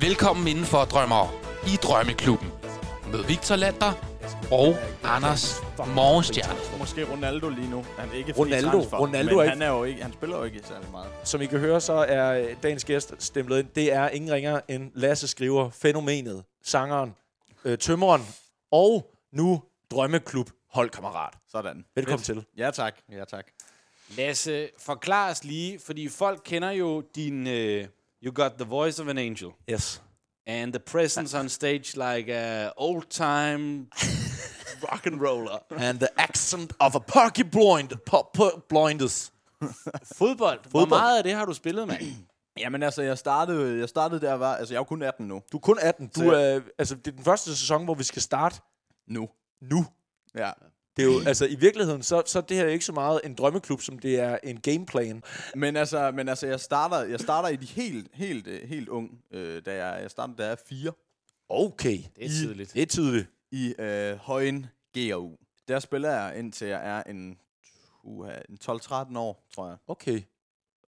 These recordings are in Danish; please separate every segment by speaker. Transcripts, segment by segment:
Speaker 1: Velkommen indenfor, drømmer i Drømmeklubben med Victor Lander og Anders Morgenstjerne.
Speaker 2: Måske Ronaldo lige nu. Han er ikke fri
Speaker 3: Ronaldo-
Speaker 2: transfer,
Speaker 3: Ronaldo
Speaker 2: men
Speaker 3: er ikke-
Speaker 2: han, er jo ikke, han spiller jo ikke særlig meget.
Speaker 3: Som I kan høre, så er øh, dagens gæst stemplet ind. Det er ingen ringer end Lasse Skriver, fænomenet, sangeren, øh, tømmeren og nu drømmeklub holdkammerat.
Speaker 2: Sådan.
Speaker 3: Velkommen
Speaker 2: Fedt.
Speaker 3: til.
Speaker 2: Ja tak, ja tak.
Speaker 4: Lasse, forklar os lige, fordi folk kender jo din... Uh, you got the voice of an angel.
Speaker 3: Yes.
Speaker 4: And the presence on stage like a old-time rock and roller.
Speaker 3: And the accent of a perky blind, po- po- blindus.
Speaker 4: Fodbold. Hvor meget af det har du spillet, med?
Speaker 2: Jamen altså, jeg startede, jeg startede der var... Altså, jeg er jo kun 18 nu.
Speaker 3: Du er kun 18. Du
Speaker 2: Så-
Speaker 3: er, altså, det er den første sæson, hvor vi skal starte
Speaker 2: Nu.
Speaker 3: nu.
Speaker 2: Ja.
Speaker 3: Det er jo, altså, i virkeligheden, så, så er det her ikke så meget en drømmeklub, som det er en gameplan.
Speaker 2: Men altså, men altså jeg, starter, jeg starter i de helt, helt, øh, helt ung, øh, da jeg, jeg startede, da jeg er fire,
Speaker 3: Okay.
Speaker 4: Det er tidligt.
Speaker 3: Det er tydeligt.
Speaker 2: i øh, Højen GRU. Der spiller jeg, indtil jeg er en, uha, en 12-13 år, tror jeg.
Speaker 3: Okay.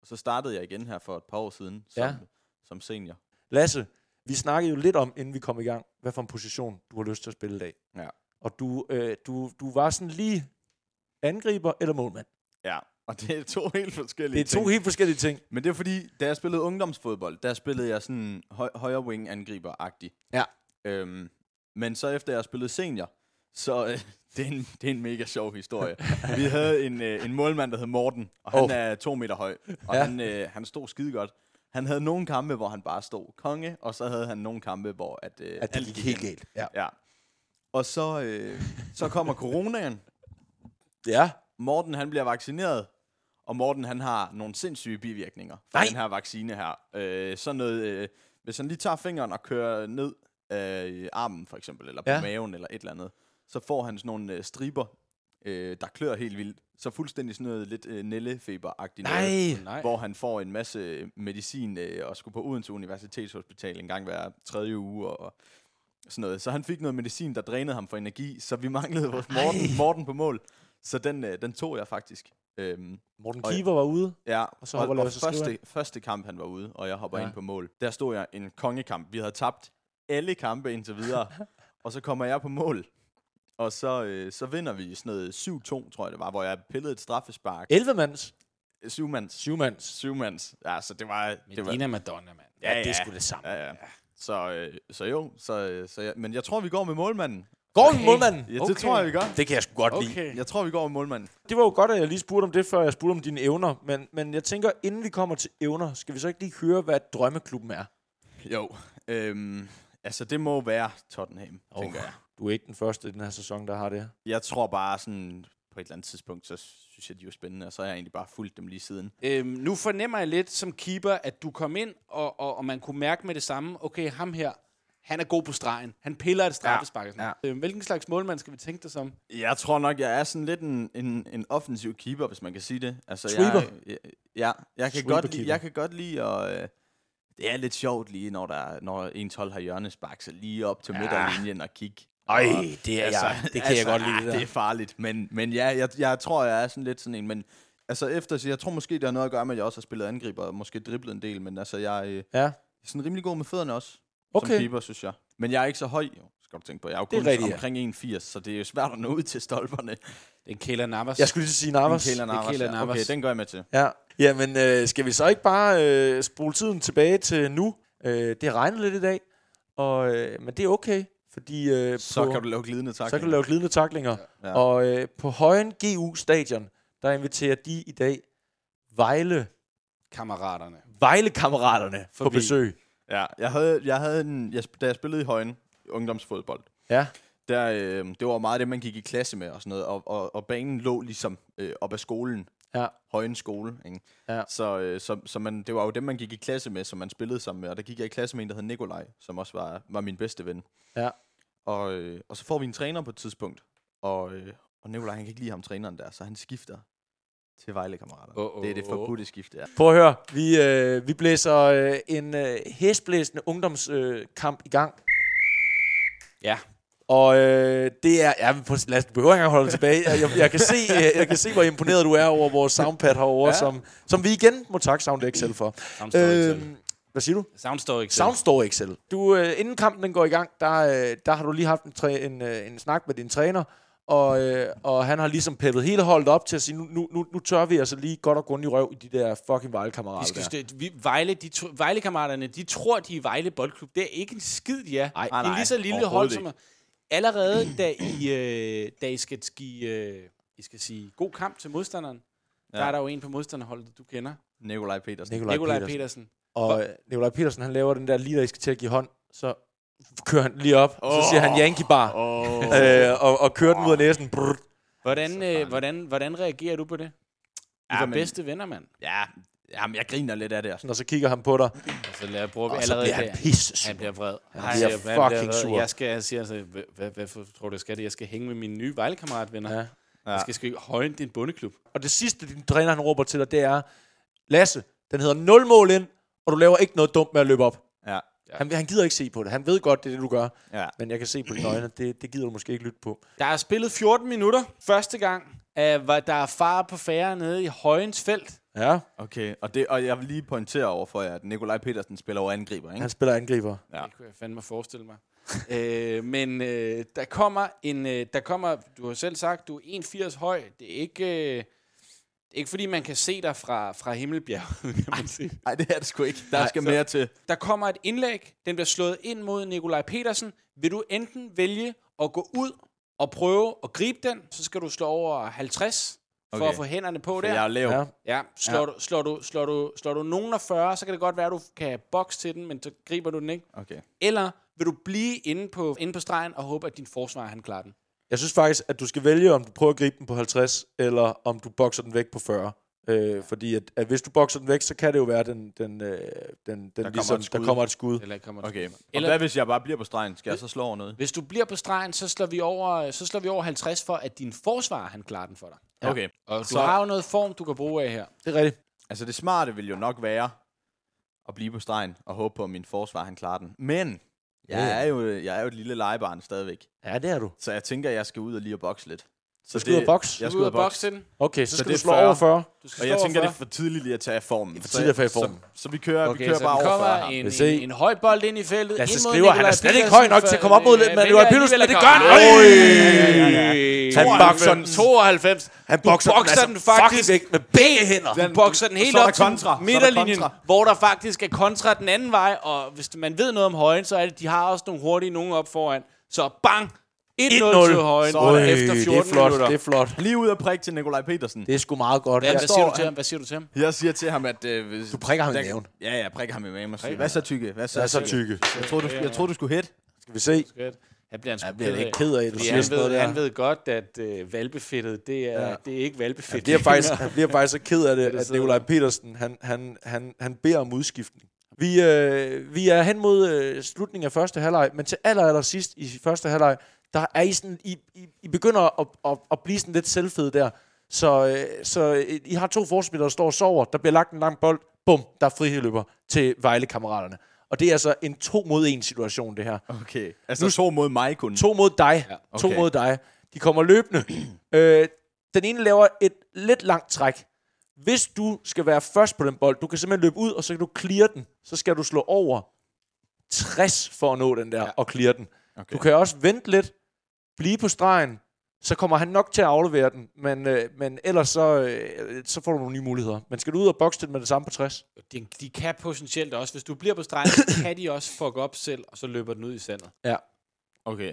Speaker 2: Og så startede jeg igen her for et par år siden, som,
Speaker 3: Ja.
Speaker 2: ja. som senior.
Speaker 3: Lasse, vi snakkede jo lidt om, inden vi kom i gang, hvad for en position du har lyst til at spille i dag.
Speaker 2: Ja.
Speaker 3: Og du, øh, du, du var sådan lige angriber eller målmand.
Speaker 2: Ja. Og det er to helt
Speaker 3: Det
Speaker 2: forskellige
Speaker 3: er to helt forskellige ting.
Speaker 2: Men det er fordi, da jeg spillede ungdomsfodbold, der spillede jeg sådan høj, højre wing angriber-agtig.
Speaker 3: Ja.
Speaker 2: Øhm, men så efter jeg spillede senior, så øh, det, er en, det er en mega sjov historie. Vi havde en, øh, en målmand, der hed Morten, og han
Speaker 3: Oh.
Speaker 2: oh. er to meter høj. Og
Speaker 3: Ja.
Speaker 2: ja. han, øh, han stod skide godt. Han havde nogle kampe, hvor han bare stod konge, og så havde han nogle kampe, hvor at, øh,
Speaker 3: At det
Speaker 2: alt
Speaker 3: gik
Speaker 2: gik
Speaker 3: helt
Speaker 2: ind.
Speaker 3: galt. Ja.
Speaker 2: Ja. Og så, øh, så kommer coronaen,
Speaker 3: ja.
Speaker 2: Morten han bliver vaccineret, og Morten han har nogle sindssyge bivirkninger fra
Speaker 3: Nej.
Speaker 2: den her vaccine her. Øh, sådan noget, øh, hvis han lige tager fingeren og kører ned øh, i armen for eksempel, eller på
Speaker 3: Ja.
Speaker 2: ja. maven eller et eller andet, så får han sådan nogle øh, striber, øh, der klør helt vildt. Så fuldstændig sådan noget lidt øh, nællefeber-agtigt noget,
Speaker 4: Nej.
Speaker 2: hvor han får en masse medicin øh, og skulle på Odense Universitetshospital en gang hver tredje uge og, og sådan noget. Så han fik noget medicin, der drænede ham for energi, så vi manglede vores Morten, Morten på mål. Så den, øh, den tog jeg faktisk. Øhm,
Speaker 3: Morten
Speaker 2: Og ja.
Speaker 3: Kiever var ude.
Speaker 2: ja,
Speaker 3: Og så
Speaker 2: og,
Speaker 3: hopper
Speaker 2: og
Speaker 3: Lasse Skriver
Speaker 2: første, første kamp, han var ude, og jeg hopper
Speaker 3: Ja.
Speaker 2: ja. ind på mål. Der stod jeg en kongekamp. Vi havde tabt alle kampe indtil videre, og så kommer jeg på mål. Og så, øh, så vinder vi sådan noget 7-2, tror jeg det var, hvor jeg pillede et straffespark.
Speaker 3: 11 mands.
Speaker 2: Syvmands.
Speaker 3: 7 mands.
Speaker 2: Syvmands. Ja, så det var... Det var
Speaker 4: Medina Madonna, mand.
Speaker 2: Ja,
Speaker 3: Det er
Speaker 2: ja.
Speaker 3: sgu det samme.
Speaker 2: Ja, ja. Så, øh, så jo, så, øh, så ja. men jeg tror, vi går med målmanden.
Speaker 3: Går
Speaker 4: Okay.
Speaker 3: okay. målmanden?
Speaker 2: Ja,
Speaker 4: Okay.
Speaker 2: det tror jeg, vi gør.
Speaker 3: Det kan jeg sgu godt lide.
Speaker 4: Okay.
Speaker 2: Jeg tror, vi går med målmanden.
Speaker 3: Det var jo godt, at jeg lige spurgte om det, før jeg spurgte om dine evner. Men, men jeg tænker, inden vi kommer til evner, skal vi så ikke lige høre, hvad drømmeklubben er?
Speaker 2: Jo, øhm, altså det må være Tottenham, oh. tænker jeg.
Speaker 3: Du er ikke den første i den her sæson, der har det.
Speaker 2: Jeg tror bare sådan, på et eller andet tidspunkt, så synes jeg, de er spændende, og så har jeg egentlig bare fulgt dem lige siden.
Speaker 4: Øhm, nu fornemmer jeg lidt som keeper, at du kom ind, og, og, og man kunne mærke med det samme, okay, ham her, han er god på stregen. Han piller et straffespark. Ja,
Speaker 2: ja.
Speaker 4: ja. Øhm, hvilken slags målmand skal vi tænke dig som?
Speaker 2: Jeg tror nok, jeg er sådan lidt en, en, en offensiv keeper, hvis man kan sige det. Altså,
Speaker 3: Sweeper.
Speaker 2: Jeg, jeg, ja, jeg kan, godt lide,
Speaker 3: Sweeper-keeper.
Speaker 2: jeg kan godt lide at... Øh, det er lidt sjovt lige, når, der, når ens hold har hjørnespark, så lige op til ja. midterlinjen og kigge.
Speaker 3: Ej,
Speaker 2: Og- altså,
Speaker 3: det er
Speaker 4: altså,
Speaker 3: jeg. Det kan jeg godt lide, det
Speaker 2: ah,
Speaker 3: der.
Speaker 2: det er farligt, men, men ja, jeg, jeg tror, jeg er sådan lidt sådan en, men altså efter, så jeg tror måske, det har noget at gøre med, at jeg også har spillet angriber, og måske driblet en del, men altså, jeg er øh,
Speaker 3: Ja.
Speaker 2: sådan rimelig god med fødderne også,
Speaker 3: Okay.
Speaker 2: som keeper, synes jeg. Men jeg er ikke så høj, jo, skal du tænke på. Jeg er jo
Speaker 3: Det er
Speaker 2: kun
Speaker 3: rigtigt, ja.
Speaker 2: omkring 1,80, så det er jo svært at nå ud til stolperne.
Speaker 4: Den Kæler Navas.
Speaker 3: Jeg skulle lige til at sige Navas.
Speaker 2: Kæler Navas,
Speaker 4: Kæler
Speaker 2: ja.
Speaker 4: Navas.
Speaker 2: Okay, den går jeg med til.
Speaker 3: Ja. Jamen, øh, skal vi så ikke bare øh, spole tiden tilbage til nu? Øh, det har regnet lidt i dag, og, øh, men det er okay, fordi øh,
Speaker 2: Så
Speaker 3: på,
Speaker 2: kan du lave glidende tak.
Speaker 3: så kan du lave glidende taklinger. Ja.
Speaker 2: Ja.
Speaker 3: Og øh, på Højen GU Stadion, der inviterer de i dag Vejle,
Speaker 4: Kammeraterne.
Speaker 3: Vejle-kammeraterne på
Speaker 4: Forbi.
Speaker 3: besøg.
Speaker 2: Ja, jeg havde, jeg havde en, jeg, sp- da jeg spillede i højen, ungdomsfodbold,
Speaker 3: Ja.
Speaker 2: der, øh, det var meget det, man gik i klasse med og sådan noget, og, og, og banen lå ligesom øh, op ad skolen.
Speaker 3: Ja.
Speaker 2: Højen skole, ikke?
Speaker 3: Ja.
Speaker 2: Så, øh, så, så man, det var jo dem, man gik i klasse med, som man spillede sammen med, og der gik jeg i klasse med en, der hed Nikolaj, som også var, var min bedste ven.
Speaker 3: Ja.
Speaker 2: Og, øh, og så får vi en træner på et tidspunkt, og, øh, og Nikolaj, han kan ikke lide ham træneren der, så han skifter til Vejle-kammerater.
Speaker 4: Åh, åh,
Speaker 2: det er det
Speaker 4: åh.
Speaker 2: forbudte skifte, ja.
Speaker 3: Prøv at høre, vi, øh, vi blæser øh, en øh, hæsblæsende ungdomskamp øh, kamp i gang.
Speaker 4: Ja.
Speaker 3: Og øh, det er... Ja, men prøv, lad os, du behøver ikke engang holde det tilbage. Jeg, jeg, jeg, kan se, øh, jeg kan se, hvor imponeret du er over vores soundpad herovre, ja. som, som vi igen må takke Soundex selv for.
Speaker 4: Ham står ikke til.
Speaker 3: Øhm, Hvad siger du?
Speaker 4: Sound står ikke.
Speaker 3: Sound står i Excel. Du, øh, inden kampen den går i gang, der, øh, der har du lige haft en, træ, en, øh, en snak med din træner, og, øh, og han har ligesom peppet hele holdet op til at sige, nu, nu, nu, nu tør vi altså lige godt og grundigt røv i de der fucking
Speaker 4: Vi
Speaker 3: vejlekammerater
Speaker 4: skal
Speaker 3: der.
Speaker 4: støtte, vi, Vejle, de to, Vejle-kammeraterne, de tror, de er Vejle Boldklub. Det er ikke en skid, ja.
Speaker 3: Nej,
Speaker 4: det er
Speaker 2: nej,
Speaker 4: lige så lille hold,
Speaker 2: overhovedet
Speaker 4: som er. Allerede, da I, øh, da I skal give øh, I skal sige, god kamp til modstanderen, ja. der er der jo en på modstanderholdet, du kender.
Speaker 2: Nikolaj Petersen.
Speaker 3: Nikolaj,
Speaker 4: Nikolaj
Speaker 3: Nikolaj
Speaker 4: Petersen.
Speaker 3: Petersen. Og
Speaker 4: Petersen.
Speaker 3: øh, Nikolaj Petersen, han laver den der, lige da I skal til at give hånd, så kører han lige op, oh. så siger han Yankee Bar,
Speaker 2: Åh.
Speaker 3: øh, og, og kører den ud af næsen. Brrr.
Speaker 4: Hvordan, øh,
Speaker 2: farligt.
Speaker 4: hvordan, hvordan reagerer du på det? I
Speaker 2: Ja,
Speaker 4: var
Speaker 2: men-
Speaker 4: bedste venner, mand.
Speaker 2: Ja, jamen, jeg griner lidt af det. Altså.
Speaker 3: Og så kigger han på dig,
Speaker 4: Og så lader, Altså, bruger vi
Speaker 3: og så
Speaker 4: allerede
Speaker 3: bliver
Speaker 4: der.
Speaker 3: han pisse
Speaker 4: Han bliver vred.
Speaker 3: Han bliver fucking
Speaker 4: vred.
Speaker 3: sur.
Speaker 4: Jeg skal, jeg siger altså, "Hva- hva- hvorfor tror du, jeg skal det? Jeg skal hænge med mine nye Vejle-kammeratvenner. Ja.
Speaker 3: Ja.
Speaker 4: Jeg skal, skal højne din bundeklub.
Speaker 3: Og det sidste, din træner han råber til dig, det er, Lasse, den hedder 0 mål ind, og du laver ikke noget dumt med at løbe op.
Speaker 2: Ja,
Speaker 3: Ja. Han, han gider ikke se på det. Han ved godt, det er det, du gør.
Speaker 2: ja.
Speaker 3: Men jeg kan se på dine øjne, at det, det gider du måske ikke lytte på.
Speaker 4: Der er spillet 14 minutter første gang. Uh, var der er far på færre nede i Højens felt.
Speaker 3: Ja,
Speaker 2: Okay, og, det, og jeg vil lige pointere over for jer, at Nikolaj Petersen spiller over angriber, ikke?
Speaker 3: han spiller angriber.
Speaker 2: Ja.
Speaker 4: Det kunne jeg fandme forestille mig. øh, men øh, der kommer en... Øh, der kommer, du har selv sagt, du er 1,80 høj. Det er ikke... Øh, det er ikke fordi, man kan se dig fra, fra Himmelbjerg, kan man sige.
Speaker 2: Nej, det er det sgu ikke. Der
Speaker 4: Nej,
Speaker 2: skal
Speaker 4: så-
Speaker 2: mere til.
Speaker 4: Der kommer et indlæg. Den bliver slået ind mod Nikolaj Petersen. Vil du enten vælge at gå ud og prøve at gribe den, så skal du slå over 50 for
Speaker 2: Okay.
Speaker 4: at få hænderne på
Speaker 2: For
Speaker 4: der.
Speaker 2: jeg er lav.
Speaker 3: Ja.
Speaker 2: Ja.
Speaker 4: Ja, slår, ja. Du, slår, du, slår, du, slår du nogen af 40, så kan det godt være, at du kan boxe til den, men så griber du den ikke.
Speaker 2: Okay.
Speaker 4: Eller vil du blive inde på, inde på stregen og håbe, at din forsvar han klarer den?
Speaker 3: Jeg synes faktisk, at du skal vælge, om du prøver at gribe den på 50, eller om du bokser den væk på 40. Øh, fordi at, at hvis du bokser den væk, så kan det jo være, at den, den, øh, den, den der, ligesom, kommer
Speaker 2: et skud.
Speaker 3: der kommer et skud.
Speaker 4: Eller kommer
Speaker 2: Okay. Og
Speaker 4: Eller-
Speaker 2: hvad hvis jeg bare bliver på stregen? Skal jeg så slå over noget?
Speaker 4: Hvis du bliver på stregen, så slår, vi over, så slår vi over 50 for, at din forsvar han klarer den for dig.
Speaker 2: Okay.
Speaker 4: Og du
Speaker 2: Så-
Speaker 4: har jo noget form, du kan bruge af her.
Speaker 3: Det er rigtigt.
Speaker 2: Altså det smarte vil jo nok være at blive på stregen og håbe på, at min forsvar han klarer den. Men
Speaker 3: Ja.
Speaker 2: jeg er jo, jeg er jo et lille legebarn stadigvæk.
Speaker 3: Ja, det er du.
Speaker 2: Så jeg tænker, at jeg skal ud og lige og bokse lidt. Så
Speaker 3: Du skal ud og bokse.
Speaker 2: Jeg
Speaker 4: Du
Speaker 2: skal ud
Speaker 4: er ude
Speaker 2: og
Speaker 4: af
Speaker 2: bokse.
Speaker 4: boksen.
Speaker 3: Okay, så,
Speaker 2: Så
Speaker 3: skal
Speaker 2: det
Speaker 3: du
Speaker 2: er
Speaker 3: slå
Speaker 2: 40.
Speaker 3: over 40.
Speaker 4: Du skal
Speaker 2: Og jeg
Speaker 4: slå
Speaker 2: tænker, det er
Speaker 4: overfor.
Speaker 2: for tidligt lige at tage formen.
Speaker 3: for tidligt at tage i formen.
Speaker 2: Så, så vi kører, okay, vi
Speaker 4: Okay,
Speaker 2: kører
Speaker 4: så
Speaker 2: bare
Speaker 4: der
Speaker 2: over for
Speaker 4: kommer
Speaker 2: ham.
Speaker 4: en,
Speaker 3: Vi ser.
Speaker 4: en, en høj bold ind i feltet.
Speaker 3: Ja, så
Speaker 4: ind mod
Speaker 3: skriver han,
Speaker 4: Nikolaj
Speaker 3: er slet ikke
Speaker 4: Petersen,
Speaker 3: høj nok
Speaker 4: for-
Speaker 3: til at komme op mod
Speaker 4: øh,
Speaker 3: lidt, men
Speaker 4: vælger
Speaker 3: Nikolaj Petersen, men
Speaker 4: alligevel
Speaker 3: det
Speaker 4: at
Speaker 3: gør han.
Speaker 4: komme- Ej!
Speaker 3: Han bokser den.
Speaker 4: 92.
Speaker 3: Han
Speaker 4: Du
Speaker 3: bokser,
Speaker 4: bokser den altså faktisk
Speaker 3: væk med begge hænder.
Speaker 4: Du bokser den
Speaker 2: og
Speaker 4: helt
Speaker 2: så er
Speaker 4: op
Speaker 2: der
Speaker 4: til
Speaker 2: kontra. Så er der
Speaker 4: midterlinjen,
Speaker 2: kontra.
Speaker 4: hvor der faktisk er kontra den anden vej, og hvis man ved noget om højen, så er det, de har også nogle hurtige nogen op foran. Så bang! 1-0 til højen
Speaker 3: Øj,
Speaker 4: efter 14
Speaker 3: det er flot,
Speaker 4: minutter.
Speaker 3: det er flot.
Speaker 2: Lige ud og prikke til Nikolaj Petersen.
Speaker 3: Det er sgu meget godt.
Speaker 4: Hvad,
Speaker 3: Jeg
Speaker 4: hvad,
Speaker 3: står-
Speaker 4: siger du til ham? hvad siger du til ham?
Speaker 2: Jeg siger til ham, at... Øh, hvis-
Speaker 3: Du prikker ham i
Speaker 2: der-
Speaker 3: maven.
Speaker 2: Ja, jeg prikker ham i maven og siger, hvad så tykke? Hvad så,
Speaker 3: Hvad så tykke?
Speaker 2: Jeg troede, du, jeg troede, du skulle hætte.
Speaker 3: Skal vi se?
Speaker 4: Jeg bliver, han sgu
Speaker 3: Jeg bliver
Speaker 4: ked af.
Speaker 3: lidt ked af, at du
Speaker 4: Fordi
Speaker 3: siger
Speaker 4: han
Speaker 3: sådan noget
Speaker 4: ved,
Speaker 3: der.
Speaker 4: han ved godt, at øh, valbefedtet, det er, ja. det er ikke valbefedt.
Speaker 3: Det er faktisk, han bliver faktisk så ked af det,
Speaker 4: der
Speaker 3: at
Speaker 4: sidder
Speaker 3: Nikolaj Petersen, han, han, han, han beder om udskiftning. Vi, øh, vi er hen mod øh, slutningen af første halvleg, men til aller, aller sidst i første halvleg, der er I sådan, I, I, I begynder at, at, at blive sådan lidt selvfede der. Så, øh, så øh, I har to forspillere, der står og sover, der bliver lagt en lang bold, bum, der er frihedløber til Vejle-kammeraterne. Og det er altså en to mod en situation, det her.
Speaker 2: Okay. Altså, nu så mod mig kun.
Speaker 3: To mod dig. Ja,
Speaker 4: Ja,
Speaker 3: okay. To
Speaker 2: okay.
Speaker 3: mod dig. De kommer løbende. øh, den ene laver et lidt langt træk. Hvis du skal være først på den bold, du kan simpelthen løbe ud, og så kan du clear den. Så skal du slå over 60 for at nå den der ja. og clear den.
Speaker 2: Okay.
Speaker 3: Du kan også vente lidt, blive på stregen, så kommer han nok til at aflevere den, men, øh, men ellers så, øh, så får du nogle nye muligheder. Men skal du ud og bokse den med det samme på 60?
Speaker 4: de, de kan potentielt også, hvis du bliver på stregen, så kan de også fuck op selv, og så løber den ud i sandet.
Speaker 3: Ja.
Speaker 2: Okay.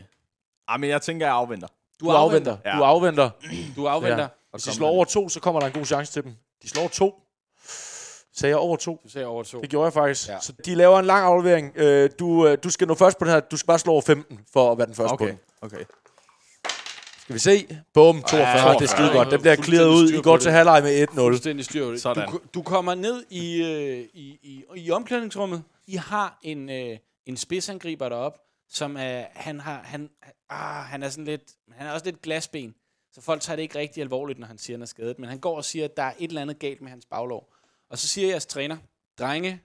Speaker 2: Ej, men jeg tænker, jeg afventer.
Speaker 3: Du, du afventer.
Speaker 2: Ja.
Speaker 3: Du afventer.
Speaker 4: Du afventer.
Speaker 3: Ja.
Speaker 4: Ja.
Speaker 3: Hvis de
Speaker 2: kommer
Speaker 3: slår
Speaker 2: den.
Speaker 3: over to, så kommer der en god chance til dem. De slår to. Sagde jeg over to?
Speaker 4: Du sagde over to.
Speaker 3: Det gjorde jeg faktisk. Ja.
Speaker 4: Ja.
Speaker 3: Så de laver en lang aflevering. Øh, du, øh, du skal nå først på den her. Du skal bare slå over 15 for at være den første okay. på den.
Speaker 2: Okay. Okay.
Speaker 3: Skal vi se? Bum, 42. Ja, det er
Speaker 2: 42.
Speaker 3: skide godt. Den bliver
Speaker 4: Fuldstændig
Speaker 3: clearet ud. I
Speaker 4: styr
Speaker 3: går
Speaker 4: på
Speaker 3: til
Speaker 4: det.
Speaker 3: halvleg med 1-0.
Speaker 4: Fuldstændig styr på det.
Speaker 2: Sådan.
Speaker 4: Du, du kommer ned i, øh, i, i, i omklædningsrummet. I har en, øh, en spidsangriber derop, som er, han har, han, ah, han er sådan lidt, han er også lidt glasben. Så folk tager det ikke rigtig alvorligt, når han siger, han er skadet. Men han går og siger, at der er et eller andet galt med hans baglov. Og så siger jeres træner, drenge,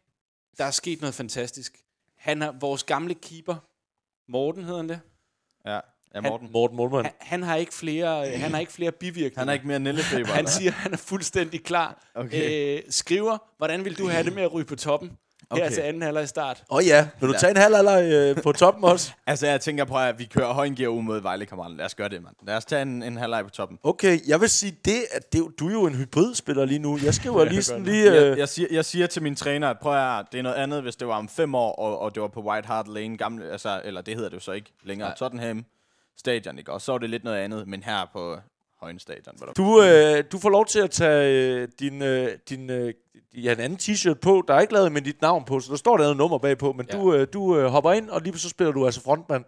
Speaker 4: der er sket noget fantastisk. Han har, vores gamle keeper, Morten hedder han det,
Speaker 2: Ja. Ja, Morten. Han,
Speaker 3: Morten Målmann.
Speaker 4: han, han, har, ikke flere, øh, han har ikke flere bivirkninger.
Speaker 2: han er ikke mere nællefeber.
Speaker 4: Han siger, at han er fuldstændig klar.
Speaker 2: Okay.
Speaker 4: Øh, skriver, hvordan vil du have det med at ryge på toppen? Okay. Her
Speaker 2: Okay.
Speaker 4: til anden halvleg start.
Speaker 3: Åh oh, ja, vil du tage en halv eller øh, på toppen også?
Speaker 2: Altså, jeg tænker på, at vi kører højengear ud mod Vejle, kammerater. Lad os gøre det, mand. Lad os tage en, en halvleg på toppen.
Speaker 3: Okay, jeg vil sige, det, at det, er jo- du er jo en hybridspiller lige nu. Jeg skriver lige sådan lige...
Speaker 2: Jeg,
Speaker 3: Øh,
Speaker 2: jeg, siger, jeg siger til min træner, at prøv at høre, det er noget andet, hvis det var om fem år, og, og det var på White Hart Lane, gamle, altså, eller det hedder det jo så ikke længere, ja. Tottenham stadion, ikke? Og så er det lidt noget andet, men her på Højen stadion. hvor der-
Speaker 3: du, øh, du får lov til at tage øh, din, øh, din øh, ja, en anden t-shirt på. Der er ikke lavet med dit navn på, så der står et andet nummer bagpå. Men
Speaker 4: Ja.
Speaker 3: ja. du, øh, du øh, hopper ind, og lige så spiller du altså frontmand.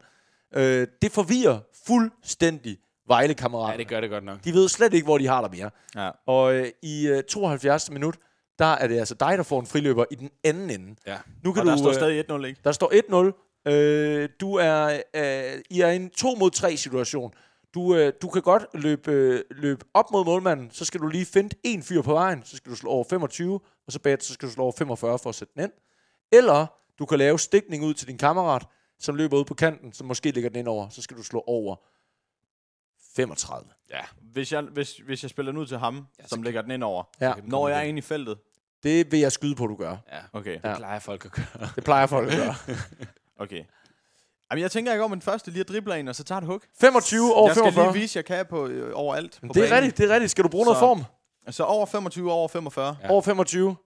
Speaker 3: Øh, det forvirrer fuldstændig vejle
Speaker 4: Ja,
Speaker 3: kammerater.
Speaker 4: det gør det godt nok.
Speaker 3: De ved slet ikke, hvor de har dig mere.
Speaker 2: Ja.
Speaker 3: Og øh, i øh, 72. minut, der er det altså dig, der får en friløber i den anden ende.
Speaker 4: Ja.
Speaker 3: Nu
Speaker 2: Og der står
Speaker 3: øh,
Speaker 2: stadig 1-0, ikke?
Speaker 3: Der står 1-0. Øh, du er, øh, I er i en 2 mod 3 situation. Du, øh, du kan godt løbe, øh, løbe op mod målmanden, så skal du lige finde en fyr på vejen, så skal du slå over 25, og så bagefter så skal du slå over 45 for at sætte den ind. Eller du kan lave stikning ud til din kammerat, som løber ud på kanten, som måske ligger den ind over, så skal du slå over 35.
Speaker 2: Hvis jeg, hvis, hvis jeg spiller den ud til ham, ja, som lægger den ind over,
Speaker 3: Ja,
Speaker 2: når jeg er inde i feltet.
Speaker 3: det vil jeg skyde på, du gør.
Speaker 4: Ja,
Speaker 2: Okay,
Speaker 4: det
Speaker 3: Ja.
Speaker 4: plejer folk at gøre.
Speaker 3: Det plejer folk at gøre.
Speaker 2: okay. Jamen, jeg tænker, jeg går med den første lige at drible en, og så tager et hug.
Speaker 3: 25 over
Speaker 2: jeg skal
Speaker 3: 45.
Speaker 2: lige vise, jeg kan på øh, overalt. På
Speaker 3: Det er
Speaker 2: banen.
Speaker 3: rigtigt, det er rigtigt. Skal du bruge noget
Speaker 2: Så-
Speaker 3: form?
Speaker 2: Så over 25, over 45.
Speaker 4: Ja.
Speaker 3: Over 25.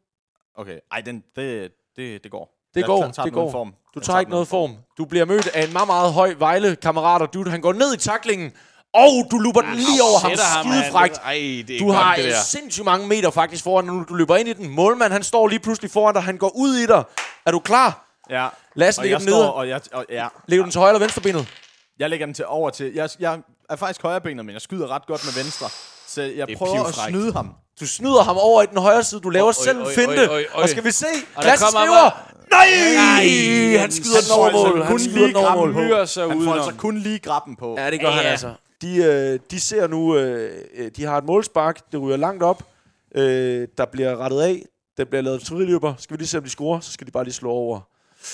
Speaker 2: Okay, ej, den, det, det, det går.
Speaker 3: Det
Speaker 2: jeg
Speaker 3: går,
Speaker 2: tager
Speaker 3: det
Speaker 2: den uden
Speaker 3: går.
Speaker 2: Form.
Speaker 3: Du
Speaker 2: Jeg
Speaker 3: tager ikke
Speaker 2: den uden
Speaker 3: noget form. Du bliver mødt af en meget, meget høj Vejle-kammerat, og du, han går ned i taklingen, og du luber
Speaker 4: Ah,
Speaker 3: den lige over ham,
Speaker 4: Sætter mand.
Speaker 3: skidefrægt.
Speaker 4: Ej, det er
Speaker 3: Du
Speaker 4: godt,
Speaker 3: har
Speaker 4: det der.
Speaker 3: sindssygt mange meter faktisk foran, og nu du løber ind i den. Målmand, han står lige pludselig foran dig, han går ud i dig. Er du klar?
Speaker 2: Ja.
Speaker 3: Lasse
Speaker 2: og
Speaker 3: lægger
Speaker 2: jeg
Speaker 3: den
Speaker 2: står,
Speaker 3: ned.
Speaker 2: og jeg, og, ja.
Speaker 3: Lægger du den til højre eller venstre benet?
Speaker 2: jeg lægger den til over til... Jeg, jeg er faktisk højrebenet, men jeg skyder ret godt med venstre. Så jeg
Speaker 4: Det er
Speaker 2: prøver at
Speaker 4: pivfrækt.
Speaker 2: snyde ham.
Speaker 3: Du snyder ham over i den højre side. Du laver
Speaker 4: Oj, oj,
Speaker 3: selv en
Speaker 4: oj,
Speaker 3: finte.
Speaker 4: oj, oj, oj.
Speaker 3: Og skal vi se?
Speaker 4: Og der
Speaker 3: Lasse
Speaker 4: kommer
Speaker 3: skriver...
Speaker 4: Nej,
Speaker 3: Nej! Han skyder
Speaker 4: han
Speaker 3: den
Speaker 4: får
Speaker 3: over
Speaker 4: altså
Speaker 3: mål. Han
Speaker 2: kun
Speaker 3: skyder
Speaker 2: lige
Speaker 3: den over mål.
Speaker 2: grammen
Speaker 4: Myrer sig
Speaker 2: Han får altså
Speaker 4: udenom.
Speaker 2: kun lige grappen på.
Speaker 3: Ja, det
Speaker 4: Ja, ja.
Speaker 3: De, øh, de ser nu, øh, øh, de har et målspark, det ryger langt op, øh, der bliver rettet af, der bliver lavet friløber. Skal vi lige se, om de scorer, så skal de bare lige slå over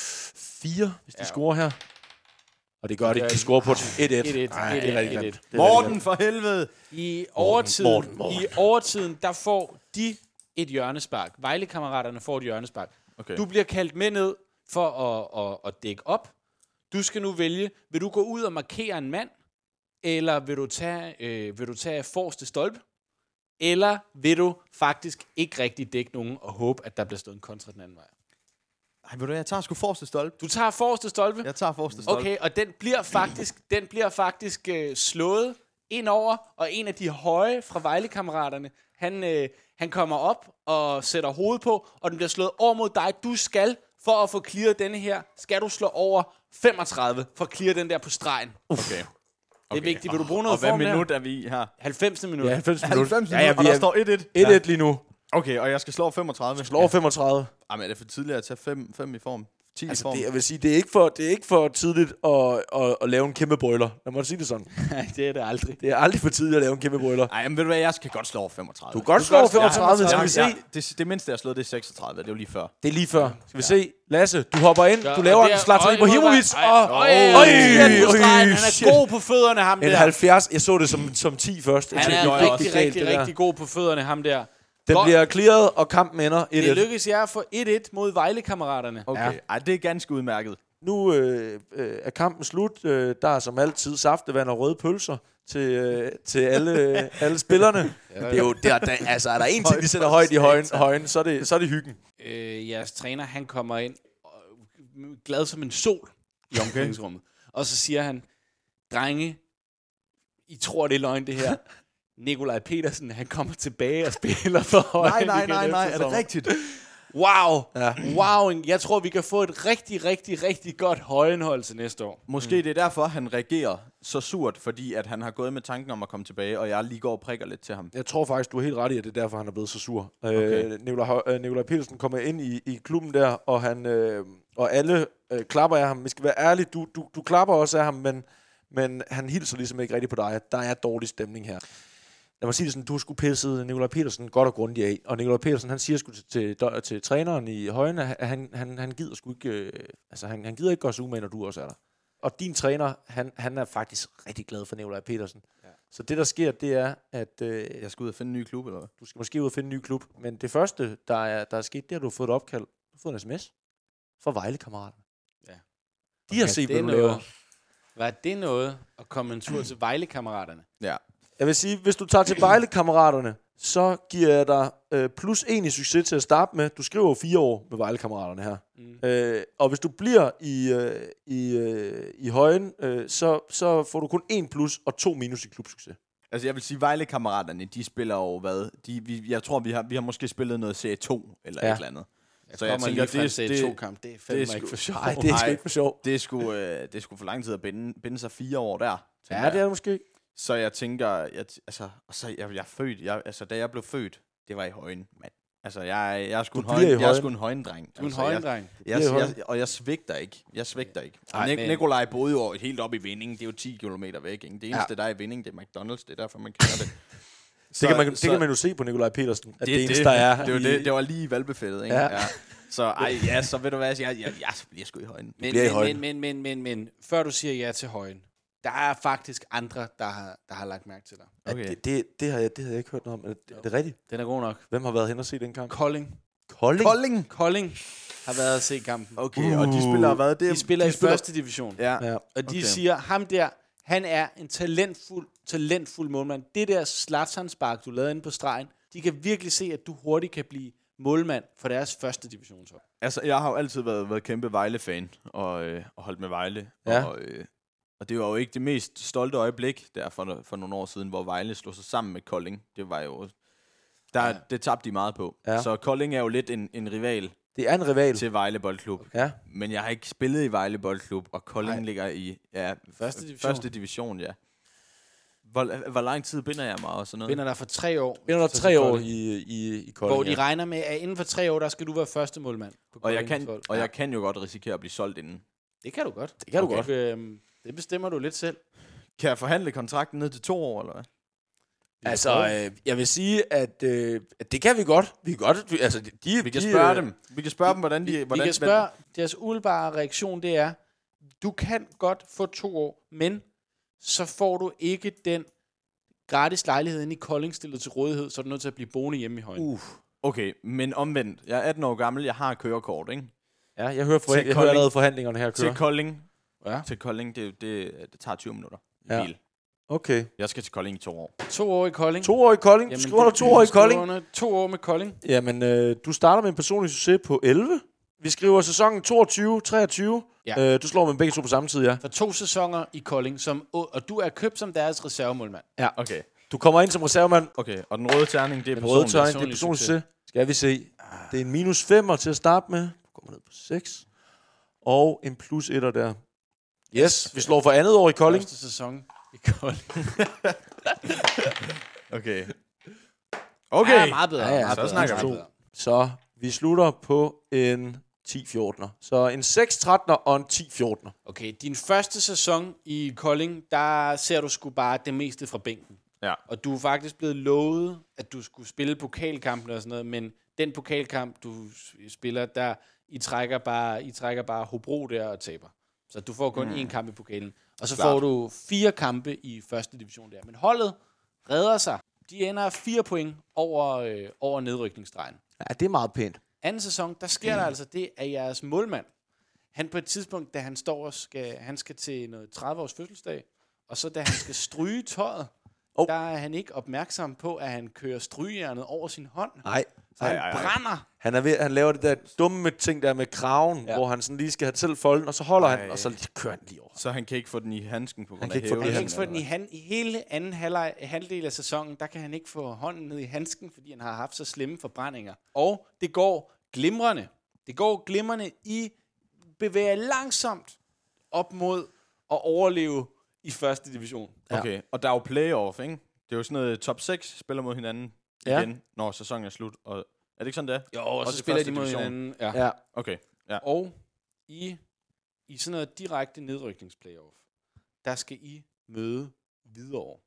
Speaker 3: 4, hvis de scorer her. Og det gør de, de scorer på den 1-1. 1-1, det
Speaker 4: 1-1,
Speaker 3: er rigtig grimt. Det
Speaker 4: 1-1.
Speaker 3: er rigtig
Speaker 2: Morten,
Speaker 3: grimt.
Speaker 2: for helvede!
Speaker 4: I overtiden,
Speaker 3: Morten, Morten.
Speaker 4: I overtiden, der får de et hjørnespark. Vejlekammeraterne får et hjørnespark.
Speaker 2: Okay.
Speaker 4: Du bliver kaldt med ned for at, at, at dække op. Du skal nu vælge, vil du gå ud og markere en mand, eller vil du tage, øh, vil du tage forreste stolpe, eller vil du faktisk ikke rigtig dække nogen og håbe, at der bliver stået en kontra den anden vej.
Speaker 2: Ej, ved du, hvad, jeg tager sgu forreste stolpe.
Speaker 4: Du tager forreste stolpe,
Speaker 2: Jeg tager forreste stolpe.
Speaker 4: Okay, og den bliver faktisk, den bliver faktisk øh, slået ind over, og en af de høje fra Vejlekammeraterne, han, øh, han kommer op og sætter hovedet på, og den bliver slået over mod dig. Du skal, for at få clearet denne her, skal du slå over 35 for at clear den der på stregen. Det
Speaker 2: okay.
Speaker 4: er vigtigt. Vil du bruge noget
Speaker 2: Og hvad
Speaker 4: form
Speaker 2: minut er vi i her?
Speaker 4: der? 90. minut.
Speaker 3: Ja,
Speaker 4: Ja.
Speaker 3: 90 minutter.
Speaker 2: 90
Speaker 3: Ja, ja,
Speaker 2: og
Speaker 3: vi
Speaker 2: der
Speaker 3: er-
Speaker 2: står 1-1.
Speaker 3: 1-1 ja. lige nu.
Speaker 2: Okay, og jeg skal slå over 35.
Speaker 3: Slår over 35.
Speaker 2: Jamen, er det for tidligt at tage 5, 5 i form? 10 i
Speaker 3: Altså,
Speaker 2: form?
Speaker 3: det, jeg vil sige, det er ikke for, det er ikke for tidligt at, at, at, lave en kæmpe brøler. Lad mig sige det sådan.
Speaker 4: det er det aldrig.
Speaker 3: Det er aldrig for tidligt at lave en kæmpe brøler.
Speaker 2: Ej, men ved du hvad, jeg skal godt slå over 35.
Speaker 3: Du kan godt slå over 35, skal vi se.
Speaker 2: Ja, det, det mindste, jeg har slået, det er 36. Det er jo lige før.
Speaker 3: Det er lige før. Skal vi se? Lasse, du hopper ind. Du laver en Zlatan Ibrahimovic.
Speaker 4: Og,
Speaker 3: Og,
Speaker 4: øj, øj, øj, han
Speaker 3: shit.
Speaker 4: er god på fødderne, ham
Speaker 3: En
Speaker 4: der.
Speaker 3: 70. Jeg så det som, som 10 først. Jeg
Speaker 4: Han
Speaker 3: tænkte,
Speaker 4: er
Speaker 3: "Nå,
Speaker 4: rigtig,
Speaker 3: også
Speaker 4: rigtig,
Speaker 3: galt,
Speaker 4: rigtig,
Speaker 3: det der."
Speaker 4: god på fødderne, ham der.
Speaker 3: Den
Speaker 4: Godt.
Speaker 3: bliver clearet, og kampen ender
Speaker 4: Det
Speaker 3: 1-1.
Speaker 4: lykkedes jer at få 1-1 mod Vejle-kammeraterne.
Speaker 2: Okay. Ja. Ej, det er ganske udmærket.
Speaker 3: Nu øh, øh, er kampen slut. Øh, der er som altid saftevand og røde pølser til, øh, til alle, øh, alle spillerne. Det er jo, det er, der, altså, er der en ting, de sætter højt i højen, højen så, er det, så er det hyggen.
Speaker 4: øh, jeres træner, han kommer ind, og, glad som en sol i omklædningsrummet. Og så siger han, drenge, I tror, det er løgn, det her. Nikolaj Petersen, han kommer tilbage og spiller for
Speaker 2: Nej,
Speaker 4: Højen
Speaker 2: nej,
Speaker 4: igen
Speaker 2: nej,
Speaker 4: efter
Speaker 2: nej. Er det
Speaker 4: sommer."
Speaker 2: rigtigt?
Speaker 4: Wow, ja. wow. en- Jeg tror, vi kan få et rigtig, rigtig, rigtig godt højenhold til næste år.
Speaker 2: Måske mm. det er derfor, han reagerer så surt, fordi at han har gået med tanken om at komme tilbage, og jeg lige går og prikker lidt til ham.
Speaker 3: Jeg tror faktisk, du er helt ret i, at det er derfor, han er blevet så sur. Okay. Øh, Nikolaj, Hø- øh, Nikolaj Petersen kommer ind i, i klubben der, og, han, øh, og alle øh, klapper af ham. Vi skal være ærlige, du, du, du klapper også af ham, men, men han hilser ligesom ikke rigtigt på dig. Der er dårlig stemning her. Lad mig sige det sådan, du skulle pisset Nikolaj Petersen godt og grundigt af. Og Nikolaj Petersen, han siger sgu til, til, dø- til træneren i højene, at han, han, han gider sgu ikke, øh, altså han, han gider ikke gøre sig umage, når du også er der. Og din træner, han, han er faktisk rigtig glad for Nikolaj Petersen. Ja. Så det, der sker, det er, at øh,
Speaker 2: Jeg skal ud og finde en ny klub, eller hvad?
Speaker 3: du skal måske ud og finde en ny klub. Men det første, der er, der er sket, det er, at du har fået et opkald. Du har fået en sms. for Vejlekammeraterne.
Speaker 4: Ja.
Speaker 3: De har
Speaker 4: Ja,
Speaker 3: set,
Speaker 4: det
Speaker 3: hvad
Speaker 4: er
Speaker 3: du
Speaker 4: noget.
Speaker 3: laver.
Speaker 4: Var det noget at komme en tur til Vejle-kammeraterne?
Speaker 2: Ja.
Speaker 3: Jeg vil sige, hvis du tager til Vejle-kammeraterne, så giver jeg dig øh, plus en i succes til at starte med. Du skriver jo fire år med Vejle-kammeraterne her.
Speaker 4: Mm.
Speaker 3: Øh, og hvis du bliver i, øh, i, øh, i højen, øh, så, så får du kun en plus og to minus i klubsucces.
Speaker 2: Altså, jeg vil sige, Vejle-kammeraterne, de spiller jo hvad? De, vi, jeg tror, vi har, vi har måske spillet noget Serie 2 eller
Speaker 3: Ja.
Speaker 2: ja. et eller andet.
Speaker 4: Jeg så jeg tænker, lige fra det, to kamp. Det er fandme
Speaker 2: sgu-
Speaker 4: ikke for sjovt.
Speaker 3: Nej, det er sgu
Speaker 2: Ej.
Speaker 3: ikke for sjov.
Speaker 2: det, er sgu, øh, det er sgu for lang tid at binde, binde sig fire år der. tænker
Speaker 3: Ja, det er det måske.
Speaker 2: Så jeg tænker, jeg, t- altså, og så jeg, jeg er født, jeg, altså, da jeg blev født, det var i højen, mand. Altså, jeg, jeg er sgu en
Speaker 3: Du bliver i
Speaker 2: højen, jeg er
Speaker 3: Højen.
Speaker 2: sgu en højendreng.
Speaker 4: Du er en
Speaker 2: altså,
Speaker 4: højendreng.
Speaker 2: Jeg,
Speaker 3: bliver i
Speaker 2: jeg,
Speaker 3: Højen.
Speaker 2: jeg, og jeg svigter ikke. Jeg svigter ikke.
Speaker 4: Ej,
Speaker 2: Ej,
Speaker 4: men-
Speaker 2: Nik- Nikolaj boede jo helt op i Vinding. Det er jo 10 km væk. Ikke? Det eneste, ja. der er i Vinding, det er McDonald's. Det er derfor, man kender det.
Speaker 3: Det kan, man, det kan man jo se på Nikolaj Petersen, at det, det eneste, der er.
Speaker 2: Det, var
Speaker 3: i-
Speaker 2: det, det var lige i valgbefættet, ikke?
Speaker 3: Ja.
Speaker 2: Ja. ja. Så ej, ja, så ved du hvad, jeg, jeg, jeg, jeg bliver sgu i højden.
Speaker 4: Men,
Speaker 3: bliver i
Speaker 4: men,
Speaker 3: højden.
Speaker 4: men, men, men, men, men, før du siger ja til højen, der er faktisk andre, der har, der har lagt mærke til dig.
Speaker 3: at
Speaker 2: Okay.
Speaker 3: det, det, det, har jeg, det havde jeg ikke hørt noget om. Er det, er det rigtigt?
Speaker 4: Den er god nok.
Speaker 3: Hvem har været hen og set den kamp?
Speaker 4: Kolding.
Speaker 3: Kolding?
Speaker 2: Kolding!
Speaker 4: Kolding har været at se kampen.
Speaker 2: Okay, uh. og de spiller hvad? Det, er-
Speaker 4: De spiller i første division.
Speaker 2: Ja.
Speaker 3: Ja.
Speaker 4: Og de
Speaker 2: Okay.
Speaker 4: siger, ham der, han er en talentfuld, talentfuld målmand. Det der spark, du lavede inde på stregen, de kan virkelig se, at du hurtigt kan blive målmand for deres første divisionshold.
Speaker 2: Altså, jeg har jo altid været, været kæmpe Vejle-fan, og, øh, og holdt med Vejle.
Speaker 3: Ja.
Speaker 2: Og, øh, og det var jo ikke det mest stolte øjeblik, der for, for nogle år siden, hvor Vejle slog sig sammen med Kolding. Det var jo... Der, ja. Det tabte de meget på.
Speaker 3: Ja.
Speaker 2: Ja. Så Kolding er jo lidt en, en rival
Speaker 3: Det er en rival.
Speaker 2: til Vejle Boldklub.
Speaker 3: Ja.
Speaker 2: Men jeg har ikke spillet i Vejle Boldklub, og Kolding
Speaker 4: Nej.
Speaker 2: Nej. ligger i ja,
Speaker 4: Første
Speaker 2: f-
Speaker 4: division.
Speaker 2: Første division, ja. Hvor, hvor lang tid binder jeg mig og sådan noget?
Speaker 4: Vinder der for tre år.
Speaker 3: Vinder der
Speaker 4: Så til
Speaker 3: tre år
Speaker 4: Kolding.
Speaker 3: i, i, i Kolding.
Speaker 4: Hvor de
Speaker 3: ja.
Speaker 4: regner med, at inden for tre år, der skal du være første målmand. På
Speaker 2: og jeg,
Speaker 4: Koldings
Speaker 2: kan,
Speaker 4: hold.
Speaker 2: og
Speaker 4: Ja,
Speaker 2: jeg kan jo godt risikere at blive solgt inden.
Speaker 4: Det kan du godt. Det
Speaker 3: kan du godt.
Speaker 4: Øhm, det bestemmer du lidt selv.
Speaker 2: Kan jeg forhandle kontrakten ned til to år, eller hvad?
Speaker 3: Altså, øh, jeg vil sige, at, øh, at det kan vi godt. Vi kan godt. Vi, altså, de,
Speaker 2: Vi kan
Speaker 3: de,
Speaker 2: spørge
Speaker 3: øh,
Speaker 2: dem. Vi kan spørge dem, hvordan de...
Speaker 4: Hvordan,
Speaker 2: Hvordan,
Speaker 4: Vi kan spørge, deres umiddelbare reaktion det er, du kan godt få to år, men så får du ikke den gratis lejlighed inde i Kolding stillet til rådighed, så er du nødt til at blive boende hjemme i højen. Uh.
Speaker 3: Uh,
Speaker 2: Okay, men omvendt. Jeg er 18 år gammel, jeg har kørekort, ikke?
Speaker 3: ja, jeg hører, for,
Speaker 2: Til
Speaker 3: jeg hører
Speaker 2: Kolding.
Speaker 3: allerede forhandlingerne her
Speaker 2: Til
Speaker 3: køre.
Speaker 2: Kolding.
Speaker 4: Ja.
Speaker 2: Til Kolding, det, det, det tager 20 minutter i
Speaker 3: Ja.
Speaker 2: ja. bil.
Speaker 3: Okay.
Speaker 2: Jeg skal til Kolding i to år.
Speaker 4: To år i Kolding.
Speaker 3: To år i Kolding. Du skriver
Speaker 4: det-
Speaker 3: under to år i
Speaker 4: skriver
Speaker 3: Kolding.
Speaker 4: under To år med Kolding.
Speaker 3: Jamen, øh, du starter med en personlig succes på 11. Vi skriver sæsonen 22-23.
Speaker 4: Ja.
Speaker 3: Ja. Øh, du slår med begge to på samme tid, ja.
Speaker 4: For to sæsoner i Kolding, som, og du er købt som deres reservemålmand.
Speaker 3: Ja.
Speaker 2: Okay.
Speaker 3: Du kommer ind som reservemand.
Speaker 2: Okay, og den røde terning, det er
Speaker 3: Den røde
Speaker 2: personligt.
Speaker 3: tøjning, det er personlig
Speaker 4: personlig succes.
Speaker 3: succes. Ah. Skal vi se. Det er en minus 5'er til at starte med. Du kommer ned på 6. Og en plus 1'er der. Yes, vi slår for andet år i Kolding.
Speaker 4: Første sæson i Kolding.
Speaker 2: Okay.
Speaker 4: Ja,
Speaker 2: Okay.
Speaker 4: meget bedre.
Speaker 3: Ja, ja,
Speaker 4: meget
Speaker 2: så
Speaker 4: bedre,
Speaker 2: snakker
Speaker 4: meget
Speaker 2: vi.
Speaker 4: bedre.
Speaker 3: Så vi slutter på en 10-14'er. Så en 6-13'er og en 10-14'er.
Speaker 4: Okay, din første sæson i Kolding, der ser du sgu bare det meste fra bænken.
Speaker 2: Ja.
Speaker 4: Og du er faktisk blevet lovet, at du skulle spille pokalkampen og sådan noget, men den pokalkamp, du s- spiller, der I trækker bare, I trækker bare Hobro der og taber. Så du får kun én kamp i pokalen. Og så
Speaker 2: Klart.
Speaker 4: får du fire kampe i første division der. Men holdet redder sig. De ender fire point over, øh, over nedrykningsstregen
Speaker 3: Ja, det er meget pænt.
Speaker 4: anden sæson, der sker der altså det, at jeres målmand, han på et tidspunkt, da han står og skal, han skal til noget 30 års fødselsdag, og så da han skal stryge tøjet, oh.
Speaker 3: Hov.
Speaker 4: der er han ikke opmærksom på, at han kører strygejernet over sin hånd.
Speaker 3: Nej.
Speaker 4: Så han
Speaker 2: ej, ej.
Speaker 4: brænder.
Speaker 3: Han, er ved, han laver det der dumme ting der med kraven, ja. hvor han sådan lige skal have selv folden, og så holder Ej. han, og så lige kører han lige over.
Speaker 2: Så han kan ikke få den i handsken på grund
Speaker 3: kan
Speaker 2: af
Speaker 3: ikke få den i
Speaker 4: Han kan
Speaker 2: hævelsen,
Speaker 4: ikke få den i,
Speaker 2: eller
Speaker 4: han, i hele anden halvleg, halvdel af sæsonen, der kan han ikke få hånden ned i handsken, fordi han har haft så slemme forbrændinger. Og det går glimrende. Det går glimrende. I bevæger jer langsomt op mod at overleve i første division.
Speaker 2: hvad? Okay, og der er jo playoff, ikke? Det er jo sådan noget top 6 spiller mod hinanden
Speaker 3: Ja.
Speaker 2: ja. igen, når sæsonen er slut. Og, er det ikke sådan, det er?
Speaker 4: Jo, og
Speaker 2: Også
Speaker 4: så
Speaker 2: i
Speaker 4: spiller
Speaker 2: første
Speaker 4: de mod
Speaker 2: division.
Speaker 4: hinanden. Ja.
Speaker 3: Ja.
Speaker 2: Okay, ja.
Speaker 4: Og i, i sådan noget direkte nedrykningsplayoff, der skal I møde Hvidovre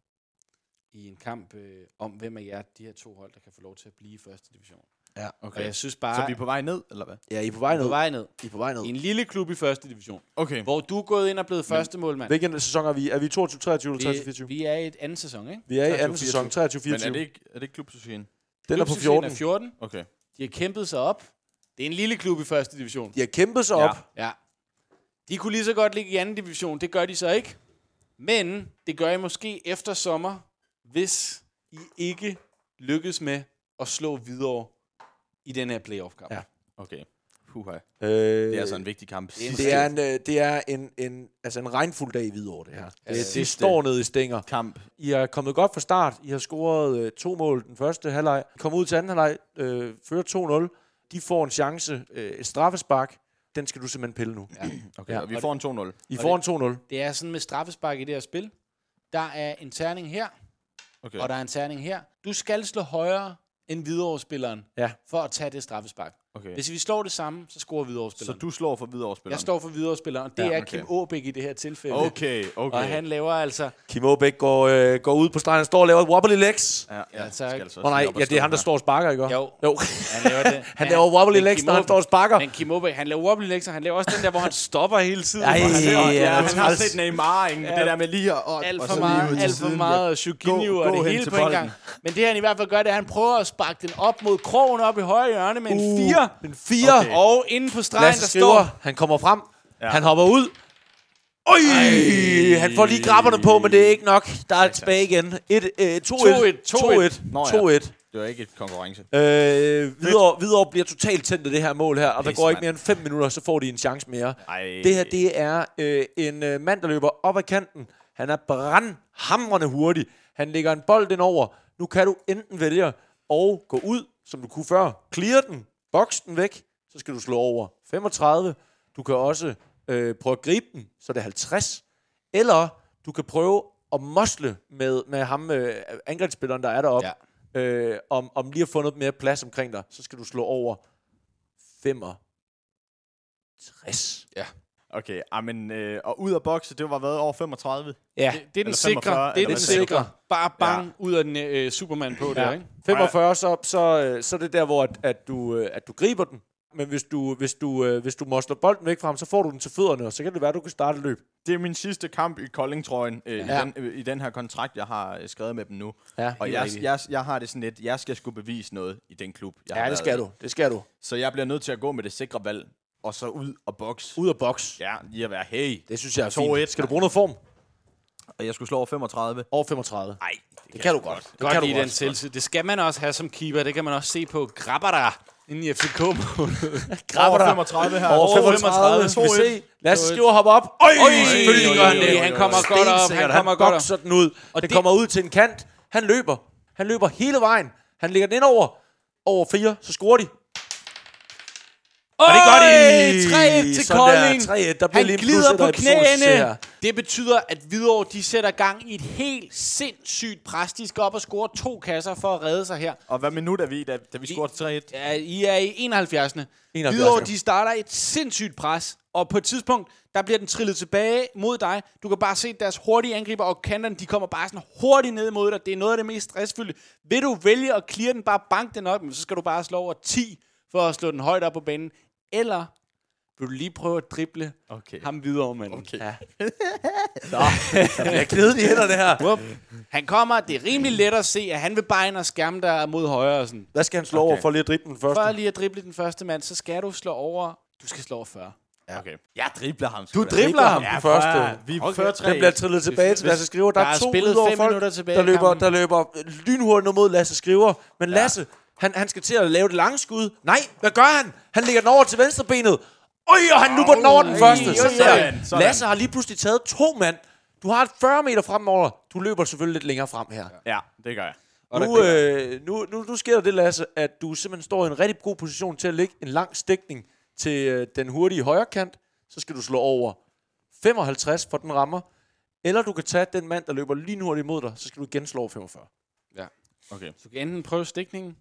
Speaker 4: i en kamp øh, om, hvem af jer, de her to hold, der kan få lov til at blive i første division.
Speaker 3: Ja.
Speaker 4: Og
Speaker 2: okay.
Speaker 4: jeg synes bare,
Speaker 2: Så vi er på vej ned, eller hvad?
Speaker 3: ja, I er på vej
Speaker 4: på
Speaker 3: ned.
Speaker 4: vej ned.
Speaker 3: I er på vej ned.
Speaker 4: I en lille klub i første division,
Speaker 2: Okay.
Speaker 4: hvor du er gået ind og blevet første målmand.
Speaker 3: Hvilken sæson er vi? Er vi 22, 23 eller 23,
Speaker 4: Vi,
Speaker 3: 24?
Speaker 4: vi er i et andet sæson, ikke?
Speaker 3: Vi er i
Speaker 2: 23,
Speaker 3: anden sæson, 23,
Speaker 2: Men er det
Speaker 3: 24.
Speaker 2: ikke, er det ikke klubsocialen?
Speaker 3: Den er på
Speaker 4: Klubsuccesen
Speaker 3: 14.
Speaker 4: Er 14.
Speaker 2: Okay.
Speaker 4: De har kæmpet sig op. Det er en lille klub i første division.
Speaker 3: De har kæmpet sig op.
Speaker 4: Ja. De kunne lige så godt ligge i anden division. Det gør de så ikke. Men det gør I måske efter sommer, hvis I ikke lykkes med at slå videre i den her playoff-kamp.
Speaker 3: Ja.
Speaker 2: Okay. Huha.
Speaker 3: Øh,
Speaker 2: Det er altså en vigtig kamp.
Speaker 3: det er en, øh, det er en, en, altså en regnfuld dag i Hvidovre, det her. Ja, det, det
Speaker 2: sidste-
Speaker 3: står nede i stænger.
Speaker 2: kamp.
Speaker 3: I er kommet godt fra start. I har scoret øh, to mål den første halvleg. Kom ud til anden halvleg, øh, fører 2-0. De får en chance, øh, et straffespark. Den skal du simpelthen pille nu. Ja.
Speaker 2: Okay,
Speaker 3: Ja.
Speaker 2: ja, og vi får en 2-0.
Speaker 3: I får en 2-0.
Speaker 4: Det er sådan med straffespark i det her spil. Der er en terning her,
Speaker 2: Okay.
Speaker 4: og der er en terning her. Du skal slå højere end Hvidovre-spilleren
Speaker 3: Ja.
Speaker 4: for at tage det straffespark.
Speaker 2: okay.
Speaker 4: Hvis vi slår det samme, så scorer
Speaker 2: Så
Speaker 4: Hvidovre-spilleren.
Speaker 2: du slår for Hvidovre-spilleren?
Speaker 4: Jeg står for Hvidovre-spilleren, og det
Speaker 2: Ja,
Speaker 4: er
Speaker 2: okay.
Speaker 4: Kim Aabæk i det her tilfælde.
Speaker 2: Okay, okay.
Speaker 4: Og han laver altså...
Speaker 3: Kim Aabæk går, øh, går ud på stregen og står og laver et wobbly legs. Åh
Speaker 2: Ja,
Speaker 4: Ja,
Speaker 2: ja,
Speaker 4: tak.
Speaker 2: skal altså
Speaker 3: oh,
Speaker 2: også
Speaker 3: nej,
Speaker 2: lige op og
Speaker 3: ja, det er
Speaker 2: slå
Speaker 3: ham, der
Speaker 2: her.
Speaker 3: står og sparker, ikke? også?
Speaker 4: Jo.
Speaker 3: jo.
Speaker 4: Han laver, det.
Speaker 3: Han laver wobbly
Speaker 4: men
Speaker 3: legs,
Speaker 4: Kim
Speaker 3: når han
Speaker 4: Aabæk-
Speaker 3: står og sparker.
Speaker 4: Men Kim Aabæk, han laver wobbly legs, og han laver også den der, hvor han stopper hele tiden.
Speaker 3: Ej,
Speaker 4: Hvor han laver-
Speaker 3: ja,
Speaker 4: ja,
Speaker 2: Han har
Speaker 3: træls.
Speaker 2: set Neymar, ikke? Det der med lige at... og-
Speaker 4: alt
Speaker 2: og
Speaker 4: for
Speaker 2: så lige ud
Speaker 4: meget,
Speaker 2: til
Speaker 4: alt for
Speaker 2: siden.
Speaker 4: meget Shuginyu
Speaker 2: Gå-
Speaker 4: og
Speaker 2: gå
Speaker 4: det
Speaker 2: hen
Speaker 4: hele
Speaker 2: til
Speaker 4: på en
Speaker 2: bolden.
Speaker 4: gang. Men det han i hvert fald gør, det er, at han prøver at sparke den op mod krogen op i højre hjørne med en 4.
Speaker 3: En fire. Uh. Okay. Og
Speaker 4: Og inde på stregen,
Speaker 3: Lasse
Speaker 4: der
Speaker 3: skriver,
Speaker 4: står...
Speaker 3: han kommer frem. Ja. Han hopper ud. Øj, han får lige grabberne på, men det er ikke nok. Der er tilbage igen. Et, øh, 2-1.
Speaker 4: 2-1, 2-1.
Speaker 3: 2-1.
Speaker 2: Nå ja.
Speaker 3: 2-1.
Speaker 2: Det var ikke et konkurrence.
Speaker 3: Øh, Hvidovre, Hvidovre bliver totalt tændt af det her mål her, og der
Speaker 2: Pis,
Speaker 3: går ikke
Speaker 2: mand.
Speaker 3: mere end 5 minutter, så får de en chance mere.
Speaker 2: Ej.
Speaker 3: Det her, det er øh, en øh, mand, der løber op ad kanten. Han er brandhamrende hurtig. Han lægger en bold ind over. Nu kan du enten vælge at gå ud, som du kunne før, clear den, boks den væk, så skal du slå over 35. Du kan også øh, prøve at gribe den, så er det 50. Eller du kan prøve at mosle med, med ham, øh, angrebsspilleren, der er deroppe, ja. øh, om, om lige at få noget mere plads omkring dig, så skal du slå over 65.
Speaker 2: Okay, ah, men, øh, og ud af bokse, det var været over 35.
Speaker 3: Ja.
Speaker 4: Det, det er den
Speaker 2: Eller
Speaker 4: sikre.
Speaker 2: 45,
Speaker 4: Det er den
Speaker 2: eller
Speaker 4: sikre. Bare bang
Speaker 2: Ja.
Speaker 4: ud af den øh, Superman på der, ikke?
Speaker 3: 45, så, så, øh, så er det der, hvor at, at, du, øh, at du griber den. Men hvis du, hvis du, øh, hvis du mosler bolden væk fra ham, så får du den til fødderne, og så kan det være, at du kan starte et løb.
Speaker 2: Det er min sidste kamp i Kolding-trøjen, øh,
Speaker 4: Ja.
Speaker 2: ja. i, den, øh, i den her kontrakt, jeg har øh, skrevet med dem nu.
Speaker 3: Ja,
Speaker 2: og
Speaker 3: helt
Speaker 2: jeg,
Speaker 3: rigtigt.
Speaker 2: jeg, jeg har det sådan lidt, jeg skal skulle bevise noget i den klub, jeg har
Speaker 3: Ja, det
Speaker 2: været i.
Speaker 3: skal du. Det skal du.
Speaker 2: Så jeg bliver nødt til at gå med det sikre valg, og så ud og boks.
Speaker 3: Ud af boks.
Speaker 2: Ja, lige at være, hey.
Speaker 3: Det synes jeg er
Speaker 2: 2-1.
Speaker 3: fint. Skal du bruge noget form?
Speaker 2: Og jeg skulle slå over 35.
Speaker 3: Over 35.
Speaker 2: Nej,
Speaker 3: Det kan du godt. Det
Speaker 4: Godt
Speaker 3: kan
Speaker 4: lide
Speaker 3: du
Speaker 4: den selvtid. Det skal man også have som keeper. Det kan man også se på Grabber der inde i FCK.
Speaker 3: Grabber
Speaker 2: Over
Speaker 3: dig.
Speaker 2: 35 her.
Speaker 3: Over 35.
Speaker 2: 35.
Speaker 3: Skal vi se? Lasse skriver hopper op. Øj, selvfølgelig gør han
Speaker 4: oj, oj,
Speaker 3: det.
Speaker 4: han kommer godt op. Han
Speaker 3: Stensikkert.
Speaker 4: kommer godt op.
Speaker 3: bokser den ud. Og det
Speaker 4: det-
Speaker 3: kommer ud til en kant. Han løber. Han løber hele vejen. Han lægger den ind over. Over 4, så scorer de.
Speaker 4: Og
Speaker 3: det gør de.
Speaker 4: 3-1 til
Speaker 3: Sådan der,
Speaker 4: Kolding.
Speaker 3: 3-1. Der bliver
Speaker 4: Han
Speaker 3: lige en
Speaker 4: glider
Speaker 3: plus et
Speaker 4: på
Speaker 3: og et plus her.
Speaker 4: knæene. Det betyder, at Hvidovre de sætter gang i et helt sindssygt pres. De skal op og score to kasser for at redde sig her.
Speaker 2: Og hvad minut er vi, i, da, da vi scorede 3-1?
Speaker 4: Ja, I er i 71.
Speaker 3: 71'erne.
Speaker 4: Hvidovre de starter et sindssygt pres. Og på et tidspunkt, der bliver den trillet tilbage mod dig. Du kan bare se deres hurtige angriber, og kanterne, de kommer bare sådan hurtigt ned mod dig. Det er noget af det mest stressfulde. Vil du vælge at clear den, bare bank den op, men så skal du bare slå over 10 for at slå den højt op på banen. Eller vil du lige prøve at drible
Speaker 2: Okay.
Speaker 4: ham videre, manden. Okay.
Speaker 3: Jeg knede de hænder, det her.
Speaker 4: Han kommer, det er rimelig let at se, at han vil bare ind og skærme dig mod højre. Og sådan.
Speaker 3: Hvad skal han slå okay. over for lige at drippe den første?
Speaker 4: For lige at drible den første mand, så skal du slå over, du skal slå over 40.
Speaker 2: Okay. Jeg dribler ham.
Speaker 3: Du dribler ham den første.
Speaker 2: Vi er okay. 40-3.
Speaker 3: Den bliver trillet tilbage til Lasse Skriver. Der,
Speaker 4: Der
Speaker 3: er
Speaker 4: er
Speaker 3: to
Speaker 4: spillet
Speaker 3: udover
Speaker 4: fem
Speaker 3: folk,
Speaker 4: minutter tilbage
Speaker 3: der
Speaker 4: i
Speaker 3: løber,
Speaker 4: kampen.
Speaker 3: der løber lynhurtigt ned mod Lasse Skriver. Men Lasse, han, han skal til at lave det lange skud. Nej, hvad gør han? Han lægger den over til venstrebenet. Øj, og han nupper den over den første. Sådan
Speaker 2: sådan,
Speaker 3: der.
Speaker 2: sådan.
Speaker 3: Lasse har lige pludselig taget to mand. Du har et 40 meter fremover. Du løber selvfølgelig lidt længere frem her.
Speaker 2: Ja, det gør jeg.
Speaker 3: Nu, øh, nu, nu, nu sker der det, Lasse, at du simpelthen står i en rigtig god position til at lægge en lang stikning til øh, den hurtige højre kant. Så skal du slå over 55, for den rammer. Eller du kan tage den mand, der løber lynhurtigt imod dig, så skal du igen slå over 45.
Speaker 2: Okay.
Speaker 4: Du kan enten prøve stikningen,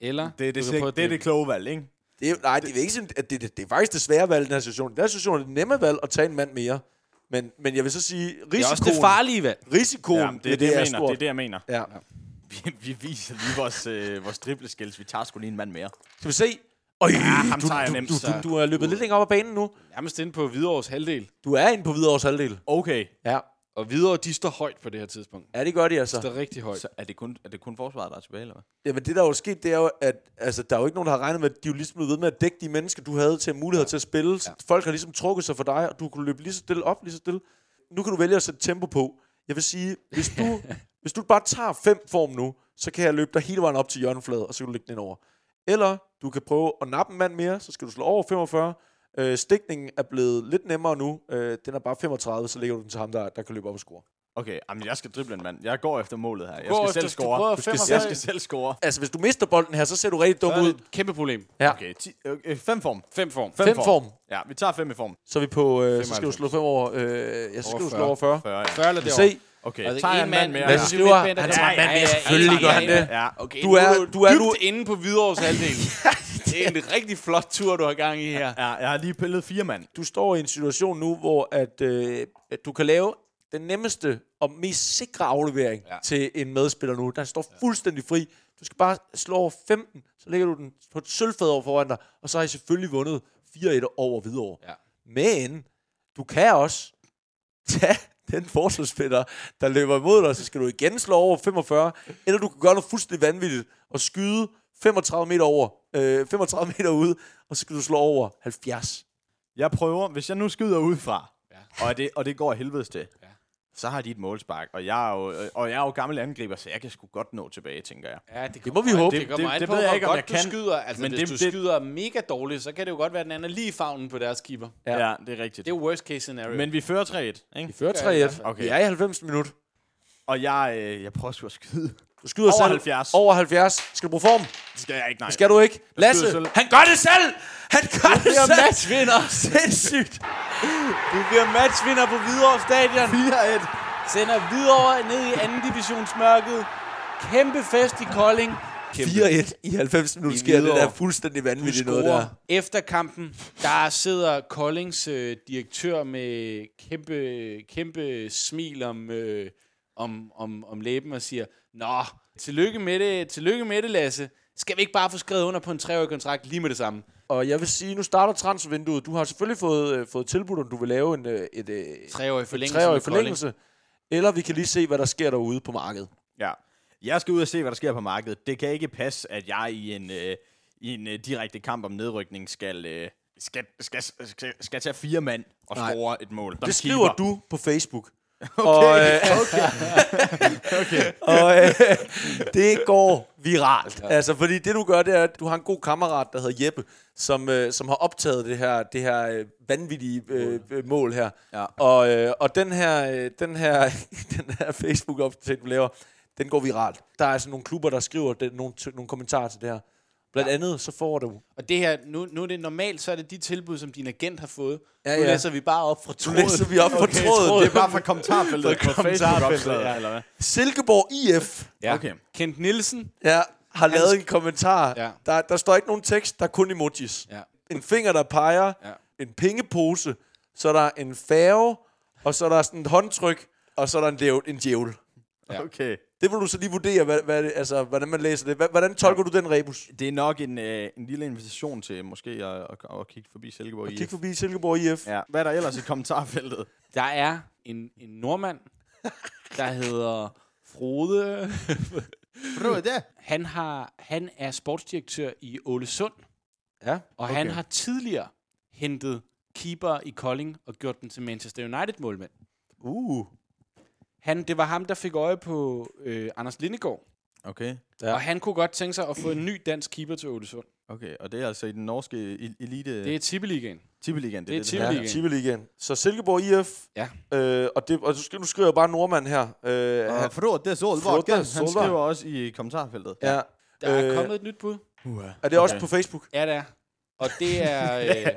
Speaker 4: eller
Speaker 2: øh, Det er det,
Speaker 4: du kan
Speaker 2: det,
Speaker 4: prøve at
Speaker 2: det, er
Speaker 4: drible.
Speaker 2: det kloge valg, ikke?
Speaker 3: Det er, jo- nej, det, er ikke sådan, at det, det, det er faktisk det svære valg i den her situation. I den her situation er det nemme valg at tage en mand mere. Men, men jeg vil så sige, risikoen,
Speaker 4: det er også det farlige valg.
Speaker 3: risikoen
Speaker 2: Ja, det, er det,
Speaker 3: er
Speaker 2: jeg mener.
Speaker 3: stort.
Speaker 2: det er det, jeg mener.
Speaker 3: Ja.
Speaker 2: Vi, vi viser lige vores, øh, vores dribleskills. Vi tager sgu lige en mand mere.
Speaker 3: Skal vi se? Øj,
Speaker 2: ham
Speaker 3: du,
Speaker 2: tager jeg
Speaker 3: du,
Speaker 2: nemt,
Speaker 3: du,
Speaker 2: så.
Speaker 3: du, du er løbet lidt længere op ad banen nu.
Speaker 4: Nærmest inde på Hvidovres halvdel.
Speaker 3: Du er inde på Hvidovres halvdel.
Speaker 2: Okay.
Speaker 3: Ja.
Speaker 4: Og videre, de står højt på det her tidspunkt.
Speaker 3: Ja, det gør de
Speaker 4: De
Speaker 3: altså.
Speaker 4: står rigtig højt.
Speaker 2: Så er det, kun, er det kun forsvaret, der er tilbage, eller hvad?
Speaker 3: Jamen det der er jo sket, det er jo, at altså, der er jo ikke nogen, der har regnet med, at de er jo ligesom blevet ved med at dække de mennesker, du havde til mulighed til at spille. Ja. Folk har ligesom trukket sig for dig, og du kunne løbe lige så stille op, lige så stille. Nu kan du vælge at sætte tempo på. Jeg vil sige, hvis du, hvis du bare tager fem form nu, så kan jeg løbe dig hele vejen op til hjørnefladen, og så kan du lægge den ind over. Eller du kan prøve at nappe en mand mere, så skal du slå over 45. Øh, stikningen er blevet lidt nemmere nu. Øh, den er bare 35, så lægger du den til ham, der, der kan løbe op og score.
Speaker 2: Okay, jamen jeg skal drible en mand. Jeg går efter målet her. Jeg
Speaker 4: går
Speaker 2: skal
Speaker 4: efter-
Speaker 2: selv
Speaker 4: du prøver
Speaker 2: score.
Speaker 4: fem og
Speaker 2: jeg
Speaker 4: fem.
Speaker 2: skal selv score.
Speaker 3: Altså, hvis du mister bolden her, så ser du rigtig dum
Speaker 4: Så er
Speaker 3: ud.
Speaker 4: det et kæmpe problem.
Speaker 3: Ja.
Speaker 2: Okay, ti, okay, fem form.
Speaker 4: Fem form.
Speaker 3: Fem form.
Speaker 2: Ja, vi tager fem i form.
Speaker 3: Så er vi på, øh, så skal du
Speaker 4: 95.
Speaker 3: slå 5 over, øh, ja, så
Speaker 4: Over
Speaker 3: skal du slå
Speaker 4: 40.
Speaker 3: over 40.
Speaker 2: 40, ja.
Speaker 4: 40 eller derovre.
Speaker 3: Se,
Speaker 2: Okay,
Speaker 4: Og det
Speaker 2: tager
Speaker 4: er
Speaker 2: jeg
Speaker 4: en
Speaker 2: en
Speaker 4: mand
Speaker 2: mand mere.
Speaker 4: mere.
Speaker 3: hvad
Speaker 2: Ja.
Speaker 4: Mads-
Speaker 3: skriver han?
Speaker 4: midtbaner,
Speaker 3: Han
Speaker 4: der
Speaker 3: tager en
Speaker 4: tager-
Speaker 3: mand mere.
Speaker 4: Ja, ja, ja,
Speaker 3: Selvfølgelig
Speaker 4: ja,
Speaker 3: gør
Speaker 4: ja,
Speaker 3: han det.
Speaker 2: Ja,
Speaker 4: Okay,
Speaker 3: Du er-
Speaker 4: du,
Speaker 3: du er
Speaker 4: dybt
Speaker 3: nu-
Speaker 4: inde på Hvidovres halvdel. det er en rigtig flot tur, du har gang i her.
Speaker 2: ja, jeg har lige pillet fire mand.
Speaker 3: Du står i en situation nu, hvor at, øh, at du kan lave den nemmeste og mest sikre aflevering ja. til en medspiller nu. Der står fuldstændig fri. Du skal bare slå over 15, så lægger du den på et sølvfad over foran dig, og så har I selvfølgelig vundet 4-1 over Hvidovre.
Speaker 4: Ja.
Speaker 3: Men du kan også tage den forsvarsspiller, der løber imod dig, så skal du igen slå over 45, eller du kan gøre noget fuldstændig vanvittigt og skyde 35 meter over, øh, 35 meter ude, og så skal du slå over 70.
Speaker 2: Jeg prøver, hvis jeg nu skyder udefra, ja. og, det, og det går helvedes til, ja. så har de et målspark, og jeg, er jo, og jeg er jo gammel angriber, så jeg kan sgu godt nå tilbage, tænker jeg.
Speaker 4: Ja, det,
Speaker 3: må vi håbe.
Speaker 4: Det, kommer
Speaker 2: Det-
Speaker 4: an
Speaker 2: det
Speaker 4: på,
Speaker 2: ved jeg
Speaker 4: hvor
Speaker 2: ikke, om
Speaker 4: godt
Speaker 2: jeg
Speaker 4: du
Speaker 2: kan.
Speaker 4: skyder. Altså, Men
Speaker 2: Men
Speaker 4: hvis
Speaker 2: det-
Speaker 4: du
Speaker 2: det-
Speaker 4: skyder mega dårligt, så kan det jo godt være, at den anden er lige i favnen på deres keeper.
Speaker 3: Ja.
Speaker 2: Ja, ja det er rigtigt.
Speaker 4: Det er worst case scenario. Men
Speaker 2: Men vi fører 3-1, ikke?
Speaker 3: I fører
Speaker 4: Ja, i hvert
Speaker 3: 3-1.
Speaker 4: fald.
Speaker 3: Okay.
Speaker 2: Okay.
Speaker 3: I er i 90 minut.
Speaker 2: Og jeg, øh, jeg prøver sgu at skyde.
Speaker 3: Du skyder
Speaker 2: Over
Speaker 3: selv.
Speaker 2: 70.
Speaker 3: Over 70. Skal du bruge form?
Speaker 2: Det skal jeg ikke, nej.
Speaker 3: Skal du ikke? Lasse,
Speaker 2: selv.
Speaker 3: han gør det selv! Han gør det,
Speaker 4: bliver
Speaker 3: selv!
Speaker 4: matchvinder.
Speaker 3: Sindssygt!
Speaker 4: Du bliver matchvinder på Hvidovre Stadion.
Speaker 2: 4-1.
Speaker 4: Sender Hvidovre ned i anden divisionsmørket. Kæmpe fest i Kolding.
Speaker 3: 4-1 i 90 minutter sker det der
Speaker 4: Hvidovre.
Speaker 3: fuldstændig vanvittigt noget der.
Speaker 4: scorer efter kampen. Der sidder Koldings øh, direktør med kæmpe, kæmpe smil om, øh, om, om, om læben og siger, Nå, tillykke med, det, tillykke med det, Lasse. Skal vi ikke bare få skrevet under på en treårig kontrakt lige med det samme?
Speaker 3: Og jeg vil sige, nu starter transfervinduet. Du har selvfølgelig fået, øh, fået tilbudt, om du vil lave en, øh, et, øh,
Speaker 4: Treårig forlængelse.
Speaker 3: treårig
Speaker 4: med Kolding.
Speaker 3: forlængelse. Eller vi kan lige se, hvad der sker derude på markedet.
Speaker 2: Ja. Jeg skal ud og se, hvad der sker på markedet. Det kan ikke passe, at jeg i en, øh, i en øh, direkte kamp om nedrykning skal, øh, skal, skal, skal, skal tage fire mand og
Speaker 3: Nej.
Speaker 2: score et mål.
Speaker 3: Det skriver du på Facebook. øh, Okay. Og øh, det går viralt. Ja. Altså, fordi det du gør, det er, at du har en god kammerat, der hedder Jeppe, som, øh, som har optaget det her, det her øh, vanvittige øh, øh, mål her.
Speaker 2: Ja.
Speaker 3: Og, øh, og den her, øh, den her, den her Facebook-opdatering, du laver, den går viralt. Der er altså nogle klubber, der skriver det, nogle, t- nogle kommentarer til det her. Blandt ja. andet, så får du...
Speaker 4: Og det her, nu, nu er det normalt, så er det de tilbud, som din agent har fået.
Speaker 3: Ja,
Speaker 4: Ja, nu
Speaker 3: ja.
Speaker 4: læser vi bare op fra
Speaker 3: Nu
Speaker 4: tråden.
Speaker 3: læser vi op på okay, tråden.
Speaker 2: Det er bare fra kommentarfeltet
Speaker 4: Fra
Speaker 2: på Facebook-opslaget,
Speaker 4: kommentarfeltet, ja.
Speaker 2: eller hvad?
Speaker 3: Silkeborg IF
Speaker 4: Ja.
Speaker 2: Okay.
Speaker 4: Kent Nielsen.
Speaker 3: ja, har lavet en kommentar.
Speaker 4: Ja.
Speaker 3: Der, der står ikke nogen tekst, der er kun emojis.
Speaker 4: Ja.
Speaker 3: En finger, der peger,
Speaker 4: Ja.
Speaker 3: en pengepose, så er der en færge, og så er der sådan et håndtryk, og så er der en, djævel, en djævel.
Speaker 4: Ja.
Speaker 2: Okay.
Speaker 3: Det vil du så lige vurdere, hvad, hvad, det- altså, hvordan man læser det. Hva- Hvordan tolker du den rebus?
Speaker 2: Det er nok en, øh, en lille invitation til måske at, at, at kigge forbi Silkeborg IF.
Speaker 3: Kig forbi Silkeborg IF.
Speaker 2: Ja. Hvad er der ellers i kommentarfeltet?
Speaker 4: Der er en, en nordmand, der hedder Frode.
Speaker 2: Prøv det.
Speaker 4: Han, har, han er sportsdirektør i Ålesund,
Speaker 3: Ja.
Speaker 4: og okay. han har tidligere hentet keeper i Kolding og gjort den til Manchester United-målmand.
Speaker 3: Uh.
Speaker 4: Han, det var ham, der fik øje på øh, Anders Lindegård,
Speaker 2: Okay.
Speaker 3: Ja.
Speaker 4: ja. og han kunne godt tænke sig at få en ny dansk keeper til Ålesund.
Speaker 2: Okay, og det er altså i den norske el- elite...
Speaker 4: Det er Tippeligaen.
Speaker 2: Tippeligaen.
Speaker 4: det er
Speaker 3: Ja,
Speaker 4: Tippeligaen.
Speaker 3: Tippeligaen. Så Silkeborg IF,
Speaker 4: Ja.
Speaker 3: øh, og, det, og du skriver, nu skriver jeg bare nordmand her. Øh, han,
Speaker 2: Frode, det er
Speaker 3: Frode, det er
Speaker 2: Solvågen. Han
Speaker 3: Solvågen.
Speaker 2: skriver også i kommentarfeltet.
Speaker 3: ja.
Speaker 4: Der er
Speaker 3: Øh,
Speaker 4: kommet et nyt bud.
Speaker 2: Uh,
Speaker 3: Er det okay. også på Facebook?
Speaker 4: Ja, det er. Og det er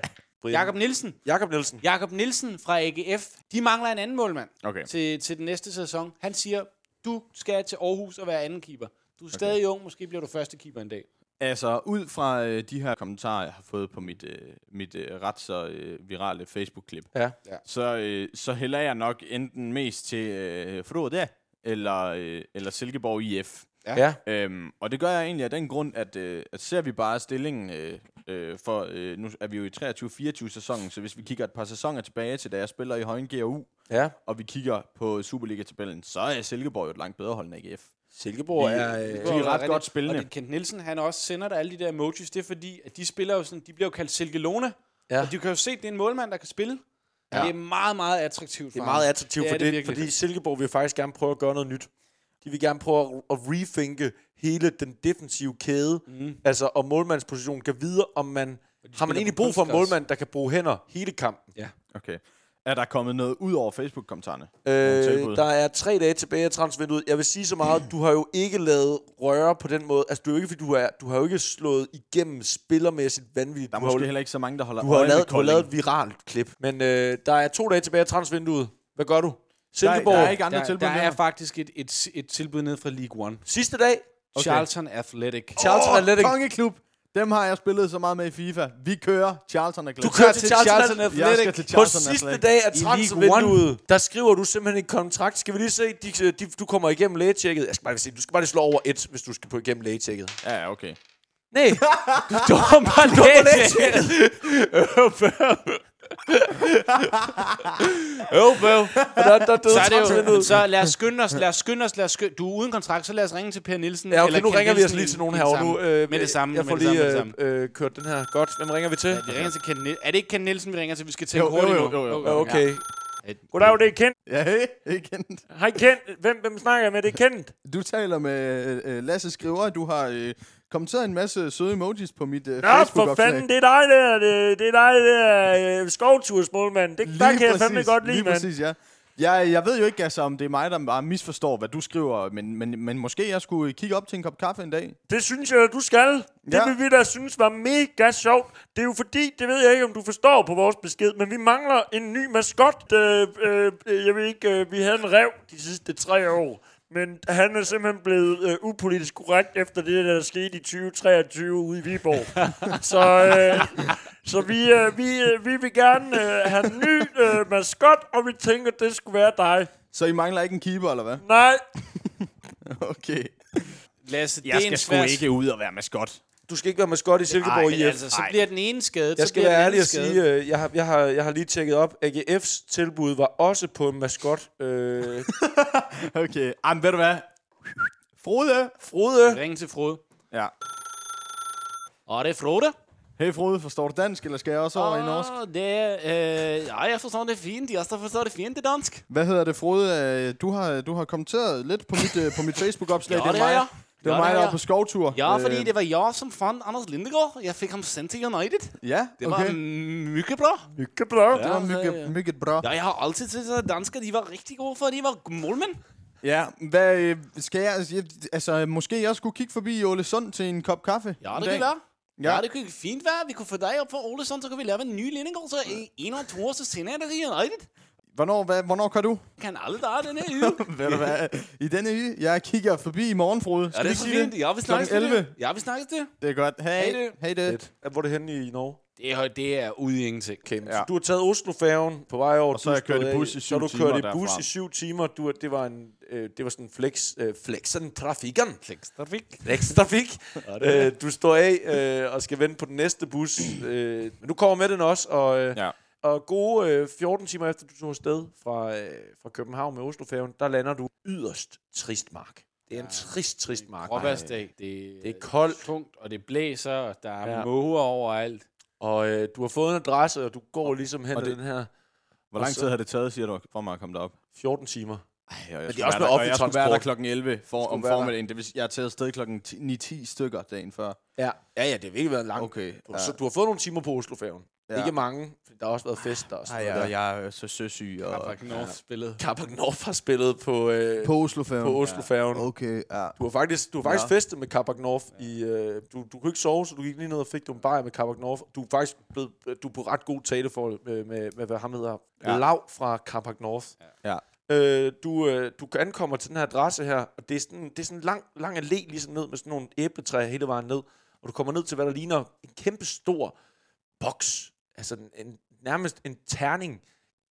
Speaker 4: øh, Jakob Nielsen.
Speaker 3: Jakob Nielsen.
Speaker 4: Jakob Nielsen fra AGF. De mangler en anden målmand.
Speaker 2: Okay.
Speaker 4: til, til den næste sæson. Han siger, du skal til Aarhus og være anden keeper. Du er okay. stadig ung, måske bliver du første keeper en dag.
Speaker 2: Altså, ud fra øh, de her kommentarer, jeg har fået på mit, øh, mit øh, ret så øh, virale Facebook-klip,
Speaker 3: Ja.
Speaker 2: så, øh, så hælder jeg nok enten mest til øh, Frode eller, øh, eller Silkeborg IF.
Speaker 3: Ja.
Speaker 2: Øhm, og det gør jeg egentlig af den grund, at, øh, at ser vi bare stillingen øh, Øh, for øh, nu er vi jo i 23-24 sæsonen, så hvis vi kigger et par sæsoner tilbage til, da jeg spiller i Højen GU,
Speaker 3: Ja.
Speaker 2: og vi kigger på Superliga-tabellen, så er Silkeborg jo et langt bedre hold end AGF.
Speaker 3: Silkeborg
Speaker 2: Vi-
Speaker 3: er...
Speaker 2: vi-
Speaker 3: Øh,
Speaker 2: De er ret godt
Speaker 4: Og
Speaker 2: spillende.
Speaker 4: det, Kent Nielsen, han også sender der alle de der emojis, det er fordi, at de spiller jo sådan, de bliver jo kaldt Silkelone,
Speaker 3: Ja.
Speaker 4: ja. og du kan jo se, at det er en målmand, der kan spille. Ja.
Speaker 2: Ja.
Speaker 4: Det er meget, meget
Speaker 3: Det
Speaker 4: attraktivt for
Speaker 3: er
Speaker 4: ham.
Speaker 3: meget attraktivt,
Speaker 4: Ja,
Speaker 3: ja, for
Speaker 4: det er
Speaker 3: det,
Speaker 4: virkelig.
Speaker 3: fordi Silkeborg vil faktisk gerne prøve at gøre noget nyt. De vil gerne prøve at, at rethinke hele den defensive kæde,
Speaker 2: Mhm.
Speaker 3: mm. altså og målmandspositionen kan vide, om man har man
Speaker 4: spiller
Speaker 3: egentlig
Speaker 4: på
Speaker 3: brug for en
Speaker 4: kunstgræs.
Speaker 3: målmand, der kan bruge hænder hele kampen.
Speaker 2: Okay. Er der kommet noget ud over Facebook-kommentarerne? Nogle tilbud?
Speaker 3: Øh, der er tre dage tilbage af transvinduet. Jeg vil sige så meget, du har jo ikke lavet røre på den måde. Altså, du, er jo ikke, fordi du, er, du har jo ikke slået igennem spillermæssigt vanvittigt.
Speaker 2: Der er
Speaker 3: du har jo
Speaker 2: måske heller ikke så mange, der holder
Speaker 3: Du har,
Speaker 2: øje med
Speaker 3: lavet, du har
Speaker 2: Kolding.
Speaker 3: lavet et viralt klip. Men øh, der er to dage tilbage af transvinduet. Hvad gør du?
Speaker 2: der,
Speaker 3: Silkeborg.
Speaker 2: der er ikke andre
Speaker 4: der,
Speaker 2: tilbud.
Speaker 4: der
Speaker 2: end det
Speaker 4: er
Speaker 2: her.
Speaker 4: faktisk et, et, et tilbud ned fra League One.
Speaker 3: Sidste dag.
Speaker 4: Okay. Charlton Athletic.
Speaker 3: Charlton
Speaker 2: Åh,
Speaker 3: Athletic.
Speaker 2: Kongeklub. Dem har jeg spillet så meget med i FIFA. Vi kører Charlton Athletic.
Speaker 3: Du kører til Charlton,
Speaker 4: Charlton
Speaker 3: Athletic.
Speaker 2: Jeg skal til
Speaker 3: På
Speaker 2: Charlton
Speaker 3: sidste
Speaker 2: Athletic.
Speaker 3: dag af
Speaker 4: I League
Speaker 3: transfervinduet, der skriver du simpelthen en kontrakt. Skal vi lige se, de, de, du kommer igennem lægetjekket. Jeg skal bare lige se, du skal bare lige slå over et, hvis du skal på igennem lægetjekket.
Speaker 2: Ja, ja, okay.
Speaker 3: Nej,
Speaker 4: Du har bare
Speaker 3: lægetjekket. Øv, bøv. Øv, bøv. Og der, der døde
Speaker 4: så, er det jo,
Speaker 3: transfervinduet.
Speaker 4: så lad os skynde os, lad os skynde os, lad os skynde. Du er uden kontrakt, så lad os ringe til Per Nielsen.
Speaker 3: Ja, okay,
Speaker 4: eller
Speaker 3: nu
Speaker 4: Kent
Speaker 3: ringer vi
Speaker 4: Nielsen
Speaker 3: altså lige
Speaker 4: i-
Speaker 3: til nogen
Speaker 4: i det
Speaker 3: herovre
Speaker 4: samme.
Speaker 3: nu. Øh,
Speaker 4: med det samme.
Speaker 3: Jeg
Speaker 4: med
Speaker 3: får
Speaker 4: det samme,
Speaker 3: lige
Speaker 4: med det samme.
Speaker 3: øh, øh, kørt den her. Godt. Hvem ringer vi til?
Speaker 4: Vi ringer til Kent Nielsen. Er det ikke Kent Nielsen, vi ringer til? Vi skal tænke
Speaker 2: Jo, jo,
Speaker 4: hurtigt
Speaker 2: jo,
Speaker 4: nu.
Speaker 2: jo, jo.
Speaker 3: Ja, okay.
Speaker 4: Goddag,
Speaker 3: det er Kent.
Speaker 2: Ja, hey, igen.
Speaker 3: Hej Kent. Hvem, hvem snakker jeg med? Det er Kent.
Speaker 2: Du taler med øh, Lasse Skriver. Du har øh, kommenteret en masse søde emojis på mit øh,
Speaker 3: Nå, for fanden, det er dig der, det, det er dig der, øh, skovtursmålmand. Det, der kan jeg fandme godt lide,
Speaker 2: lige
Speaker 3: mand.
Speaker 2: præcis, ja. Jeg, jeg ved jo ikke, altså, om det er mig, der bare misforstår, hvad du skriver, men, men, men måske jeg skulle kigge op til en kop kaffe en dag.
Speaker 3: Det synes jeg, at du skal. Det
Speaker 2: Ja.
Speaker 3: vil vi da synes var mega sjovt. Det er jo fordi, det ved jeg ikke, om du forstår på vores besked, men vi mangler en ny maskot. Øh, øh, øh, jeg ved ikke, øh, vi havde en rev de sidste tre år, men han er simpelthen blevet øh, upolitisk korrekt efter det, der skete i 2023 ude i Viborg. så øh, så vi, øh, vi, øh, vi vil gerne øh, have en ny øh, maskot, og vi tænker, det skulle være dig.
Speaker 2: Så I mangler ikke en keeper, eller hvad?
Speaker 3: Nej,
Speaker 2: Okay.
Speaker 4: Lasse, det er en svær...
Speaker 2: ud og være maskot.
Speaker 3: du skal ikke være maskot i Silkeborg
Speaker 4: Ej, altså, så bliver den ene skadet,
Speaker 3: Jeg
Speaker 4: så
Speaker 3: skal
Speaker 4: bliver
Speaker 3: være
Speaker 4: den
Speaker 3: ærlig
Speaker 4: anden
Speaker 3: og sige,
Speaker 4: skadet.
Speaker 3: øh, jeg, har, jeg, har, jeg har lige tjekket op. AGF's tilbud var også på en maskot. Øh,
Speaker 2: Okay. Jamen, ved du hvad? Frode!
Speaker 3: Frode.
Speaker 4: Ring til Frode.
Speaker 2: Ja.
Speaker 4: Og det er Frode.
Speaker 2: Hey Frode, forstår du dansk, eller skal jeg også over i norsk?
Speaker 4: Ah, Det, øh, ja, jeg forstår det fint. Jeg forstår det fint i dansk.
Speaker 2: Hvad hedder det, Frode? Øh, Du har, du har kommenteret lidt på mit, øh, på mit Facebook-opslag.
Speaker 4: Ja,
Speaker 2: det er
Speaker 4: det har
Speaker 2: mig,
Speaker 4: jeg.
Speaker 2: Det var
Speaker 4: Ja, det
Speaker 2: mig,
Speaker 4: har
Speaker 2: der var
Speaker 4: jeg.
Speaker 2: på skovtur.
Speaker 4: Ja, fordi
Speaker 2: Øh,
Speaker 4: det var jeg, som fandt Anders Lindegaard. Jeg fik ham sendt til United.
Speaker 2: Ja,
Speaker 4: Det var
Speaker 2: okay.
Speaker 4: mycket bra.
Speaker 3: Mykke bra.
Speaker 2: Det var
Speaker 4: Ja, ja, ja.
Speaker 2: mygge, mygge bra.
Speaker 4: Ja, jeg har altid syntes, at danskere de var rigtig gode, for de var målmænd.
Speaker 2: Ja, hvad øh, skal jeg... Altså, måske jeg skulle kigge forbi i Ole Sund til en kop kaffe. en
Speaker 4: Ja, det
Speaker 2: dag.
Speaker 4: kan være.
Speaker 2: Ja.
Speaker 4: Ja. ja, det kunne fint være. Vi kunne få dig op for Ålesund, så kan vi lave en ny Lindegaard, så i en og to år, så sender jeg dig til United.
Speaker 2: Hvornår, hvad, hvornår kan du?
Speaker 4: Kan alle der den her uge?
Speaker 2: Ved du hvad? I denne uge, jeg kigger forbi i morgen, Frode.
Speaker 4: Ja,
Speaker 2: Skal
Speaker 4: det
Speaker 2: vi
Speaker 4: er så
Speaker 2: sige
Speaker 4: fint. Ja, vi snakkes
Speaker 2: Klokken
Speaker 4: ved
Speaker 2: 11.
Speaker 4: det. Ja, vi snakkes det.
Speaker 2: Det er godt. Hej.
Speaker 4: Hej det.
Speaker 2: Hej det.
Speaker 3: Hvor er det henne i Norge?
Speaker 4: Det er, det er ude i ingenting.
Speaker 3: Okay, ja.
Speaker 2: Ja.
Speaker 3: du har taget Oslofærgen på vej over. Og
Speaker 2: så har jeg kørt i bus i syv
Speaker 3: Så har du
Speaker 2: timer
Speaker 3: kørt i bus
Speaker 2: derfra.
Speaker 3: i syv timer. Du, det, var en, øh, det var sådan flex, øh, flexen trafikken.
Speaker 4: Trafik.
Speaker 3: Flex trafik. øh, du står af øh, og skal vente på den næste bus. Øh, men du kommer med den også. Og, øh,
Speaker 2: Ja.
Speaker 3: Og gode øh, 14 timer efter du tog afsted fra, øh, fra København med Oslofærgen, der lander du yderst trist mark. Det er en trist, trist mark.
Speaker 4: Råbærsdag. Det,
Speaker 3: Det er koldt.
Speaker 4: Tungt, og det blæser, og der er
Speaker 3: Ja.
Speaker 4: ja. måger overalt.
Speaker 3: Og øh, du har fået en adresse, og du går ligesom hen
Speaker 2: og
Speaker 3: til
Speaker 2: det-
Speaker 3: den her
Speaker 2: Hvor
Speaker 3: lang tid
Speaker 2: har det taget, siger du, for mig at komme derop?
Speaker 3: 14 timer.
Speaker 2: Ja, jeg
Speaker 3: det
Speaker 2: skulle
Speaker 3: er også
Speaker 2: være
Speaker 3: med
Speaker 2: der- og
Speaker 3: offentlig
Speaker 2: Jeg skulle være der
Speaker 3: transport.
Speaker 2: klokken 11 for, om
Speaker 3: være der.
Speaker 2: formiddagen. Det vil sige, jeg er taget afsted klokken 10 9-10 stykker dagen før.
Speaker 3: Ja. ja, ja, det har virkelig været en lang...
Speaker 2: Okay.
Speaker 3: Du,
Speaker 2: Ja.
Speaker 3: ja. så, du har fået nogle timer på Oslofærgen. Ja.
Speaker 2: Ja.
Speaker 3: Ikke mange, for der har også været fester og
Speaker 2: Ej,
Speaker 3: sådan
Speaker 2: jeg,
Speaker 3: noget.
Speaker 2: jeg er så søsyg. Og...
Speaker 4: Fuck North spillet.
Speaker 3: Carpac North har spillet på, øh,
Speaker 2: På
Speaker 3: på,
Speaker 2: Oslofærgen.
Speaker 3: på Oslofærgen. Ja.
Speaker 2: Okay, ja.
Speaker 3: Du har faktisk, du har faktisk
Speaker 2: Nå.
Speaker 3: festet med Carpac North. I, øh, du, du kunne ikke sove, så du gik lige ned og fik du en bajer med Carpac North. Du er faktisk blevet, du er på ret god taleforhold med, med, med, hvad ham hedder, ja.
Speaker 2: Ja.
Speaker 3: Lav fra Carpac North.
Speaker 2: Ja.
Speaker 3: Øh, du, øh, du ankommer til den her adresse her, og det er sådan, det er sådan en lang, lang allé, ligesom ned med sådan nogle æbletræer hele vejen ned. Og du kommer ned til, hvad der ligner en kæmpe stor boks. Altså en, en, nærmest en terning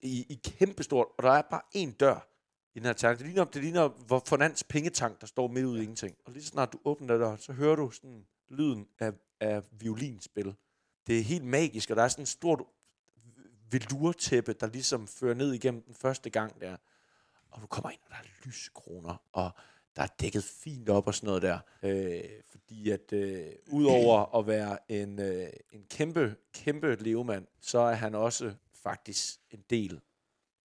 Speaker 3: i, i kæmpe stort, og der er bare én dør i den her terning. Det ligner, det ligner hvor Fornans pengetank, der står midt ude i ingenting. Og lige så snart du åbner den dør, så hører du sådan lyden af, af violinspil. det er helt magisk, og der er sådan et stort velurtæppe, der ligesom fører ned igennem den første gang der. Og du kommer ind, og der er lyskroner, og der er dækket fint op og sådan noget der. Øh, fordi at øh, udover at være en, øh, en kæmpe, kæmpe levemand, så er han også faktisk en del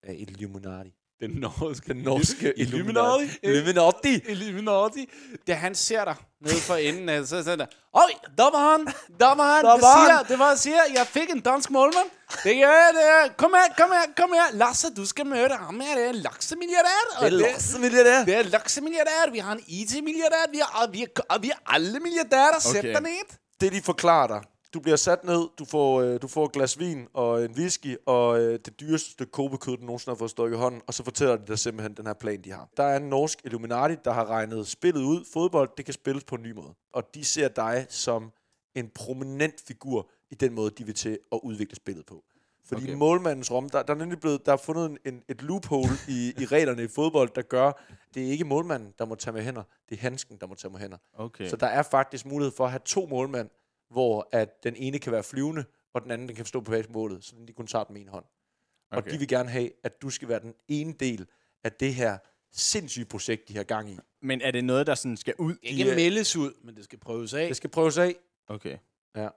Speaker 3: af Illuminati.
Speaker 4: Den norske.
Speaker 3: Den norske
Speaker 4: Illuminati.
Speaker 3: Illuminati.
Speaker 4: Illuminati. Da han ser dig nede for enden, af- så er sådan der, Øj, dommeren, dommeren, det,
Speaker 3: Dommeren.
Speaker 4: siger, det var jeg siger, jeg fik en dansk målmand. Det gør jeg, det er. Kom her, kom her, kom her. Lasse, du skal møde ham her, det er en laksemilliardær. og
Speaker 3: Det er laksemilliardær.
Speaker 4: Det er en laksemilliardær, vi har en IT-milliardær, vi er, vi er, vi er alle milliardærer, sæt
Speaker 2: Okay.
Speaker 4: dig ned.
Speaker 3: det de forklarer dig. Du bliver sat ned, du får, øh, du får et glas vin og en whisky og øh, det dyreste stykke kobekød, du nogensinde har fået stukket i hånden, og så fortæller de dig simpelthen den her plan, de har. Der er en norsk Illuminati, der har regnet spillet ud. Fodbold, det kan spilles på en ny måde. Og de ser dig som en prominent figur i den måde, de vil til at udvikle spillet på. Fordi okay. målmandens rom, der, der er nemlig blevet, der er fundet en, en, et loophole i, i reglerne i fodbold, der gør, det er ikke målmanden, der må tage med hænder, det er handsken, der må tage med hænder.
Speaker 2: Okay.
Speaker 3: Så der er faktisk mulighed for at have to målmænd, hvor at den ene kan være flyvende, og den anden den kan stå på bag målet, så de kun tager den med en hånd. Okay. Og
Speaker 2: Okay.
Speaker 3: de vil gerne have, at du skal være den ene del af det her sindssyge projekt, de har gang i.
Speaker 2: Men er det noget, der sådan skal ud?
Speaker 4: Ikke
Speaker 2: i, øh,
Speaker 4: meldes ud, men det skal prøves af.
Speaker 3: Det skal prøves af.
Speaker 2: Okay.
Speaker 3: Ja.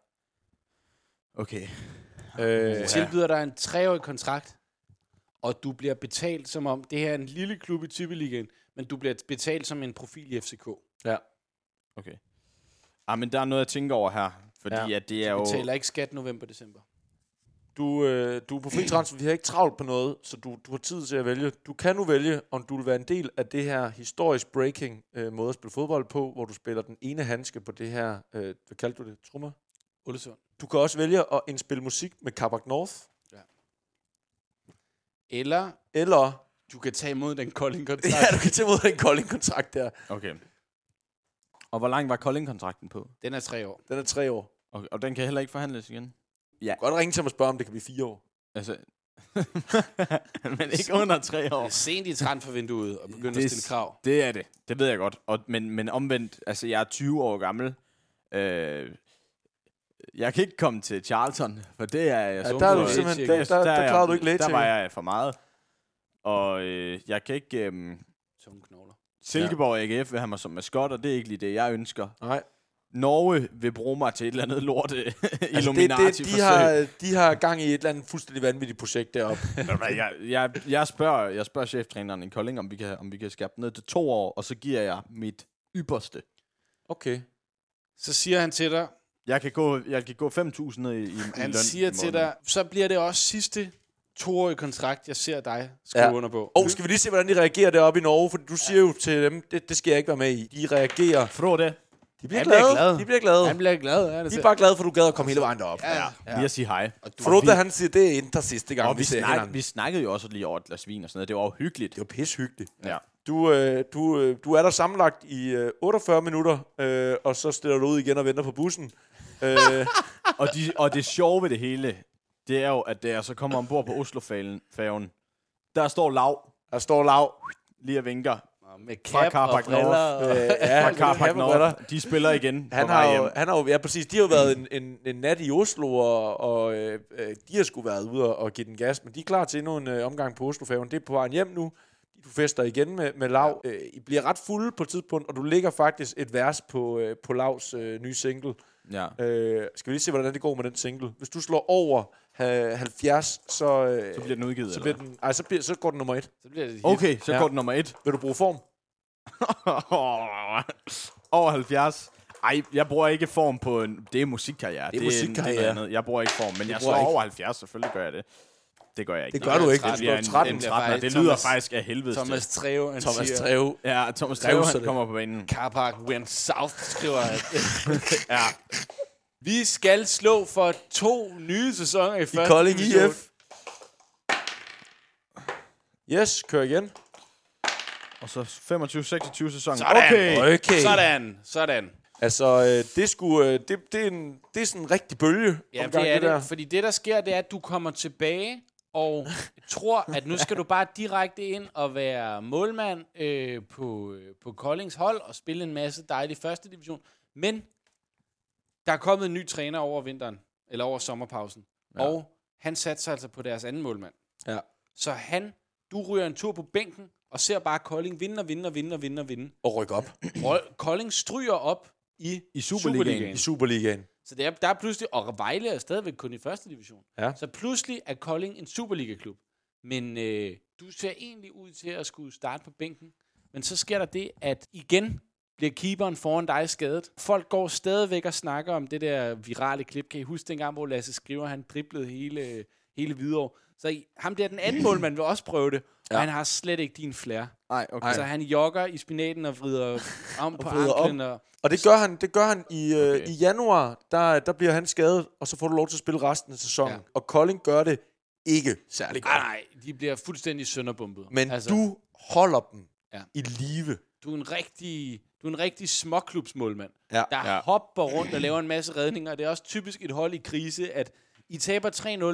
Speaker 2: Okay.
Speaker 3: Øh,
Speaker 4: Jeg tilbyder dig en treårig kontrakt, og du bliver betalt som om, det her er en lille klub i Tippeligaen, men du bliver betalt som en profil i FCK.
Speaker 3: ja.
Speaker 2: Okay. Ah, men der er noget, jeg tænker over her. Fordi
Speaker 3: Ja.
Speaker 2: ja. at det er
Speaker 4: Du
Speaker 2: jo...
Speaker 4: betaler ikke skat november-december.
Speaker 3: Du, øh, du er på fri transfer, vi har ikke travlt på noget, så du, du har tid til at vælge. Du kan nu vælge, om du vil være en del af det her historisk breaking øh, måde at spille fodbold på, hvor du spiller den ene handske på det her, øh, hvad kaldte du det, trummer?
Speaker 4: Olesund.
Speaker 3: Du kan også vælge at indspille musik med Kabak North,
Speaker 4: Eller
Speaker 3: eller
Speaker 4: du kan tage imod den kolding kontrakt.
Speaker 3: ja, du kan tage imod den Kolding-kontrakt der.
Speaker 2: Okay. Og hvor lang var Kolding-kontrakten på?
Speaker 4: Den er tre år.
Speaker 3: Den er tre år.
Speaker 2: Okay. Og den kan heller ikke forhandles igen?
Speaker 3: Du kan godt ringe til mig og spørge, om det kan blive fire år.
Speaker 2: Altså... men ikke under tre
Speaker 4: Det
Speaker 2: år.
Speaker 4: er sent i transfervinduet og begynder
Speaker 2: Det
Speaker 4: at
Speaker 2: er
Speaker 4: stille
Speaker 2: s-
Speaker 4: krav.
Speaker 2: Det er det. Det ved jeg godt. Og, men, men omvendt, altså jeg er 20 år gammel. Øh, jeg kan ikke komme til Charlton, for det er jeg
Speaker 3: Ja,
Speaker 2: så
Speaker 3: der er
Speaker 4: du
Speaker 2: for-
Speaker 4: simpelthen-
Speaker 2: der,
Speaker 4: der-
Speaker 3: der
Speaker 2: er jeg-
Speaker 3: klarede du ikke
Speaker 2: Der
Speaker 3: lægetjekket.
Speaker 2: var jeg for meget. Og øh, jeg kan ikke... Øh,
Speaker 4: Tunge knogler.
Speaker 2: Silkeborg AGF vil have mig som maskot, og det er ikke lige det, jeg ønsker.
Speaker 3: Nej.
Speaker 2: Norge vil bruge mig til et eller andet lort øh,
Speaker 3: Altså, det,
Speaker 2: Illuminati-forsøg.
Speaker 3: det, de, har, de har gang i et eller andet fuldstændig vanvittigt projekt deroppe.
Speaker 2: Ved du hvad, jeg, jeg, jeg, spørger, jeg spørger cheftræneren i Kolding, om vi kan, om vi kan skærpe den ned til to år, og så giver jeg mit ypperste.
Speaker 3: Okay.
Speaker 4: Så siger han til dig,
Speaker 2: Jeg kan gå, jeg kan gå 5.000 ned i, i, i
Speaker 4: han
Speaker 2: løn
Speaker 4: siger
Speaker 2: i
Speaker 4: til
Speaker 2: måneden.
Speaker 4: dig, så bliver det også sidste toårige kontrakt, jeg ser dig skrive
Speaker 3: Ja. Oh.
Speaker 4: under på.
Speaker 3: Og skal vi lige se, hvordan de reagerer deroppe i Norge? For du siger jo til dem, det, det skal jeg ikke være med i. De reagerer.
Speaker 2: Frå det.
Speaker 3: De bliver,
Speaker 4: Han
Speaker 3: glade.
Speaker 4: bliver glad.
Speaker 3: De bliver glade.
Speaker 4: Han bliver glad af det.
Speaker 3: De er
Speaker 4: selv.
Speaker 3: bare glade for, at du gad at komme hele vejen derop.
Speaker 4: ja,
Speaker 2: Ja. Lige at sige hej. Og,
Speaker 3: Frode, han siger, det er ikke der sidste gang,
Speaker 2: og vi,
Speaker 3: ser
Speaker 2: snak,
Speaker 3: hinanden.
Speaker 2: vi snakkede jo også lige over et glas vin og sådan noget. Det var jo hyggeligt.
Speaker 3: Det var pishyggeligt.
Speaker 2: Ja.
Speaker 3: Du, øh, du, øh, du er der sammenlagt i øh, 48 minutter, øh, og så stiller du ud igen og venter på bussen. Øh,
Speaker 2: og, de, og det sjove ved det hele, det er jo, at da jeg så kommer ombord på Oslofærgen, der står lav
Speaker 3: der står lav.
Speaker 2: lige og vinker
Speaker 4: Med
Speaker 2: fra
Speaker 4: cap og
Speaker 2: Carpac
Speaker 4: briller.
Speaker 2: North.
Speaker 3: Øh, ja,
Speaker 2: Fra
Speaker 3: han-
Speaker 2: Carpac
Speaker 3: han- briller.
Speaker 2: North. De spiller igen
Speaker 3: Han
Speaker 2: på
Speaker 3: har,
Speaker 2: vej
Speaker 3: jo,
Speaker 2: hjem.
Speaker 3: han har jo, ja præcis, de har jo været en, en, en nat i Oslo, og, og øh, øh, de har sgu været ude og, og give den gas, men de er klar til endnu en øh, omgang på Oslofærgen. Det er på vejen hjem nu, du fester igen med, med Lav. Øh, I bliver ret fulde på et tidspunkt, og du ligger faktisk et vers på, øh, på Lavs øh, nye single.
Speaker 2: Ja.
Speaker 3: Øh, skal vi lige se, hvordan det går med den single? Hvis du slår over øh, 70, så, øh,
Speaker 2: Så bliver den udgivet,
Speaker 3: så, bliver den, ej, så, bliver, så går den nummer et.
Speaker 4: Så bliver det et hit.
Speaker 2: Okay, så
Speaker 3: Ja.
Speaker 2: går den nummer et.
Speaker 3: Vil du bruge form?
Speaker 2: Over 70. Ej, jeg bruger ikke form på en... Det er musikkarriere.
Speaker 3: Det er
Speaker 2: en- noget
Speaker 3: musikkarriere.
Speaker 2: andet. Jeg bruger ikke form, men jeg
Speaker 3: bruger
Speaker 2: står
Speaker 3: ikke.
Speaker 2: over 70, selvfølgelig gør jeg det. Det gør jeg ikke.
Speaker 3: Det gør du ikke.
Speaker 2: Det
Speaker 3: Du
Speaker 2: bliver
Speaker 3: slår
Speaker 2: en,
Speaker 3: 13.
Speaker 2: en
Speaker 4: bliver
Speaker 2: 13.
Speaker 4: faktisk
Speaker 2: Det lyder
Speaker 4: Thomas-
Speaker 2: faktisk af helvede
Speaker 4: Thomas Treve, han
Speaker 3: Thomas
Speaker 4: siger,
Speaker 3: Treve.
Speaker 2: Ja, Thomas Treve,
Speaker 3: Revser
Speaker 2: han
Speaker 3: det.
Speaker 2: kommer på banen.
Speaker 4: Carpark went south, skriver han.
Speaker 2: Ja.
Speaker 4: Vi skal slå for to nye sæsoner i, I første
Speaker 3: Kolding
Speaker 4: division.
Speaker 3: IF. Yes, kør igen.
Speaker 2: Og så 25-26 sæsonen.
Speaker 4: Sådan.
Speaker 2: Okay.
Speaker 3: Okay.
Speaker 4: Sådan, sådan.
Speaker 3: Altså, øh, det, skulle, øh, det, det, er en, det er sådan en rigtig bølge.
Speaker 4: Ja,
Speaker 3: omgang,
Speaker 4: det er
Speaker 3: der.
Speaker 4: det. Fordi det, der sker, det er, at du kommer tilbage og tror, at nu skal du bare direkte ind og være målmand øh, på, øh, på Koldings hold og spille en masse dejlig første division. Men der er kommet en ny træner over vinteren. eller over sommerpausen.
Speaker 3: Ja.
Speaker 4: Ja. Og han satte sig altså på deres anden målmand.
Speaker 3: Ja.
Speaker 4: Så han, du ryger en tur på bænken, og ser bare Kolding vinde og vinde og vinde og vinde og vinde.
Speaker 3: Og rykke op
Speaker 4: Rø- Kolding stryger op i,
Speaker 2: I Superligaen.
Speaker 3: i Superligaen.
Speaker 4: Så det er, der er pludselig, og Vejle er stadigvæk kun i første division.
Speaker 3: Ja.
Speaker 4: Så pludselig er Kolding en Superliga-klub. Men øh, du ser egentlig ud til at skulle starte på bænken. Men så sker der det, at igen bliver keeperen foran dig skadet. Folk går stadigvæk og snakker om det der virale klip. Kan I huske dengang, hvor Lasse Skriver, han driblede hele, hele Hvidovre? Så I, ham der, den anden målmand, vil også prøve det. Ja.
Speaker 3: Ja.
Speaker 4: Og han har slet ikke din flair.
Speaker 2: Nej, okay.
Speaker 4: Så han jogger i spinaten og vrider om på
Speaker 3: vrider om.
Speaker 4: anklen. Og,
Speaker 3: Og det gør han, det gør han i, øh,
Speaker 2: Okay.
Speaker 3: i januar, der, der bliver han skadet, og så får du lov til at spille resten af sæsonen. Ja.
Speaker 4: Ja.
Speaker 3: Og Kolding gør det ikke særlig godt.
Speaker 4: Ej, nej, de bliver fuldstændig sønderbumpet.
Speaker 3: Men altså, du holder dem ja.
Speaker 4: Ja.
Speaker 3: i live.
Speaker 4: du er en rigtig, du er en rigtig småklubsmålmand,
Speaker 3: Ja.
Speaker 4: der
Speaker 2: Ja.
Speaker 4: ja. hopper rundt og laver en masse redninger. Det er også typisk et hold i krise, at I taber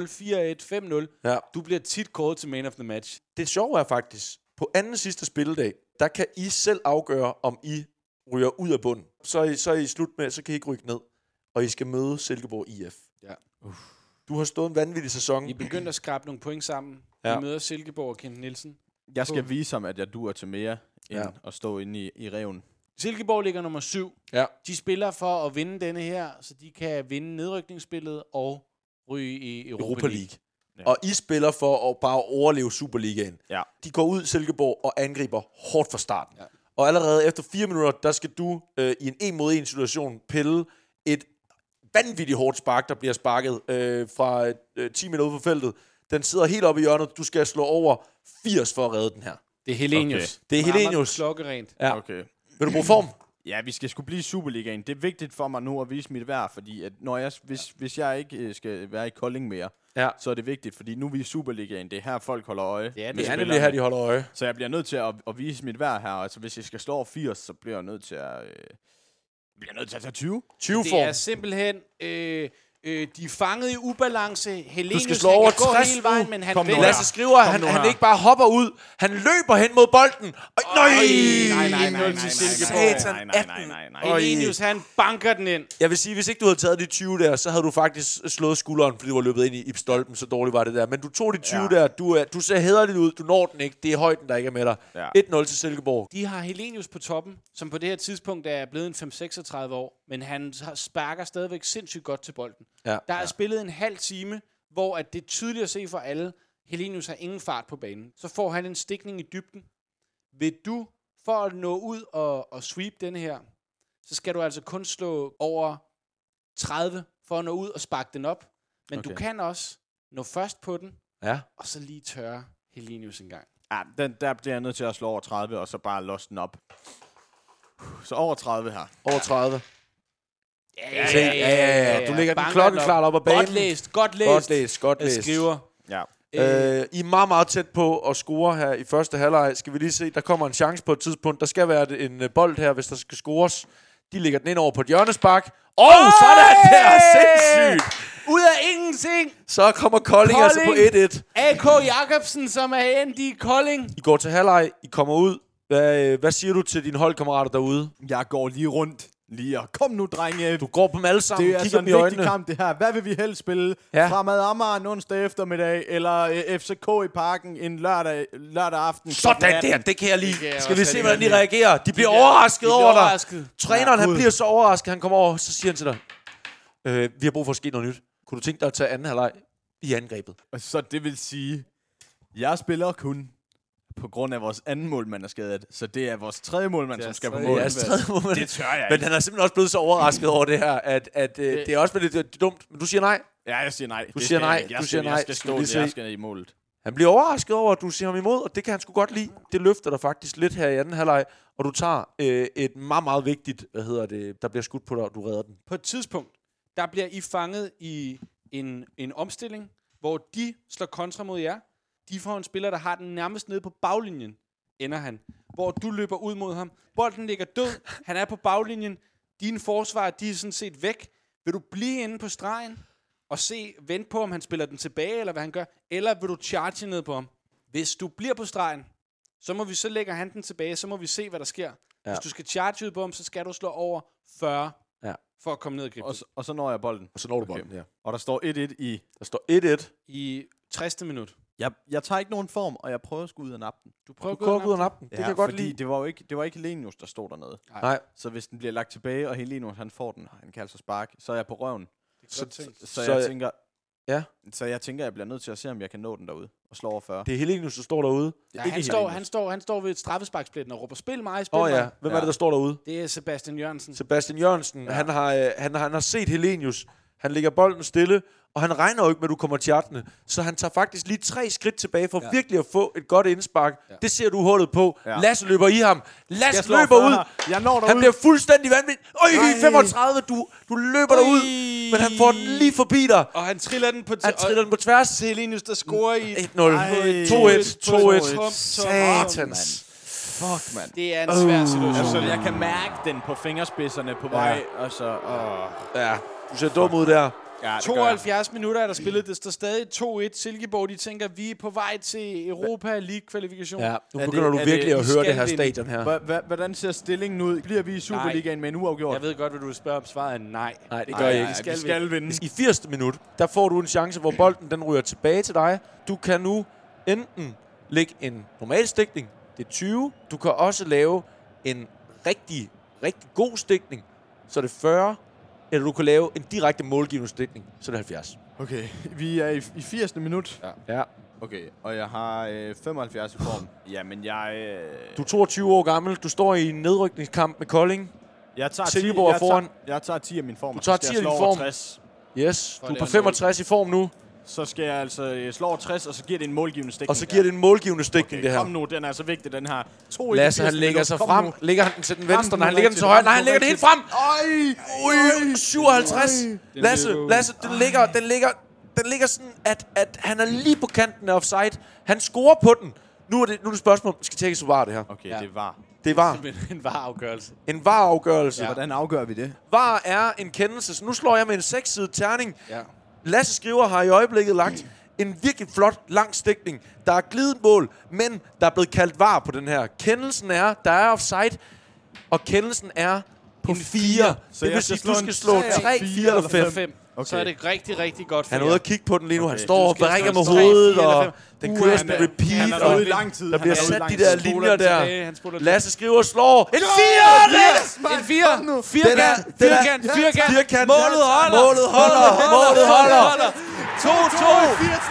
Speaker 4: 3-0, 4-1, 5-0.
Speaker 3: Ja.
Speaker 4: Du bliver tit kåret til man of the match.
Speaker 3: Det sjove er faktisk, på anden sidste spilledag, der kan I selv afgøre, om I ryger ud af bunden. Så er I, så er I slut med, så kan I ikke rykke ned. Og I skal møde Silkeborg IF.
Speaker 4: Ja.
Speaker 3: Du har stået en vanvittig sæson.
Speaker 4: I begyndte at skrabe nogle point sammen.
Speaker 3: Ja.
Speaker 4: Ja. I møder Silkeborg og Kent Nielsen.
Speaker 2: Jeg skal vise ham, at jeg duer til mere,
Speaker 3: Ja.
Speaker 2: end ja. at stå inde i, i reven.
Speaker 4: Silkeborg ligger nummer 7.
Speaker 3: Ja.
Speaker 4: De spiller for at vinde denne her, så de kan vinde nedrykningsspillet og ryge i Europa,
Speaker 3: Europa League. Ja.
Speaker 2: Ja.
Speaker 3: Og I spiller for at bare overleve Superligaen.
Speaker 2: Ja.
Speaker 3: De går ud Silkeborg og angriber hårdt fra starten. Ja.
Speaker 4: Ja.
Speaker 3: Og allerede efter fire minutter, der skal du øh, i en en mod en situation pille et vanvittigt hårdt spark, der bliver sparket øh, fra øh, 10 meter ude på feltet. Den sidder helt oppe i hjørnet. Du skal slå over 80 for at redde den her.
Speaker 4: Det er Helenius.
Speaker 3: Det er
Speaker 4: Meget, meget
Speaker 3: Helenius.
Speaker 4: Klokkerent.
Speaker 3: Ja.
Speaker 2: Okay.
Speaker 3: Vil du bruge form?
Speaker 2: Ja, vi skal skulle blive i Superligaen. Det er vigtigt for mig nu at vise mit værd, fordi at når jeg, hvis, ja. hvis jeg ikke øh, skal være i Kolding mere,
Speaker 3: Ja.
Speaker 2: så er det vigtigt, fordi nu er vi i Superligaen. Det er her, folk holder øje.
Speaker 4: Det
Speaker 2: med
Speaker 4: er det.
Speaker 3: Det er
Speaker 2: spillerne.
Speaker 3: nemlig her, de holder øje.
Speaker 2: Så jeg bliver nødt til at, at vise mit værd her. Altså, hvis jeg skal slå over 80, så bliver jeg nødt til at... Øh, bliver jeg nødt til at tage 20.
Speaker 3: 20
Speaker 4: Det er
Speaker 3: form.
Speaker 4: simpelthen... Øh, øh, de er fanget i ubalance. Helenius,
Speaker 3: Du skal slå
Speaker 4: han
Speaker 3: over
Speaker 4: kan gå
Speaker 3: 60
Speaker 4: hele vejen, men han
Speaker 2: Kom nu
Speaker 4: vælger.
Speaker 2: her.
Speaker 3: Lasse skriver,
Speaker 2: Kom
Speaker 3: han,
Speaker 2: nu
Speaker 3: han
Speaker 2: her.
Speaker 3: ikke bare hopper ud. Han løber hen mod bolden. Og, nej!
Speaker 4: nej, nej, nej,
Speaker 3: 1-0 til
Speaker 4: nej,
Speaker 3: Silkeborg.
Speaker 2: nej, nej, nej, nej, nej, nej.
Speaker 4: Helenius, han banker den ind.
Speaker 3: Jeg vil sige, hvis ikke du havde taget de 20 der, så havde du faktisk slået skulderen, fordi du var løbet ind i, i stolpen, så dårligt var det der. Men du tog de 20 ja.
Speaker 2: Ja.
Speaker 3: der, du, er, du ser hæderligt ud, du når den ikke, det er højden, der ikke er med dig.
Speaker 2: Ja.
Speaker 3: 1-0 til Silkeborg.
Speaker 4: De har Helenius på toppen, som på det her tidspunkt er blevet en 5-36 år, men han har- sparker stadigvæk sindssygt godt til bolden.
Speaker 3: Ja.
Speaker 4: Der er spillet en halv time, hvor at det er tydeligt at se for alle, Helenius har ingen fart på banen. Så får han en stikning i dybden. Vil du, for at nå ud og, og sweep den her, så skal du altså kun slå over 30 for at nå ud og sparke den op. Men okay. du
Speaker 2: Okay.
Speaker 4: kan også nå først på den,
Speaker 3: Ja.
Speaker 4: og så lige tørre Helenius en gang.
Speaker 2: Ja, den, der bliver jeg nødt til at slå over 30, og så bare lost den op. Så over 30 her.
Speaker 3: Over 30.
Speaker 4: Ja,
Speaker 3: Se, ja, ja, ja, Du lægger den klokkeklart op ad banen.
Speaker 4: Godt læst, godt læst.
Speaker 3: Godt læst, godt
Speaker 4: Jeg
Speaker 3: læst.
Speaker 4: skriver.
Speaker 2: Ja.
Speaker 3: Øh, I er meget, meget tæt på at score her i første halvleg. Skal vi lige se, der kommer en chance på et tidspunkt. Der skal være en øh, bold her, hvis der skal scores. De lægger den ind over på et hjørnespark. Åh, oh, sådan der! Sindssygt!
Speaker 4: Ud af ingenting.
Speaker 3: Så kommer Kolding, Kolding. altså på 1-1.
Speaker 4: Kolding. A.K. Jacobsen, som er endt i Kolding.
Speaker 3: I går til halvleg, I kommer ud. Hvad, øh, hvad siger du til dine holdkammerater derude?
Speaker 2: Jeg går lige rundt. Lige og kom nu, drenge.
Speaker 3: Du går på dem alle sammen,
Speaker 2: Det er
Speaker 3: kigger
Speaker 2: altså
Speaker 3: dem
Speaker 2: en
Speaker 3: i
Speaker 2: vigtig
Speaker 3: øjnene.
Speaker 2: kamp, det her. Hvad vil vi helst spille?
Speaker 3: Ja.
Speaker 2: Ja. Fremad Amager en onsdag eftermiddag, eller øh, FCK i parken en lørdag, lørdag aften. klokken
Speaker 3: Sådan
Speaker 2: 18?
Speaker 3: der, det kan jeg
Speaker 4: kan
Speaker 3: lige.
Speaker 4: jeg
Speaker 3: Skal vi
Speaker 4: også
Speaker 3: se,
Speaker 4: rigtig
Speaker 3: hvordan
Speaker 4: godt
Speaker 3: de
Speaker 4: lide.
Speaker 3: reagerer? De bliver overrasket
Speaker 4: de bliver
Speaker 3: over dig.
Speaker 4: overrasket.
Speaker 3: Træneren, han
Speaker 2: Gud.
Speaker 3: bliver så overrasket, han kommer over, så siger han til dig, øh, vi har brug for at ske noget nyt. Kunne du tænke dig at tage anden halvleg i angrebet?
Speaker 2: Og Så det vil sige, jeg spiller kun på grund af vores anden målmand er skadet, så det er vores tredje målmand, som skal på
Speaker 4: tredje.
Speaker 2: mål.
Speaker 3: Det er altså tredje moment.
Speaker 2: Det tør jeg
Speaker 3: Men
Speaker 2: ikke.
Speaker 3: han er simpelthen også blevet så overrasket over det her, at, at øh, det er også blevet lidt dumt. Men du siger nej.
Speaker 2: Ja, jeg siger nej. Du
Speaker 3: siger nej,
Speaker 2: Jeg
Speaker 3: du
Speaker 2: skal,
Speaker 3: siger nej.
Speaker 2: Jeg skal
Speaker 3: Skal vi
Speaker 2: stå,
Speaker 3: lige
Speaker 2: der, jeg
Speaker 3: se?
Speaker 2: skal i målet.
Speaker 3: Han bliver overrasket over, at du ser ham imod, og det kan han sgu godt lide. Det løfter dig faktisk lidt her i anden halvleg, og du tager øh, et meget, meget vigtigt, hvad hedder det, der bliver skudt på dig, og du redder den.
Speaker 4: På et tidspunkt, der bliver I fanget i en, en omstilling, hvor de slår kontra mod jer. De får en spiller, der har den nærmest nede på baglinjen, ender han. Hvor du løber ud mod ham. Bolden ligger død, han er på baglinjen. Dine forsvar, de er sådan set væk. Vil du blive inde på stregen og se, vente på, om han spiller den tilbage, eller hvad han gør? Eller vil du charge ned på ham? Hvis du bliver på stregen, så må vi så lægger han den tilbage, så må vi se, hvad der sker. Ja. Hvis du skal charge ud på ham, så skal du slå over 40.
Speaker 3: Ja.
Speaker 4: for at komme ned og gribe
Speaker 2: Og, så- og så når jeg bolden.
Speaker 3: Og så når du
Speaker 2: Okay.
Speaker 3: bolden, ja.
Speaker 2: Og der står 1-1 i...
Speaker 3: Der står 1-1.
Speaker 4: den. I 60. minut.
Speaker 2: Jeg, jeg tager ikke nogen form, og jeg prøver sgu ud af nappen.
Speaker 4: Du prøver
Speaker 3: Du
Speaker 4: at gå
Speaker 3: går
Speaker 4: ud og
Speaker 3: ud af
Speaker 4: nappe.
Speaker 3: nappen. Det kan jeg godt
Speaker 2: fordi
Speaker 3: lide.
Speaker 2: Det var jo ikke, det var ikke Helenius, der stod dernede.
Speaker 3: Nej.
Speaker 2: Så hvis den bliver lagt tilbage, og Helenius han får den, han kan altså sparke, så er jeg på røven.
Speaker 4: Det er godt tænkt.
Speaker 2: Så, så
Speaker 3: Så-
Speaker 2: jeg tænker...
Speaker 3: Ja.
Speaker 2: Så jeg tænker, jeg bliver nødt til at se, om jeg kan nå den derude og slå over 40.
Speaker 3: Det er Helenius, der står derude.
Speaker 4: Ja,
Speaker 2: Ikke
Speaker 4: han,
Speaker 2: helt
Speaker 4: står,
Speaker 2: enig.
Speaker 4: han, står, han står ved et straffesparkspletten og råber, spil mig, spil
Speaker 3: Åh oh,
Speaker 4: mig.
Speaker 3: ja, hvem er
Speaker 2: Ja.
Speaker 3: det, der står derude?
Speaker 4: Det er Sebastian Jørgensen.
Speaker 3: Sebastian Jørgensen, ja. han, har, øh, han, har, han har set Helenius. Han lægger bolden stille, og han regner jo ikke med, at du kommer til hjertene. Så han tager faktisk lige tre skridt tilbage for ja. virkelig at få et godt indspark. Ja. Det ser du hullet på. Ja.
Speaker 2: Ja.
Speaker 3: Lasse løber i ham.
Speaker 2: Jeg
Speaker 3: Lasse
Speaker 2: slår
Speaker 3: løber
Speaker 2: 40.
Speaker 3: ud.
Speaker 2: Jeg når
Speaker 3: Han
Speaker 2: derud.
Speaker 3: bliver fuldstændig vanvittig. Øj,
Speaker 4: Ej.
Speaker 3: 35, du, du løber derud. Men han får den lige forbi dig.
Speaker 4: Og han triller den på... T-
Speaker 3: Han triller den på tværs. 1-0. 2-1.
Speaker 4: Helenius, der scorer i...
Speaker 3: 2-1.
Speaker 4: 2-1.
Speaker 3: Satans.
Speaker 2: Fuck, mand.
Speaker 4: Det er en svær situation.
Speaker 2: Altså, jeg kan mærke den på fingerspidserne på vej, og så... Åh.
Speaker 3: Ja, du ser dum ud der.
Speaker 2: Ja, det gør jeg.
Speaker 4: 72 minutter er der spillet. Det står stadig 2-1. Silkeborg, de tænker, vi er på vej til Europa League-kvalifikation.
Speaker 3: Ja, nu
Speaker 2: Er det-
Speaker 3: begynder du
Speaker 2: er
Speaker 3: virkelig
Speaker 2: det-
Speaker 3: at
Speaker 4: I
Speaker 3: høre det
Speaker 4: skal
Speaker 3: her
Speaker 4: vinde.
Speaker 3: stadion her.
Speaker 2: Hva- hva- Hvordan ser stillingen ud? Bliver vi i Superligaen med en uafgjort?
Speaker 4: Jeg ved godt, hvad du vil spørge om. Svaret er nej.
Speaker 3: Nej, det
Speaker 2: Nej,
Speaker 3: gør jeg ikke.
Speaker 2: nej,
Speaker 4: Vi skal
Speaker 2: vi skal vinde.
Speaker 3: I 80. minut, der får du en chance, hvor bolden den ryger tilbage til dig. Du kan nu enten lægge en normal stikning, det er 20. Du kan også lave en rigtig, rigtig god stikning, så er det 40. Eller du kan lave en direkte målgivende stikning, så er det 70.
Speaker 2: Okay, vi er i, i 80. minut.
Speaker 3: Ja.
Speaker 2: Okay, og jeg har øh, 75 i form. Jamen, jeg... Øh,
Speaker 3: Du er 22 år gammel, du står i en nedrykningskamp med Kolding.
Speaker 2: jeg tager
Speaker 3: Silkeborg er
Speaker 2: jeg
Speaker 3: foran.
Speaker 2: Tager, jeg tager 10 af min form.
Speaker 3: Du tager
Speaker 2: Skal
Speaker 3: 10
Speaker 2: jeg
Speaker 3: af din
Speaker 2: slå over
Speaker 3: form.
Speaker 2: 60,
Speaker 3: Yes, du
Speaker 4: at
Speaker 3: er
Speaker 4: lave
Speaker 3: på
Speaker 4: en
Speaker 3: 65 i form nu,
Speaker 2: så skal jeg altså øh, slå over 60, og så giver det en målgivende stikning.
Speaker 3: og så giver det en målgivende stikning, det
Speaker 2: Okay,
Speaker 3: her.
Speaker 2: kom nu, den er så vigtig, den her. To i
Speaker 3: Lasse,
Speaker 2: 80.
Speaker 3: han lægger
Speaker 2: minut.
Speaker 3: sig
Speaker 2: Kom
Speaker 3: frem.
Speaker 2: nu.
Speaker 3: Lægger han den til den venstre?
Speaker 2: Rampen
Speaker 3: Nej, han
Speaker 2: nu
Speaker 3: lægger den til
Speaker 2: rigtigt,
Speaker 3: højre. Nej,
Speaker 2: rampen
Speaker 3: han lægger
Speaker 2: nu
Speaker 3: den helt frem.
Speaker 2: rigtigt. Ej!
Speaker 3: Ui, 57. Lasse,
Speaker 4: blev-
Speaker 3: Lasse, den ligger, den ligger, den ligger sådan, at, at han er lige på kanten af offside. Han scorer på den. Nu er det, nu er det spørgsmål, om det skal tjekkes, hvor var det her.
Speaker 2: Okay,
Speaker 4: Ja.
Speaker 2: det var.
Speaker 3: Det var
Speaker 4: Men en var afgørelse.
Speaker 3: en var-afgørelse. Ja.
Speaker 2: Hvordan afgør vi det?
Speaker 3: Var er en kendelse, så nu slår jeg med en sekssidet terning.
Speaker 4: Ja.
Speaker 3: Lasse Skriver har i øjeblikket lagt en virkelig flot lang stikning. Der er glidet mål, men der er blevet kaldt var på den her. Kendelsen er, der er offside, og kendelsen er på 4. Det
Speaker 2: Så jeg
Speaker 3: vil
Speaker 2: skal
Speaker 3: sige,
Speaker 2: slå
Speaker 3: du
Speaker 2: en
Speaker 3: skal slå
Speaker 2: treer,
Speaker 3: 3,
Speaker 2: fire
Speaker 3: 4 eller
Speaker 2: eller
Speaker 3: 5.
Speaker 2: fem.
Speaker 4: Fem. Okay.
Speaker 2: Okay.
Speaker 4: Så er det rigtig, rigtig godt for
Speaker 3: Han er
Speaker 4: jer.
Speaker 3: ude at kigge på den lige nu. Han
Speaker 2: Okay.
Speaker 3: står
Speaker 4: Du
Speaker 3: og
Speaker 4: skal
Speaker 3: brækker
Speaker 4: slå
Speaker 3: med
Speaker 4: en tre,
Speaker 3: hovedet,
Speaker 4: fire eller
Speaker 3: og
Speaker 4: fem.
Speaker 3: den
Speaker 4: Uh,
Speaker 3: kører
Speaker 4: han
Speaker 3: sådan
Speaker 4: er-
Speaker 3: en
Speaker 2: Han
Speaker 3: repeat.
Speaker 2: er
Speaker 3: og
Speaker 2: derude i lang tid.
Speaker 3: Der
Speaker 2: Han
Speaker 3: bliver
Speaker 2: er derude
Speaker 3: sat
Speaker 2: i lang
Speaker 3: de
Speaker 2: tid.
Speaker 3: der
Speaker 4: Han spoler
Speaker 3: linjer
Speaker 4: den
Speaker 3: der.
Speaker 4: tilbage, han spoler den
Speaker 3: Lasse Skriver slår. En 4!
Speaker 4: En fire. Firkant. Firkant. Firkant.
Speaker 3: Firkant.
Speaker 4: Målet holder.
Speaker 3: Målet holder. Målet holder.
Speaker 2: 80.
Speaker 4: 2-2.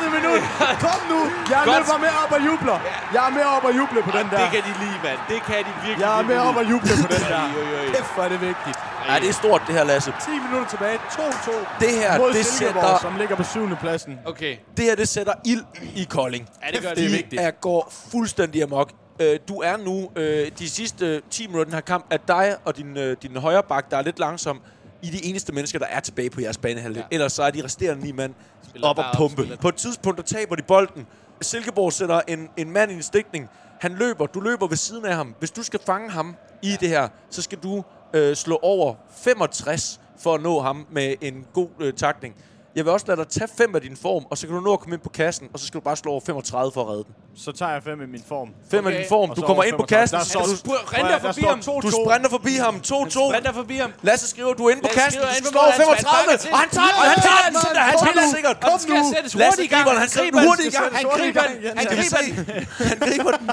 Speaker 2: minut. Kom nu. Jeg er
Speaker 4: Godt.
Speaker 2: med bare med op og jubler. Jeg er med op og jubler på den der.
Speaker 4: Det kan de lide, mand. Det kan de virkelig
Speaker 2: Jeg er med
Speaker 4: virkelig
Speaker 2: op og jubler på den
Speaker 4: lide.
Speaker 2: der.
Speaker 4: Ej, ej, ej.
Speaker 2: Kæft, hvor er det vigtigt.
Speaker 3: Ja, det er stort, det her, Lasse.
Speaker 2: 10 minutter tilbage. 2-2.
Speaker 3: Det her,
Speaker 2: Mod
Speaker 3: det
Speaker 2: Silkeborg,
Speaker 3: sætter,
Speaker 2: som ligger på 7. pladsen.
Speaker 4: Okay.
Speaker 3: det her, det sætter ild i Kolding.
Speaker 4: Ja, det gør
Speaker 2: Det er
Speaker 4: det.
Speaker 2: vigtigt.
Speaker 3: Er går fuldstændig amok. Øh, Du er nu, øh, de sidste øh, 10 minutter i den her kamp, at dig og din, øh, din højre bak, der er lidt langsom, I er de eneste mennesker, der er tilbage på jeres banehalvdel. Ja.
Speaker 4: Ja.
Speaker 3: Ellers så er de resterende ni mand
Speaker 4: Spiller
Speaker 3: op og
Speaker 4: bare op,
Speaker 3: pumpe.
Speaker 4: spiller-
Speaker 3: På et tidspunkt, der taber de bolden. Silkeborg sætter en, en mand i en stikning. Han løber, du løber ved siden af ham. Hvis du skal fange ham i det her, så skal du øh, slå over 65 for at nå ham med en god øh, takning. Jeg vil også lade dig tage fem af din form, og så kan du nå at komme ind på kassen, og så skal du bare slå over 35 for at redde den.
Speaker 2: Så tager jeg 5 i min form.
Speaker 3: Fem
Speaker 4: Okay.
Speaker 3: af din form.
Speaker 2: Og
Speaker 3: Du
Speaker 2: så
Speaker 3: kommer
Speaker 2: over
Speaker 3: ind på
Speaker 2: 35.
Speaker 3: kassen.
Speaker 2: Der
Speaker 4: Han
Speaker 2: står-
Speaker 3: Du,
Speaker 4: spurgte, render
Speaker 2: der
Speaker 4: forbi
Speaker 2: står
Speaker 4: ham.
Speaker 3: du
Speaker 2: 2-2.
Speaker 3: sprinter forbi ham. 2-2.
Speaker 4: Sprinter forbi ham.
Speaker 3: Lasse skriver, du er inde på
Speaker 4: Lasse
Speaker 3: kassen.
Speaker 4: Skriver
Speaker 3: Du
Speaker 4: er inde
Speaker 3: skal
Speaker 4: på
Speaker 3: slå
Speaker 4: bolden.
Speaker 3: 35.
Speaker 4: Han sparker til.
Speaker 3: Og han tager den. Han tager den. Sådan der. Han tager den sikkert.
Speaker 4: Kom nu. Sættes
Speaker 3: Lasse
Speaker 4: hurtigt i gang.
Speaker 3: Skriver, han sætter den hurtigt i gang.
Speaker 4: Han griber den. Han
Speaker 3: Skal vi
Speaker 4: griber
Speaker 3: se?
Speaker 4: den.
Speaker 3: Han griber den.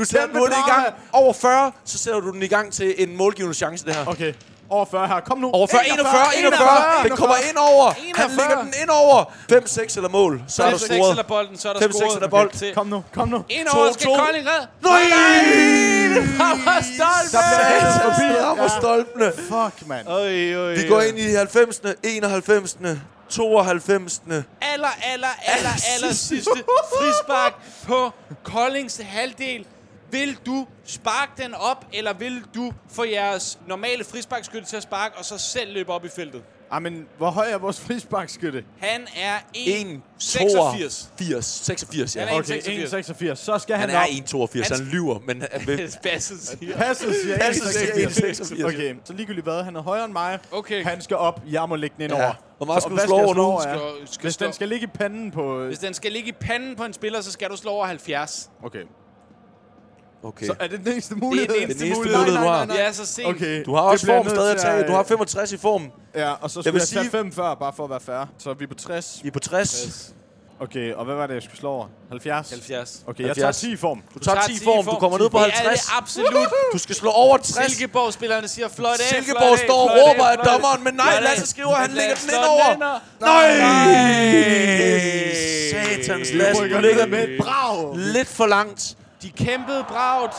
Speaker 3: Du sætter den hurtigt i gang. Over 40, så sætter du den i gang til en målgivende chance, det her.
Speaker 2: Okay. Over 40 her. Kom nu.
Speaker 3: Over 40, 41, 41. Den kommer ind over. Han
Speaker 4: 41.
Speaker 3: lægger den ind over. 5-6 eller mål. Så er du
Speaker 4: 5-6
Speaker 3: scoret.
Speaker 4: eller bolden, så er der
Speaker 3: 5-6
Speaker 4: scoret.
Speaker 3: eller bold.
Speaker 4: Til.
Speaker 2: Kom nu. Kom nu.
Speaker 4: Ind over skal
Speaker 3: 2-2.
Speaker 4: Kolding red.
Speaker 3: Nej!
Speaker 4: Der
Speaker 2: bliver-
Speaker 3: Satan,
Speaker 2: forbi.
Speaker 3: den rammer
Speaker 2: Ja.
Speaker 3: stolpene.
Speaker 2: Fuck, mand.
Speaker 3: Øh. Vi går ind i 90'erne, 91'erne, 92'erne.
Speaker 4: aller, aller, aller, aller sidste frispark på Koldings halvdel. Vil du sparke den op, eller vil du få jeres normale frisparkskytte til at sparke, og så selv løbe op i feltet?
Speaker 2: Ej, men hvor høj er vores frisbakskytte?
Speaker 4: Han er
Speaker 3: 1,
Speaker 4: 86.
Speaker 3: 82. 86, ja.
Speaker 4: Han er
Speaker 3: Han
Speaker 4: en-
Speaker 2: Okay,
Speaker 4: 1,86.
Speaker 2: 1,86. Så skal han,
Speaker 3: er
Speaker 2: op.
Speaker 3: 1,82, han lyver, men han vil...
Speaker 4: Spasset siger.
Speaker 2: Passet siger
Speaker 3: Passet siger
Speaker 2: 1,86.
Speaker 3: 1,86.
Speaker 2: Okay, så ligegyldigt hvad, han er højere end mig.
Speaker 4: Okay.
Speaker 2: Han skal op, jeg må lægge den ind
Speaker 3: Ja.
Speaker 2: over.
Speaker 3: Hvor meget
Speaker 2: Så-
Speaker 3: skal du
Speaker 2: hvad
Speaker 3: slå
Speaker 2: jeg
Speaker 3: over nu?
Speaker 2: over, ja?
Speaker 4: Skal- skal
Speaker 2: Hvis
Speaker 4: slå-
Speaker 2: den skal ligge i panden på...
Speaker 4: Hvis den skal ligge i panden på en spiller, så skal du slå over 70.
Speaker 2: Okay.
Speaker 3: Okay.
Speaker 2: Så er det den eneste
Speaker 4: Det er
Speaker 2: mulighed?
Speaker 4: den eneste
Speaker 3: eneste
Speaker 4: mulighed,
Speaker 3: mulighed, du har.
Speaker 4: Det er så sent.
Speaker 2: Okay.
Speaker 3: Du har
Speaker 2: det
Speaker 3: også
Speaker 2: bliver jeg
Speaker 3: form
Speaker 2: nødt
Speaker 3: stadig at
Speaker 2: til
Speaker 3: tage. Du har
Speaker 2: øh,
Speaker 3: 65 i formen.
Speaker 2: Ja, og så skulle
Speaker 3: vil
Speaker 2: jeg, jeg tage
Speaker 3: sige-
Speaker 2: fem før, bare for at være fair. Så er vi på 60.
Speaker 3: Vi er på 60.
Speaker 2: Okay, og hvad var det, jeg skulle slå over? 70?
Speaker 4: 70.
Speaker 2: Okay, jeg
Speaker 3: 70.
Speaker 2: tager 10 i form.
Speaker 3: Du tager 10 i form. Du kommer ned på
Speaker 4: Det er
Speaker 3: 50.
Speaker 4: det absolut.
Speaker 3: Du skal slå over 60.
Speaker 4: Silkeborg-spillerne siger, flot af,
Speaker 3: Silkeborg
Speaker 4: fløjt af,
Speaker 3: står og
Speaker 4: fløjt af,
Speaker 3: råber af
Speaker 4: fløjt af.
Speaker 3: dommeren, men nej,
Speaker 4: Fløjt af.
Speaker 3: Lasse Skriver, han lægger den
Speaker 4: Lasse
Speaker 3: ind over.
Speaker 4: slår den ind, og-
Speaker 3: Nej!
Speaker 4: Nej!
Speaker 3: Satans
Speaker 4: Vi
Speaker 3: Lasse,
Speaker 2: rykker
Speaker 3: du ligger
Speaker 2: ned med et brag.
Speaker 3: lidt for langt.
Speaker 4: De kæmpede bragt.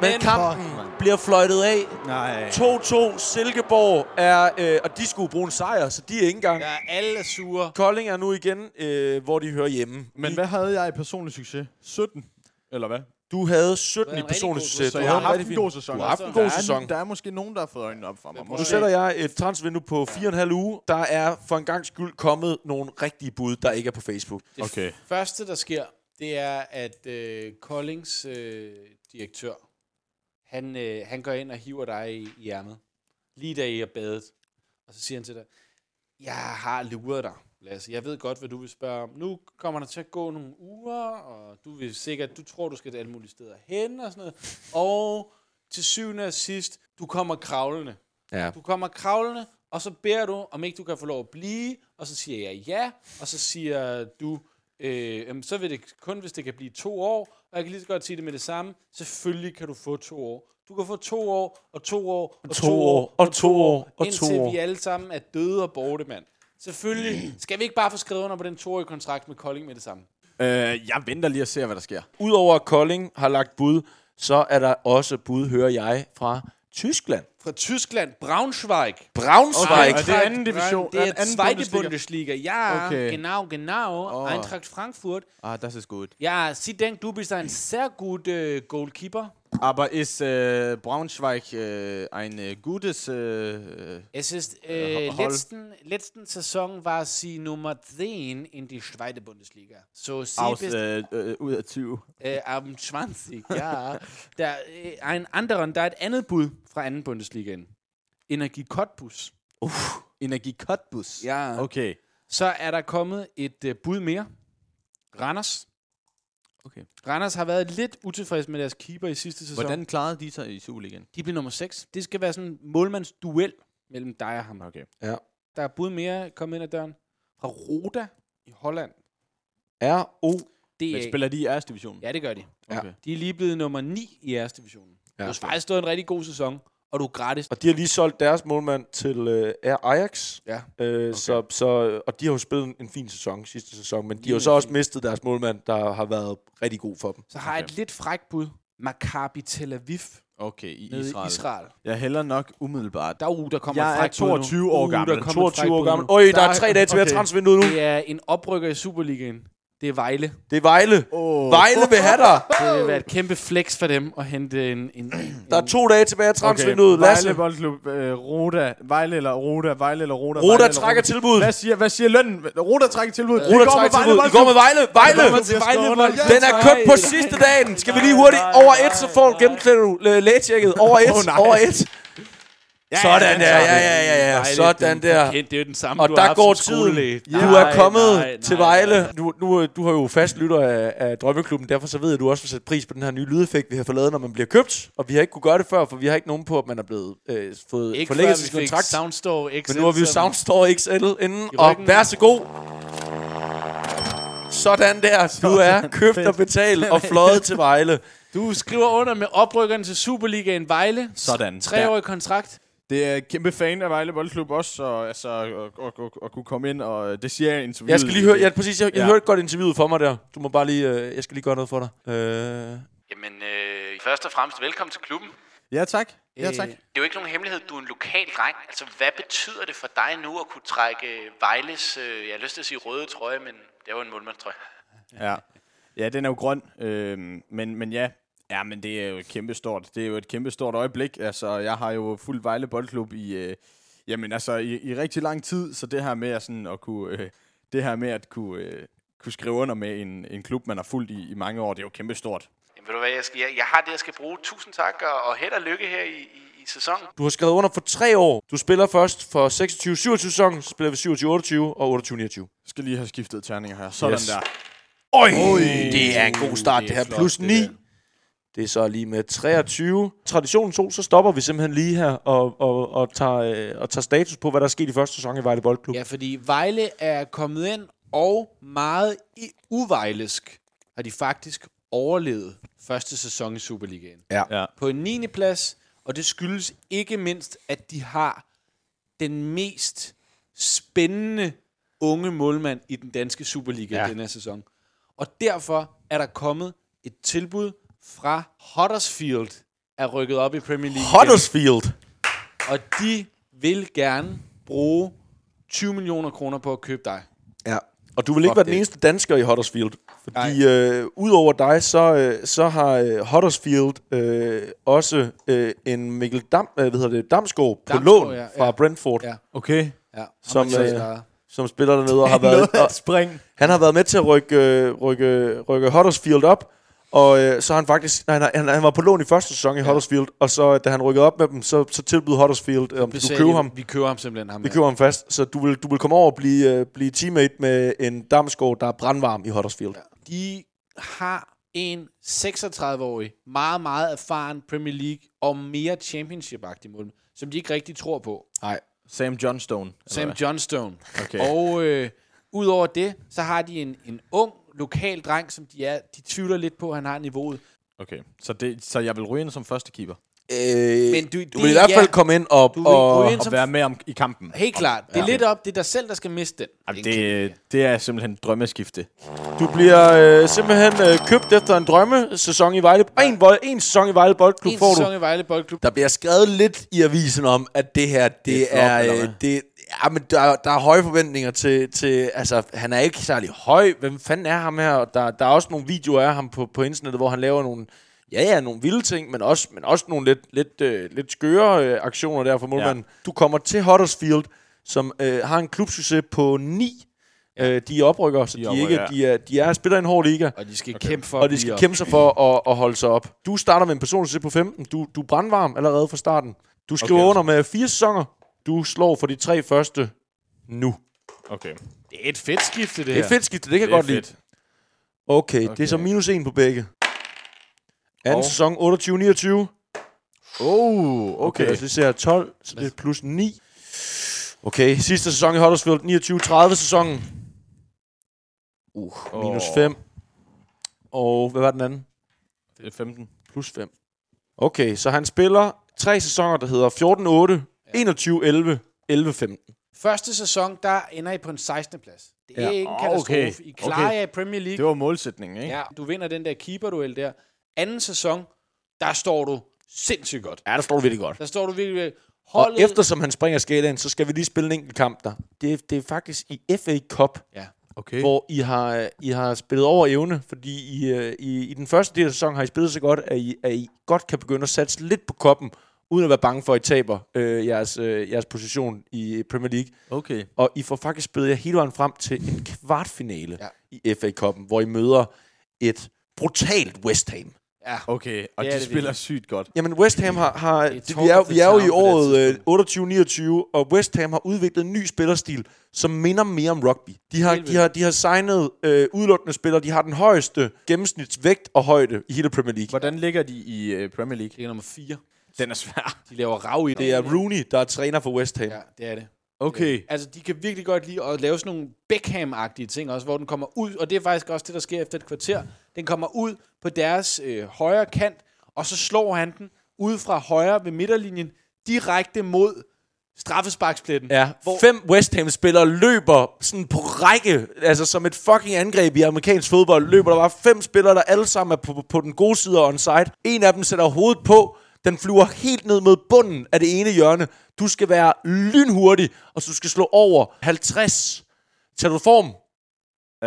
Speaker 3: Men
Speaker 4: Men-
Speaker 3: kampen
Speaker 2: Fuck, mand.
Speaker 3: bliver fløjtet af.
Speaker 2: Nej.
Speaker 3: 2-2. Silkeborg er... Øh, og de skulle bruge en sejr, så de er ikke engang...
Speaker 4: Ja, alle er sure.
Speaker 3: Kolding er nu igen, øh, hvor de hører hjemme.
Speaker 2: Men hvad havde jeg i personlig succes? 17? Eller hvad?
Speaker 3: Du havde
Speaker 4: Det
Speaker 3: 17
Speaker 4: er
Speaker 3: i
Speaker 4: en rigtig
Speaker 3: personlig
Speaker 4: god
Speaker 3: succes.
Speaker 2: Så
Speaker 3: Du
Speaker 2: jeg har
Speaker 3: havde
Speaker 2: haft
Speaker 3: rigtig
Speaker 2: en
Speaker 3: fin-
Speaker 2: god sæson.
Speaker 3: Du har haft en
Speaker 2: Der
Speaker 3: god
Speaker 2: er-
Speaker 3: sæson.
Speaker 2: Der er måske nogen, der har fået øjnene op for mig.
Speaker 3: Nu
Speaker 2: Måske.
Speaker 3: sætter jeg et transvindue på 4,5 uge. Der er for en gang skyld kommet nogle rigtige bud, der ikke er på Facebook.
Speaker 4: Det
Speaker 2: Okay.
Speaker 4: første, der sker, det er, at øh, Collings øh, direktør, han, øh, han går ind og hiver dig i, i ærmet. Lige da I er badet. Og så siger han til dig, jeg har luret dig, Lasse. Jeg ved godt, hvad du vil spørge om. Nu kommer der til at gå nogle uger, og du vil sikkert, du tror, du skal alle mulige steder hen og sådan noget. Og til syvende og sidst, du kommer kravlende.
Speaker 3: Ja.
Speaker 4: Du kommer kravlende, og så beder du, om ikke du kan få lov at blive, og så siger jeg ja, og så siger du, øh, jamen, så vil det kun, hvis det kan blive to år, og jeg kan lige så godt sige det med det samme, selvfølgelig kan du få to år. Du kan få to år, og to år, og
Speaker 3: To år, og to år, og
Speaker 4: indtil
Speaker 3: to år.
Speaker 4: vi alle sammen er døde og borte, mand. Selvfølgelig skal vi ikke bare få skrevet under på den toårige kontrakt med Kolding med det samme.
Speaker 2: Øh, jeg venter lige og ser, hvad der sker.
Speaker 3: Udover at Kolding har lagt bud, så er der også bud, hører jeg, fra Tyskland.
Speaker 4: Fra Tyskland, Braunschweig.
Speaker 3: Braunschweig.
Speaker 2: Okay, og det er anden division.
Speaker 4: Det er
Speaker 2: Anden- anden
Speaker 4: zweite
Speaker 2: Bundesliga.
Speaker 4: Bundesliga. Ja,
Speaker 2: Okay.
Speaker 4: genau, genau.
Speaker 2: Åh.
Speaker 4: Eintracht Frankfurt.
Speaker 2: Ah, das ist gut.
Speaker 4: Ja, sie denkt, du bist ein sehr guter Goalkeeper.
Speaker 2: Aber ist äh,
Speaker 3: øh,
Speaker 2: Braunschweig äh, ein äh, gutes... Äh,
Speaker 4: Es ist, äh,
Speaker 2: Ho- Hol-
Speaker 4: letzten, letzten Saison war sie Nummer 10 in die Schweizer Bundesliga. So, sie
Speaker 2: aus
Speaker 4: bist
Speaker 3: øh,
Speaker 2: äh, äh, U20.
Speaker 4: äh, am 20, ja. Der, äh, ein anderen, der er et andet bud fra anden Bundesligaen. Energi Cottbus.
Speaker 2: Energie Cottbus.
Speaker 4: Ja.
Speaker 2: Okay.
Speaker 4: Så er der kommet et øh, bud mere. Randers.
Speaker 2: Okay.
Speaker 4: Randers har været lidt utilfreds med deres keeper i sidste sæson.
Speaker 2: Hvordan klarede de sig i Superligaen?
Speaker 4: De blev nummer 6. Det skal være sådan en målmandsduel mellem dig og ham.
Speaker 2: Okay.
Speaker 4: Der er bud mere kommet ind ad døren. Fra Roda i Holland.
Speaker 3: R.O.
Speaker 4: Det
Speaker 2: Men spiller de i jeres division?
Speaker 4: Ja, det gør de.
Speaker 2: Okay.
Speaker 4: De er lige blevet nummer 9 i jeres division. Ja. Du har faktisk stået en rigtig god sæson, og du er gratis.
Speaker 3: Og de har lige solgt deres målmand til øh, Air Ajax.
Speaker 4: Ja.
Speaker 3: Øh, så, så, og de har jo spillet en, en fin sæson sidste sæson, men de har jo så også mistet deres målmand, der har været rigtig god for dem.
Speaker 4: Så har jeg et lidt frækt bud. Maccabi Tel Aviv
Speaker 2: Okay, i
Speaker 4: nede
Speaker 2: Israel.
Speaker 4: i Israel.
Speaker 2: Jeg hælder nok umiddelbart.
Speaker 4: Der er uh, der kommer
Speaker 2: Jeg
Speaker 4: et
Speaker 2: er
Speaker 4: frækt bud nu.
Speaker 2: 22 år
Speaker 4: Uh, der
Speaker 2: gammel.
Speaker 4: kommer et frækt
Speaker 3: 22 år
Speaker 4: bud
Speaker 3: gammel.
Speaker 4: nu.
Speaker 3: Øj, der er
Speaker 2: Der-
Speaker 3: tre dage til okay.
Speaker 2: okay.
Speaker 3: transvinduet nu.
Speaker 4: Det er en oprykker i Superligaen. Det er Vejle.
Speaker 3: Det er Vejle.
Speaker 2: Oh.
Speaker 3: Vejle vil have dig.
Speaker 4: Det vil være et kæmpe flex for dem at hente en... en, en
Speaker 3: Der er to dage tilbage af transvinduet. Okay. Lasse,
Speaker 2: Vejle Boldklub, øh, Roda, Vejle eller Roda, Vejle eller Roda. Vejle
Speaker 3: Roda
Speaker 2: eller
Speaker 3: trækker
Speaker 2: Roda.
Speaker 3: tilbud.
Speaker 2: Hvad siger, hvad siger lønnen? Roda trækker tilbud. Vi
Speaker 3: Ruder
Speaker 2: går med
Speaker 3: trækker
Speaker 2: Vejle
Speaker 3: tilbud. I
Speaker 2: Boldklub.
Speaker 3: går med Vejle. Vejle!
Speaker 2: Vejle bliver
Speaker 4: Vejle
Speaker 2: skåret.
Speaker 4: Boldklub.
Speaker 3: Den er købt på sidste dagen. Skal vi lige hurtigt over et, så får gennemklædt øh, lægetjekket. Over et,
Speaker 2: Åh, nej.
Speaker 3: over et. Sådan der, ja, ja, ja, ja.
Speaker 4: Vejle,
Speaker 3: Sådan
Speaker 4: den-
Speaker 3: der.
Speaker 4: Det er jo den samme,
Speaker 3: Og
Speaker 4: du har
Speaker 3: der
Speaker 4: haft
Speaker 3: går
Speaker 4: som
Speaker 3: tiden.
Speaker 4: skolelæge.
Speaker 3: Du
Speaker 4: Nej,
Speaker 3: er kommet
Speaker 4: nej,
Speaker 3: til
Speaker 4: nej,
Speaker 3: Vejle. Du, nu, øh, du har jo fast lytter af, af Drømmeklubben, derfor så ved jeg, at du også vil sætte pris på den her nye lydeffekt, vi har fået lavet, når man bliver købt. Og vi har ikke kunne gøre det før, for vi har ikke nogen på, at man er blevet øh, fået
Speaker 4: Ikke
Speaker 3: forlænget
Speaker 4: før
Speaker 3: sin
Speaker 4: vi fik
Speaker 3: kontrakt.
Speaker 4: Soundstore XL.
Speaker 3: Men nu har vi jo
Speaker 4: som-
Speaker 3: Soundstore XL inden,
Speaker 4: I
Speaker 3: og
Speaker 4: ryggen.
Speaker 3: vær så god. Sådan der, du er købt og betalt og fløjet til Vejle.
Speaker 4: Du skriver under med oprykkerne til Superligaen Vejle.
Speaker 2: Sådan.
Speaker 4: Treårig kontrakt.
Speaker 2: Det er kæmpe fan af Vejle Boldklub også, så altså, at, at, at, at kunne komme ind, og øh, det siger jeg i interviewet.
Speaker 3: Jeg skal lige høre, jeg, præcis, jeg, jeg
Speaker 2: Ja.
Speaker 3: hørte godt interviewet for mig der. Du må bare lige, øh, jeg skal lige gøre noget for dig. Øh,
Speaker 5: Jamen, øh, først og fremmest velkommen til klubben.
Speaker 2: Ja, tak. Ja, tak.
Speaker 4: Øh,
Speaker 5: Det er jo ikke nogen hemmelighed, du er en lokal dreng. Altså, hvad betyder det for dig nu at kunne trække Vejles, øh, jeg har lyst til at sige røde trøje, men det er jo en målmandstrøje.
Speaker 2: Ja. ja, den er jo grøn, øhm, men, men ja. Ja, men det er jo kæmpestort. Det er jo et kæmpestort øjeblik. Altså, jeg har jo fuldt Vejle Boldklub i, øh, jamen, altså, i, i rigtig lang tid, så det her med at, sådan, at kunne... Øh, det her med at kunne, øh, kunne skrive under med en, en klub, man har fulgt i, i mange år, det er jo kæmpestort.
Speaker 5: Jamen, ved du hvad, jeg, skal, jeg, jeg har det, jeg skal bruge. Tusind tak, og, og held og lykke her i, i, i sæsonen.
Speaker 3: du har skrevet under for tre år. Du spiller først for 26-27 sæsonen, så spiller vi 27-28 og 28-29.
Speaker 2: Skal lige have skiftet terninger her. Sådan
Speaker 3: Yes.
Speaker 2: yes. der.
Speaker 3: Øj, det er en god start, det, her. Plus 9. Det er så lige med 23. Traditionen tog, så stopper vi simpelthen lige her og, og, og, tager, øh, og tager status på, hvad der er sket i første sæson i Vejle Boldklub.
Speaker 4: Ja, fordi Vejle er kommet ind, og meget i uvejlesk har de faktisk overlevet første sæson i Superligaen.
Speaker 3: Ja.
Speaker 2: Ja.
Speaker 4: På en 9. plads, og det skyldes ikke mindst, at de har den mest spændende unge målmand i den danske Superliga ja. denne her sæson. Og derfor er der kommet et tilbud fra Huddersfield er rykket op i Premier League. igen.
Speaker 3: Huddersfield!
Speaker 4: Og de vil gerne bruge 20 millioner kroner på at købe dig.
Speaker 3: Ja. Og du vil ikke være den
Speaker 4: det.
Speaker 3: eneste dansker i Huddersfield. Fordi øh, udover dig, så, øh, så har øh, Huddersfield øh, også øh, en Mikkel Dam, øh, hvad hedder det, Damsgaard på
Speaker 4: Damsgaard,
Speaker 3: lån
Speaker 4: ja,
Speaker 3: ja,
Speaker 4: ja.
Speaker 3: ja. fra Brentford,
Speaker 4: Ja.
Speaker 3: ja.
Speaker 2: Okay.
Speaker 4: Ja,
Speaker 3: Som,
Speaker 4: Ham er
Speaker 3: øh,
Speaker 4: ikke så-
Speaker 3: som spiller dernede og har været...
Speaker 2: Noget
Speaker 3: Og,
Speaker 2: at springe.
Speaker 3: han har været med til at rykke, øh, rykke, rykke Huddersfield op, og øh, så har han faktisk... Nej, nej, han, han var på lån i første sæson i Huddersfield, og så da han rykkede op med dem, så, så tilbød Huddersfield, øh, om du
Speaker 4: Besæt-
Speaker 3: købe ham.
Speaker 4: Vi køber ham simpelthen. Ham
Speaker 3: Vi
Speaker 4: her.
Speaker 3: køber ham fast, så du vil, du vil komme over og blive, øh, blive teammate med en Damsgaard, der er brandvarm i Huddersfield.
Speaker 4: De har en 36-årig, meget, meget erfaren Premier League og mere championship-agtig mål, som de ikke rigtig tror på.
Speaker 2: Nej. Sam Johnstone. eller
Speaker 4: Sam
Speaker 2: hvad?
Speaker 4: Johnstone.
Speaker 2: Okay.
Speaker 4: Og øh, udover det, så har de en, en ung, lokal dreng, som de er. De tvivler lidt på, at han har niveauet.
Speaker 2: okay. Så, det, så jeg vil ryge ind som første keeper.
Speaker 3: Øh,
Speaker 4: Men du-
Speaker 3: du
Speaker 4: det-
Speaker 3: vil i hvert fald
Speaker 4: ja.
Speaker 3: komme ind og...
Speaker 4: Du vil
Speaker 3: og
Speaker 4: ryge ind
Speaker 2: Og
Speaker 4: som...
Speaker 2: være med om, i kampen.
Speaker 4: Helt klart. Det er lidt op. Det er dig selv, der skal miste den.
Speaker 2: Jamen, det, det er simpelthen drømmeskifte.
Speaker 3: du bliver øh, simpelthen øh, købt efter en drømmesæson i Vejle. En, bold, en sæson i Vejle Boldklub
Speaker 4: En
Speaker 3: får du.
Speaker 4: sæson i Vejle Boldklub.
Speaker 3: Der bliver skrevet lidt i avisen om, at det her, det,
Speaker 2: Det er
Speaker 3: det er...
Speaker 2: flop, eller
Speaker 3: øh,
Speaker 2: hvad?
Speaker 3: det, ja, men der, der er høje forventninger til, til... Altså, han er ikke særlig høj. Hvem fanden er ham her? Og der, der er også nogle videoer af ham på, på internettet, hvor han laver nogle... Ja, ja, nogle vilde ting, men også, men også nogle lidt, lidt, øh, lidt skøre øh, aktioner der for målmanden. Ja. Du kommer til Huddersfield, som øh, har en klubsucces på 9. Øh, de er oprykker, så de, er
Speaker 2: oprykker,
Speaker 3: ikke, de, er, de er, spiller i en hård liga.
Speaker 4: Og de skal okay. kæmpe for at
Speaker 3: Og de
Speaker 4: blive
Speaker 3: skal
Speaker 4: op.
Speaker 3: kæmpe sig for at, at holde sig op. Du starter med en personlig på 15. Du, du er brandvarm allerede fra starten. Du skriver
Speaker 2: Okay.
Speaker 3: okay. altså. under med fire sæsoner. Du slår for de tre første nu. Det
Speaker 2: Okay.
Speaker 4: Det er et fedt skifte, det,
Speaker 3: er et fedt skifte, det kan jeg godt lide. Okay, okay, det er så minus en på begge. Anden
Speaker 2: Og-
Speaker 3: sæson 28-29. Okay.
Speaker 2: Oh, okay.
Speaker 3: Lad os lige se her. 12, så det er plus 9. Okay, sidste sæson i Huddersfield, 29-30 sæsonen. Uh, minus
Speaker 2: Åh.
Speaker 3: 5. Og hvad var den anden?
Speaker 2: Det er 15.
Speaker 3: Plus 5. Okay, så han spiller tre sæsoner, der hedder 14-8, 21-11, 11-15.
Speaker 4: Første sæson, der ender I på en 16. plads. Det er ja.
Speaker 3: Ja.
Speaker 4: ikke en
Speaker 2: Åh,
Speaker 4: katastrofe.
Speaker 2: okay.
Speaker 4: I klarer
Speaker 2: Okay.
Speaker 4: jer i Premier League.
Speaker 2: Det var målsætningen, ikke?
Speaker 4: Ja, du vinder den der keeper-duel der. Anden sæson, der står du sindssygt godt.
Speaker 3: Ja, der står du virkelig godt.
Speaker 4: Der står du virkelig...
Speaker 3: Og
Speaker 4: Holdet,
Speaker 3: eftersom han springer skalaen, så skal vi lige spille en enkelt kamp der. Det, er- det er faktisk i FA Cup,
Speaker 4: Ja.
Speaker 2: Okay.
Speaker 3: hvor I har, I har spillet over evne, fordi I, øh, I, i den første del af sæsonen har I spillet så godt, at I, at I godt kan begynde at satse lidt på koppen, uden at være bange for, at I taber øh, jeres, øh, jeres position i Premier League.
Speaker 2: Okay.
Speaker 3: Og I får faktisk spillet jer hele vejen frem til en kvartfinale
Speaker 4: Ja.
Speaker 3: ja. i FA Cup'en, hvor I møder et brutalt West Ham.
Speaker 4: ja.
Speaker 2: Okay, og
Speaker 4: Det
Speaker 2: det de
Speaker 4: er det
Speaker 2: spiller
Speaker 4: virkelig.
Speaker 2: sygt godt.
Speaker 3: Jamen, West Ham har... har
Speaker 4: Det er
Speaker 3: det, vi, er, jo- vi er jo
Speaker 4: Torben
Speaker 3: i
Speaker 4: Fitz-Arne på det
Speaker 3: året øh, 28-29, og West Ham har udviklet en ny spillerstil, som minder mere om rugby. De har,
Speaker 4: Helt vildt.
Speaker 3: de har, de har signet øh, udelukkende spillere. De har den højeste gennemsnitsvægt og højde i hele Premier League.
Speaker 2: Hvordan ligger de i øh, Premier League?
Speaker 4: Det er nummer 4.
Speaker 2: Den er svær.
Speaker 4: De laver rav i
Speaker 3: Det er Rooney, der er træner for West Ham.
Speaker 4: Ja, det er det.
Speaker 2: Okay.
Speaker 4: Altså, de kan virkelig godt lide at lave sådan nogle Beckham-agtige ting også, hvor den kommer ud, og det er faktisk også det, der sker efter et kvarter. Den kommer ud på deres øh, højre kant, og så slår han den ud fra højre ved midterlinjen direkte mod straffesparkspletten.
Speaker 3: Ja,
Speaker 4: hvor
Speaker 3: fem West Ham-spillere løber sådan på række, altså som et fucking angreb i amerikansk fodbold, løber der bare fem spillere, der alle sammen er på, på den gode side og onside. En af dem sætter hovedet på, den flyver helt ned mod bunden af det ene hjørne. Du skal være lynhurtig, og så du skal slå over 50. Tager du form?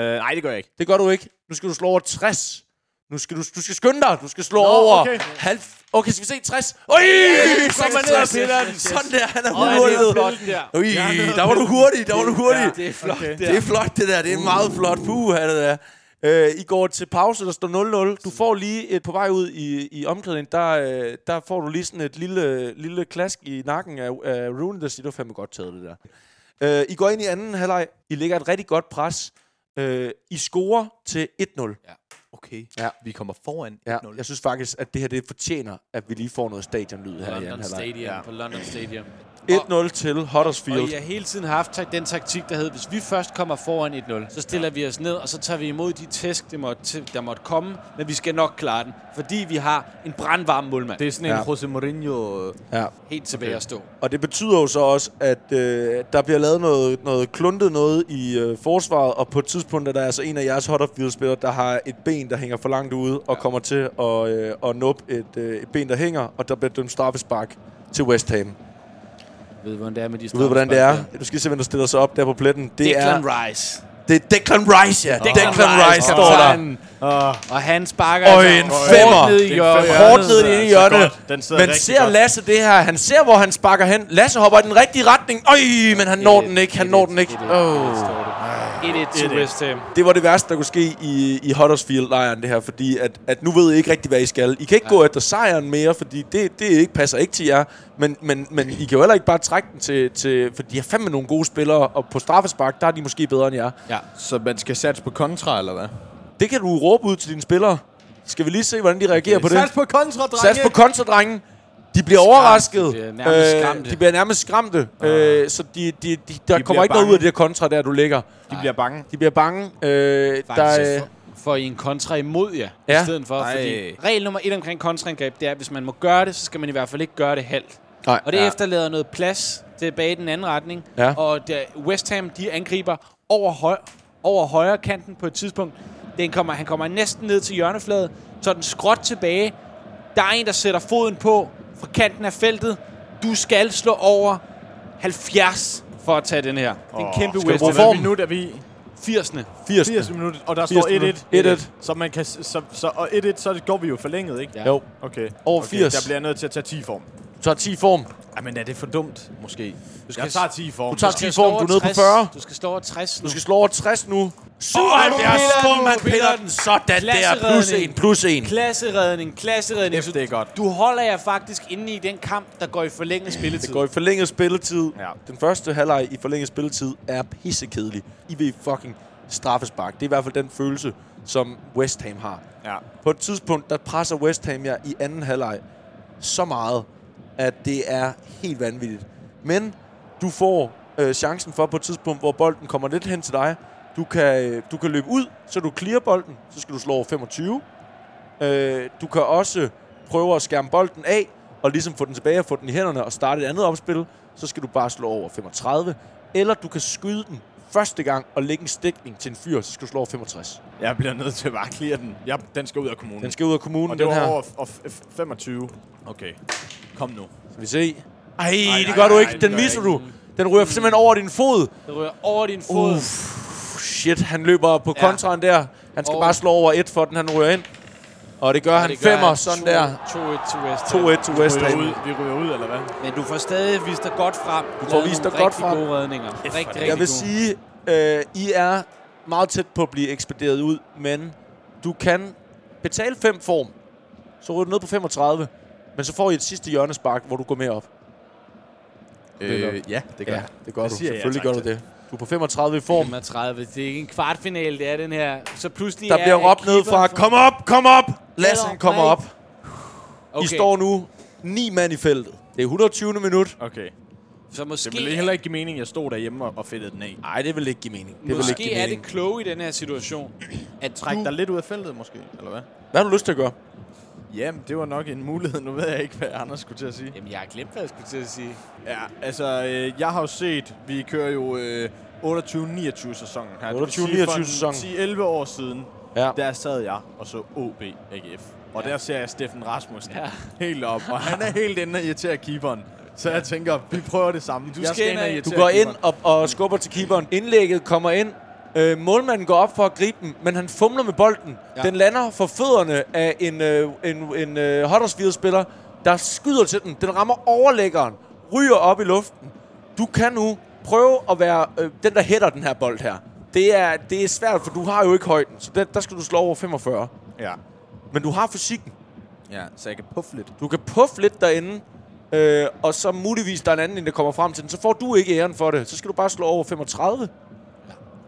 Speaker 2: Øh, nej, det gør jeg ikke.
Speaker 3: Det gør du ikke. Nu skal du slå over 60. Nu skal du, du skal skynde dig. Du skal slå Nå, over
Speaker 2: okay.
Speaker 3: okay. halv... Okay, skal vi se 60? Øj, så er man ned og piller den. Sådan der, han er udhullet.
Speaker 4: der.
Speaker 3: Ui, der var du hurtig, der var du hurtig.
Speaker 4: Det er Uh. flot okay.
Speaker 3: Det er flot, det der. Det er meget flot. Puh, det der. Øh, I går til pause, der står 0-0. Du får lige et på vej ud i, i omklædningen, der, øh, der får du lige sådan et lille, lille klask i nakken af, af Rooney, der siger, du fandme godt taget det der. Øh, I går ind i anden halvleg. I lægger et rigtig godt pres. Øh, I scorer til 1-0.
Speaker 4: Ja.
Speaker 2: okay,
Speaker 3: Ja.
Speaker 2: vi kommer foran
Speaker 3: Ja,
Speaker 2: 1-0.
Speaker 3: jeg synes faktisk, at det her det fortjener, at vi lige får noget stadionlyd her i anden
Speaker 4: London
Speaker 3: halvleg.
Speaker 4: Stadium,
Speaker 2: Ja.
Speaker 4: på London Stadium.
Speaker 3: 1-0 til Huddersfield.
Speaker 4: Og I har hele tiden haft tak- den taktik, der hed, hvis vi først kommer foran 1-0, så stiller vi os ned, og så tager vi imod de tæsk, der måtte, der måtte komme, men vi skal nok klare den, fordi vi har en brandvarm målmand. Det
Speaker 2: Det
Speaker 4: er
Speaker 2: er sådan en
Speaker 3: Ja.
Speaker 2: ja. Jose Mourinho... øh,
Speaker 3: Ja.
Speaker 4: helt tilbage okay. at stå.
Speaker 3: Og det betyder jo så også, at øh, der bliver lavet noget, noget kluntet noget i øh, forsvaret, og på et tidspunkt er der altså en af jeres Huddersfield-spillere, der har et ben, der hænger for langt ude, og kommer til at, øh, at nuppe et, øh, et ben, der hænger, og der bliver dømt straffespark til West Ham.
Speaker 4: Jeg ved, hvordan det er med de
Speaker 3: Du ved, hvordan det er. Du skal se, hvem der stiller sig op der på pletten. Det
Speaker 4: Declan
Speaker 3: er
Speaker 4: Rice.
Speaker 3: det er Declan Rice, ja. Declan, Rice, der står der.
Speaker 4: kaptajnen. Og han sparker altså
Speaker 3: Og en femmer.
Speaker 4: hårdt ned
Speaker 3: Altså,
Speaker 4: i
Speaker 3: Det Hårdt ned i det
Speaker 2: er en femmer.
Speaker 4: hjørnet.
Speaker 3: ene
Speaker 2: Så
Speaker 3: hjørne.
Speaker 2: godt. Den sidder
Speaker 3: Men
Speaker 2: rigtig
Speaker 3: ser
Speaker 2: godt.
Speaker 3: Lasse det her? Han ser, hvor han sparker hen. Lasse hopper i den rigtige retning. Øj, men han når den ikke. Han når den ikke. Åh.
Speaker 4: 1-1 til West Ham.
Speaker 3: Det var det værste, der kunne ske i, i Huddersfield-lejren, det her, fordi at, at nu ved I ikke rigtig, hvad I skal. I kan ikke ja. gå efter sejren mere, fordi det, det ikke passer ikke til jer, men, men, men I kan jo heller ikke bare trække den til, til for de har fandme nogle gode spillere, og på straffespark, der er de måske bedre end jer.
Speaker 4: Ja.
Speaker 2: Så man skal satse på kontra, eller hvad?
Speaker 3: Det kan du råbe ud til dine spillere. Skal vi lige se, hvordan de reagerer på det?
Speaker 2: Sats på kontra, drenge!
Speaker 3: Sats på konterdrengen. De bliver overrasket. Øh,
Speaker 4: de bliver nærmest skræmte.
Speaker 3: de bliver nærmest skræmte. Øh, så de, de, de, der
Speaker 2: bliver
Speaker 3: kommer ikke noget
Speaker 2: bange.
Speaker 3: ud af det der kontra, der du ligger.
Speaker 2: De bliver bange.
Speaker 3: De bliver bange. Øh, der, øh,
Speaker 4: Faktisk får I en kontra imod jer, ja.
Speaker 3: Ja.
Speaker 4: i stedet for.
Speaker 2: Ej.
Speaker 4: Fordi regel nummer et omkring kontraangreb, det er, at hvis man må gøre det, så skal man i hvert fald ikke gøre det halvt.
Speaker 3: nej.
Speaker 4: Og det ja. efterlader noget plads tilbage i den anden retning.
Speaker 3: Ja.
Speaker 4: Og der, West Ham, de angriber over, høj, over højre kanten på et tidspunkt. Den kommer, han kommer næsten ned til hjørnefladen, så den skråt tilbage. Der er en, der sætter foden på fra kanten af feltet. Du skal slå over 70 for at tage den her. Det er en kæmpe
Speaker 3: du
Speaker 4: West
Speaker 3: bruge
Speaker 4: Ham.
Speaker 3: form?
Speaker 2: Hvor minut er vi?
Speaker 4: 80'erne.
Speaker 3: 80.
Speaker 2: 80 minutter, og der
Speaker 3: 80 minutter.
Speaker 2: står 1-1. Så man kan... s- Så, så, og 1-1, så går vi jo forlænget, ikke?
Speaker 4: Ja.
Speaker 3: Jo.
Speaker 2: Okay.
Speaker 3: Over
Speaker 2: okay.
Speaker 3: 80.
Speaker 2: Der bliver jeg nødt til at tage 10 form.
Speaker 3: Du tager 10 i form.
Speaker 2: Ej, men er det for dumt, måske? Du
Speaker 4: skal-
Speaker 2: jeg tager 10 form.
Speaker 3: Du tager
Speaker 4: Du
Speaker 3: 10
Speaker 4: skal
Speaker 3: i
Speaker 4: stå
Speaker 3: form. Du
Speaker 4: over
Speaker 3: er nede på
Speaker 4: 60.
Speaker 3: 40.
Speaker 4: Du skal stå over 60 nu.
Speaker 3: Du skal slå over 60 nu. 77.
Speaker 4: piller den.
Speaker 3: Bum, han piller den. Sådan der.
Speaker 4: Klasseredning.
Speaker 3: Plus en. Plus en.
Speaker 4: Klasseredning, klasseredning.
Speaker 2: F, det er godt.
Speaker 4: Du holder jer faktisk inde i den kamp, der går i forlænget spilletid.
Speaker 3: Det går i forlænget spilletid. Ja.
Speaker 2: Ja.
Speaker 3: Den første halvleg i forlænget spilletid er pissekedelig. I vil fucking straffespark. Det er i hvert fald den følelse, som West Ham har.
Speaker 2: Ja.
Speaker 3: På et tidspunkt, der presser West Ham jer i anden halvleg så meget, at det er helt vanvittigt. Men du får øh, chancen for på et tidspunkt, hvor bolden kommer lidt hen til dig. Du kan, øh, du kan løbe ud, så du clear bolden, så skal du slå over 25. Øh, du kan også prøve at skærme bolden af, og ligesom få den tilbage og få den i hænderne og starte et andet opspil. Så skal du bare slå over 35. Eller du kan skyde den første gang og lægge en stikning til en fyr, så skal du slå over 65.
Speaker 2: Jeg bliver nødt til at bare clear den. Jeg, den skal ud af kommunen.
Speaker 3: Den skal ud af kommunen,
Speaker 2: og det
Speaker 3: den her.
Speaker 2: var over f- og f- f- 25. Okay. Kom nu.
Speaker 3: Skal vi se? Ej, det
Speaker 2: nej,
Speaker 3: gør du
Speaker 2: nej,
Speaker 3: ikke.
Speaker 2: det
Speaker 3: Den
Speaker 2: gør jeg
Speaker 3: misser du. Den ryger simpelthen over din fod.
Speaker 4: Det rører over din fod.
Speaker 3: Uff, shit. Han løber på
Speaker 4: Ja.
Speaker 3: kontraen der. Han skal
Speaker 4: Og-
Speaker 3: bare slå over et, for den han ryger ind. Og det gør
Speaker 4: Og
Speaker 3: han
Speaker 4: det gør
Speaker 3: femmer,
Speaker 4: han.
Speaker 3: sådan
Speaker 4: To-
Speaker 3: der.
Speaker 4: 2-1 til West Ham.
Speaker 3: 2-1 til West
Speaker 2: Vi ryger
Speaker 3: Ham.
Speaker 2: ud, vi ryger ud eller hvad?
Speaker 4: Men du får stadig vist dig godt frem. Du
Speaker 3: får vist dig godt frem.
Speaker 4: gode redninger. Rigtig,
Speaker 2: for
Speaker 4: rigtig
Speaker 2: det.
Speaker 3: Jeg vil
Speaker 4: gode.
Speaker 3: sige, øh, I er meget tæt på at blive ekspederet ud, men du kan betale fem form. Så ryger du ned på 35, men så får I et sidste hjørnespark, hvor du går med op.
Speaker 2: Øh, ja, det gør jeg.
Speaker 3: det gør du.
Speaker 2: Det siger jeg
Speaker 3: Selvfølgelig
Speaker 2: ja
Speaker 3: gør
Speaker 2: tak
Speaker 3: du det. Du er på 35 i form.
Speaker 4: 35. Det er ikke en kvartfinale, det er den her. Så pludselig
Speaker 3: Der
Speaker 4: er
Speaker 3: bliver råbt ned fra,
Speaker 4: keeperen-
Speaker 3: kom op, kom op! Lasse, han kommer op. Okay.
Speaker 4: Okay.
Speaker 3: I står nu ni mand i feltet. Det er 120. minut.
Speaker 2: Okay.
Speaker 4: Så måske,
Speaker 2: Det ville heller ikke give mening, at jeg stod derhjemme og, og fedtede den af.
Speaker 3: Nej, det vil ikke give mening. Det vil ikke
Speaker 4: måske
Speaker 3: give
Speaker 4: er
Speaker 3: mening.
Speaker 4: det kloge i den her situation, at
Speaker 2: Træk
Speaker 4: trække
Speaker 2: dig
Speaker 4: dig
Speaker 2: lidt ud af feltet måske, eller hvad?
Speaker 3: Hvad har du lyst til at gøre?
Speaker 2: Jamen, det var nok en mulighed. Nu ved jeg ikke, hvad Anders skulle til at sige.
Speaker 4: Jamen, jeg har glemt, hvad jeg skulle til at sige.
Speaker 2: Ja, altså, øh, jeg har jo set, vi kører jo øh, 28-29 sæsonen her. Det vil
Speaker 3: 28-29
Speaker 2: sige, for
Speaker 3: sæsonen.
Speaker 2: en 10-11 år siden,
Speaker 3: Ja.
Speaker 2: der sad jeg og så OB AGF. Og ja. der ser jeg Steffen Rasmussen ja. helt op, og han er helt inde og irriterer keeperen. Så jeg tænker, vi prøver det samme. Du jeg
Speaker 4: skal ind og-
Speaker 2: irritere
Speaker 3: Du går ind
Speaker 2: keeperen.
Speaker 3: og, og skubber til keeperen. Indlægget kommer ind. Øh, målmanden går op for at gribe den, men han fumler med bolden. Ja. Den lander for fødderne af en, øh, en, en øh, Huddersfield-spiller, der skyder til den. Den rammer overlæggeren, ryger op i luften. Du kan nu prøve at være øh, den, der hætter den her bold her. Det er, det er svært, for du har jo ikke højden, så den, der skal du slå over 45.
Speaker 2: Ja.
Speaker 3: Men du har fysikken.
Speaker 2: ja, så jeg kan puffe lidt.
Speaker 3: Du kan puffe lidt derinde, øh, og så muligvis der er en anden, end der kommer frem til den. Så får du ikke æren for det. Så skal du bare slå over 35.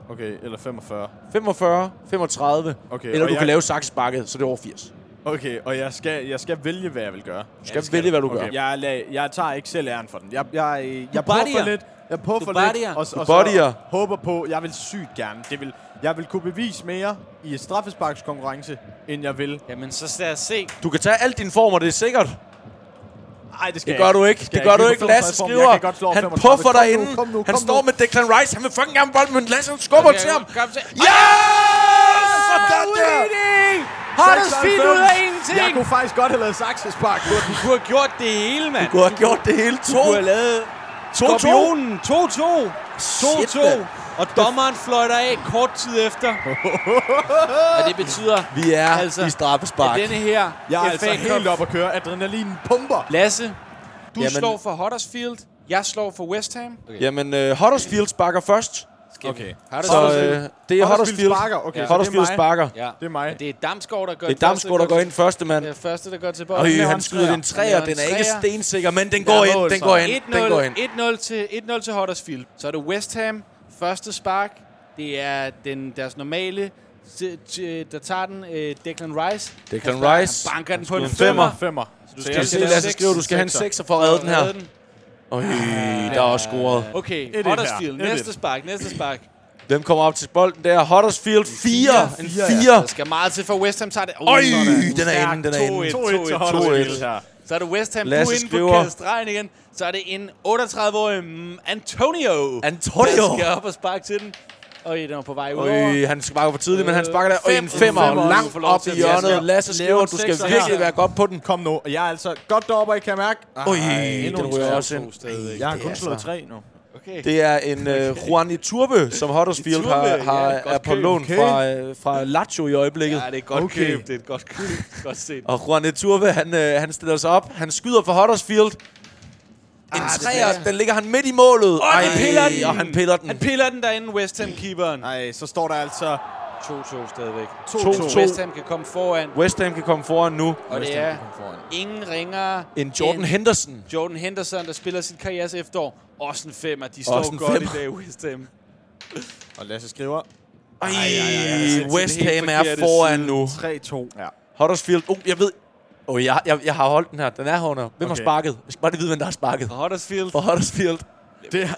Speaker 2: Okay, eller 45.
Speaker 3: 45, 35,
Speaker 2: Okay,
Speaker 3: okay, eller
Speaker 2: og
Speaker 3: du jeg...
Speaker 2: jeg-
Speaker 3: kan lave saksbakket, så det er over 80.
Speaker 2: Okay, og jeg skal, jeg skal vælge, hvad jeg vil gøre.
Speaker 3: Du skal, vælge, hvad du
Speaker 2: Okay.
Speaker 3: gør.
Speaker 2: Jeg, lag, jeg tager ikke selv æren for den. Jeg, jeg, jeg, jeg
Speaker 4: bodyer.
Speaker 2: puffer lidt. Jeg
Speaker 4: Du
Speaker 2: puffer
Speaker 4: bodyer.
Speaker 2: lidt. Og,
Speaker 3: Du
Speaker 2: og
Speaker 3: bodyer.
Speaker 2: så håber på, jeg vil sygt gerne. Det vil, jeg vil kunne bevise mere i et straffesparkskonkurrence, end jeg vil.
Speaker 4: Jamen, så lad os se.
Speaker 3: Du kan tage alle dine former, det er sikkert.
Speaker 2: Nej, det skal
Speaker 3: Det
Speaker 2: jeg
Speaker 3: gør du ikke.
Speaker 2: Skal
Speaker 3: Det gør
Speaker 2: jeg
Speaker 3: du
Speaker 2: kan
Speaker 3: ikke.
Speaker 2: godt slå
Speaker 3: Lasse
Speaker 2: 35 form. Jeg
Speaker 3: skriver.
Speaker 2: kan godt slå
Speaker 3: Han
Speaker 2: 35.
Speaker 3: puffer
Speaker 2: Kom nu,
Speaker 3: dig inden.
Speaker 2: kom nu,
Speaker 3: Han
Speaker 2: kom
Speaker 3: står
Speaker 2: nu.
Speaker 3: med Declan Rice. Han vil fucking gerne bolden, men Lasse han skubber til ham.
Speaker 4: Kom til.
Speaker 3: Ja! Sådan der.
Speaker 4: Udligning! Huddersfield ud af
Speaker 2: Jeg
Speaker 4: ingenting!
Speaker 2: kunne faktisk godt have lavet saksespark på den.
Speaker 4: Du kunne have gjort det hele, mand.
Speaker 3: Du har gjort det hele to.
Speaker 4: Du har lavet
Speaker 3: To, to.
Speaker 4: Skorpionen 2-2.
Speaker 3: Shit,
Speaker 4: 2-2. Og dommeren fløjter af kort tid efter. Og det betyder, at
Speaker 3: Vi er
Speaker 4: Altså,
Speaker 3: i straffespark.
Speaker 4: denne her
Speaker 2: Jeg er altså
Speaker 4: FA
Speaker 2: helt
Speaker 4: Cup
Speaker 2: op at køre. Adrenalinen pumper.
Speaker 4: Lasse, du
Speaker 3: Jamen-
Speaker 4: Jamen. slår for Huddersfield. Jeg slår for West Ham.
Speaker 3: Jamen, uh, Huddersfield sparker først.
Speaker 2: Okay.
Speaker 3: Så øh, det er Huddersfield.
Speaker 2: sparker. Okay, så det er
Speaker 3: Huddersfield
Speaker 2: mig.
Speaker 3: sparker.
Speaker 4: Ja.
Speaker 2: Det er mig.
Speaker 4: Og det er Damsgaard, der gør
Speaker 3: Det er Damsgaard, der går ind første, mand.
Speaker 4: Det er første, der går til
Speaker 3: Øj,
Speaker 4: bolden.
Speaker 3: han skyder den træer. Den er ikke stensikker, men den går ind. Den går ind. Den går ind.
Speaker 4: 1-0, 1-0 til, 1-0 til Huddersfield. Så er det West Ham. Første spark. Det er den, deres normale, se- t- der tager den, øh, Declan Rice.
Speaker 3: Declan
Speaker 4: Han
Speaker 3: Rice.
Speaker 4: banker den på
Speaker 3: skyder
Speaker 4: en
Speaker 3: en
Speaker 4: femmer.
Speaker 2: Femmer.
Speaker 4: Du
Speaker 3: Kan du se, Lasse skriver, du skal have en sekser for at redde den her. Øj, der er også scoret.
Speaker 4: Okay,
Speaker 2: Et-et
Speaker 4: Huddersfield.
Speaker 2: her. Et-et.
Speaker 4: Næste spark, næste spark.
Speaker 3: Hvem kommer op til bolden? Det er Huddersfield 4. En
Speaker 2: fire,
Speaker 3: 4.
Speaker 4: Der skal meget til, for West Ham tager det. Oh,
Speaker 3: Øj, den er inde, den er inde.
Speaker 2: 2-1 til
Speaker 3: 2-1.
Speaker 2: Huddersfield her.
Speaker 4: Så er det West Ham,
Speaker 3: Lasse
Speaker 4: Lasse du er inde på
Speaker 3: skriver-
Speaker 4: kadestregen igen. Så er det en 38-årig mm, Antonio,
Speaker 3: Antonio.
Speaker 4: der skal op og sparke til den. Og den var på vej ud over.
Speaker 3: Øj, han sparker for tidligt, men han sparker der. Øj, en
Speaker 4: Fem.
Speaker 3: Øh, femmer.
Speaker 4: Femmer.
Speaker 3: Langt
Speaker 4: Får lov
Speaker 3: op
Speaker 4: til
Speaker 3: i
Speaker 4: at
Speaker 3: hjørnet.
Speaker 4: lave-
Speaker 3: Lasse
Speaker 2: lave
Speaker 3: skriver,
Speaker 2: en
Speaker 3: du skal
Speaker 2: sekser
Speaker 3: virkelig
Speaker 2: her.
Speaker 3: være godt på den.
Speaker 2: Kom nu. Og jeg er altså godt deroppe, og I kan mærke. Ej,
Speaker 3: Øj,
Speaker 2: endnu
Speaker 3: den
Speaker 2: en
Speaker 3: ryger
Speaker 2: træer.
Speaker 3: også ind.
Speaker 2: Jeg har
Speaker 3: Det er
Speaker 2: kun slået
Speaker 3: altså-
Speaker 2: tre nu.
Speaker 4: Okay.
Speaker 3: Det er en uh, Juan Iturbe, som Huddersfield
Speaker 4: Iturbe,
Speaker 3: har,
Speaker 4: ja,
Speaker 3: har,
Speaker 4: godt
Speaker 3: er på
Speaker 4: køb.
Speaker 3: lån
Speaker 2: Okay.
Speaker 3: fra, øh, fra Lazio i øjeblikket.
Speaker 4: Ja, det er et godt
Speaker 2: Okay.
Speaker 4: okay. køb. Det er et godt køb. godt set.
Speaker 3: Og Juan Iturbe, han, øh, han stiller sig op. Han skyder for Huddersfield.
Speaker 4: Ah,
Speaker 3: En træer, den ligger han midt i målet.
Speaker 4: Og han piller den.
Speaker 3: Og han piller den.
Speaker 4: Han piller den derinde, West Ham-keeperen.
Speaker 2: Nej, så står der altså
Speaker 4: 2-2 stadigvæk.
Speaker 2: 2-2.
Speaker 4: West Ham kan komme foran,
Speaker 3: West Ham kan komme foran nu.
Speaker 4: og det er ingen ringer
Speaker 3: En Jordan Henderson.
Speaker 4: Jordan Henderson, der spiller sin karriere efterår. Også en femmer. De står
Speaker 3: Også en
Speaker 4: godt
Speaker 3: femmer.
Speaker 4: i dag, West Ham.
Speaker 2: Og Lasse skriver
Speaker 3: Ej,
Speaker 4: altså, til
Speaker 3: West
Speaker 4: den helt
Speaker 3: Ham er
Speaker 4: forkerte
Speaker 3: foran
Speaker 4: side.
Speaker 3: nu.
Speaker 2: 3-2. Ja.
Speaker 3: Huddersfield. Oh, jeg ved... Oh, jeg, jeg, jeg har holdt den her. Den er herunder. Hvem har
Speaker 2: Okay.
Speaker 3: sparket? Jeg skal bare lige vide, hvem der har sparket.
Speaker 4: Og Huddersfield.
Speaker 3: For Huddersfield.
Speaker 2: Det,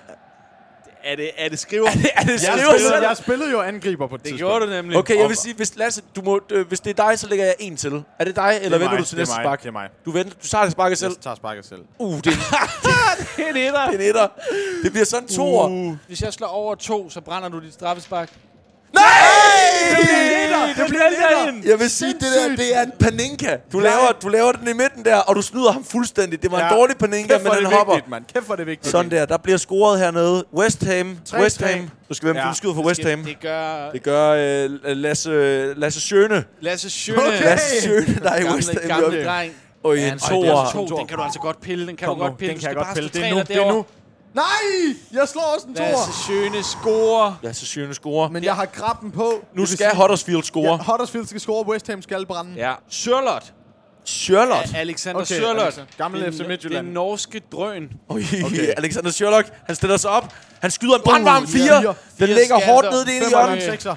Speaker 4: Er det, er det skriver?
Speaker 3: Det er det
Speaker 2: jeg,
Speaker 3: skriver
Speaker 2: spillede,
Speaker 3: selv.
Speaker 2: jeg spillede jo angriber på et
Speaker 4: Det
Speaker 2: tidspunkt.
Speaker 4: gjorde du nemlig.
Speaker 3: Okay, jeg vil sige, hvis, Lasse, du må, øh, hvis det er dig, så lægger jeg en til. Er det dig, eller
Speaker 2: er
Speaker 3: venter
Speaker 2: mig,
Speaker 3: du til
Speaker 2: det er
Speaker 3: næste
Speaker 2: mig,
Speaker 3: spark?
Speaker 2: det er mig.
Speaker 3: Du, venter, du tager det sparket selv.
Speaker 2: Jeg tager sparket selv.
Speaker 3: Uh, det er
Speaker 4: en etter.
Speaker 3: en etter. Det bliver sådan to år. Uh.
Speaker 4: Hvis jeg slår over to, så brænder du dit straffespark.
Speaker 3: Nej!
Speaker 4: Det bliver derinde.
Speaker 3: Jeg vil sige, det der, det er en paninka. Du laver, du laver den i midten der, og du snyder ham fuldstændig. Det var en dårlig paninka,
Speaker 2: Kæft,
Speaker 3: men
Speaker 2: hvor er
Speaker 3: han
Speaker 2: det
Speaker 3: hopper.
Speaker 2: Vigtigt, mand. Kæft, hvor er det vigtigt.
Speaker 3: Sådan der, der bliver scoret hernede. West Ham, West Ham. Du skal hvem
Speaker 2: Ja.
Speaker 3: du skyder for West Ham.
Speaker 4: Det gør
Speaker 3: Det gør øh, Lasse, Lasse Sjøne.
Speaker 4: Lasse Schøne.
Speaker 2: Okay.
Speaker 4: Lasse
Speaker 3: Lasse Sjøne, der er i West
Speaker 4: gamle,
Speaker 3: Ham.
Speaker 4: gamle
Speaker 3: jo.
Speaker 4: dreng.
Speaker 3: Og
Speaker 4: Ja,
Speaker 3: en
Speaker 4: han slår også
Speaker 3: toer.
Speaker 4: to. Den kan du altså godt pille. Den kan
Speaker 2: Kom
Speaker 4: du
Speaker 2: nu,
Speaker 4: godt pille.
Speaker 2: den
Speaker 4: Du
Speaker 2: kan jeg
Speaker 4: skal
Speaker 2: godt
Speaker 4: bare
Speaker 2: pille.
Speaker 4: stå
Speaker 2: Det er nu,
Speaker 4: træner
Speaker 2: det er nu.
Speaker 4: derovre.
Speaker 2: Nej! Jeg slår også en toer.
Speaker 4: Lasse Sjøne scorer.
Speaker 3: Lasse Sjøne scorer.
Speaker 2: Men jeg har krabben på.
Speaker 3: Nu skal Huddersfield
Speaker 2: Ja,
Speaker 3: score.
Speaker 2: Huddersfield skal score, West Ham skal brænde.
Speaker 4: Ja. Sørlot.
Speaker 3: Sherlock.
Speaker 4: Alexander
Speaker 2: Okay,
Speaker 4: Sørlot.
Speaker 2: Alexander. Gammel
Speaker 4: Den-
Speaker 2: FC Midtjylland.
Speaker 4: Den norske drøn.
Speaker 3: Okay. Alexander Sherlock, han stiller sig op. Han skyder en brandvarm
Speaker 2: ja.
Speaker 3: 4. Den
Speaker 4: Fire
Speaker 3: ligger
Speaker 4: skatter.
Speaker 3: hårdt ned i det ene
Speaker 2: Fem og en
Speaker 3: hjørne.
Speaker 2: sekser.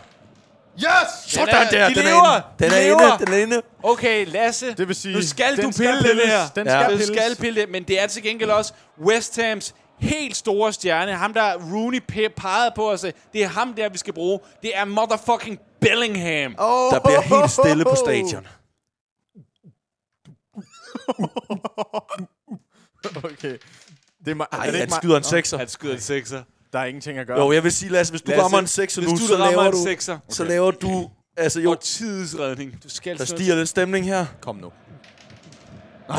Speaker 2: Yes!
Speaker 4: Den
Speaker 3: Sådan
Speaker 4: er-
Speaker 3: der,
Speaker 4: de
Speaker 3: den er
Speaker 4: lever.
Speaker 3: inde. Den
Speaker 4: De
Speaker 3: er
Speaker 4: lever.
Speaker 3: inde, den er inde.
Speaker 4: Okay, Lasse.
Speaker 2: Det vil sige,
Speaker 4: nu skal
Speaker 2: den
Speaker 4: du
Speaker 2: skal
Speaker 4: pille det
Speaker 2: pilles.
Speaker 4: der.
Speaker 2: Den
Speaker 3: Ja.
Speaker 2: skal
Speaker 4: Du
Speaker 2: pilles.
Speaker 4: skal pille det, men det er til gengæld også West Hams helt store stjerne. Ham, der Rooney pe- pegede på os. Det er ham der, vi skal bruge. Det er motherfucking Bellingham.
Speaker 2: Oh.
Speaker 3: Der bliver helt stille på stadion.
Speaker 2: Okay. Det er, mig-
Speaker 3: Ej,
Speaker 2: er det
Speaker 3: han
Speaker 2: ikke mig?
Speaker 3: skyder en sekser.
Speaker 4: Han skyder en sekser.
Speaker 2: Der er ingenting at gøre.
Speaker 3: Jo, jeg vil sige, Lasse, hvis du
Speaker 4: Lasse,
Speaker 3: rammer en sekser
Speaker 4: hvis
Speaker 3: nu,
Speaker 4: du
Speaker 3: så
Speaker 4: rammer
Speaker 3: laver
Speaker 4: en
Speaker 3: du...
Speaker 4: sekser.
Speaker 3: Så laver du... Altså jo,
Speaker 4: Og tidsredning. Du skal
Speaker 3: der
Speaker 4: slå-
Speaker 3: stiger lidt stemning her.
Speaker 2: Kom nu.
Speaker 3: Øj!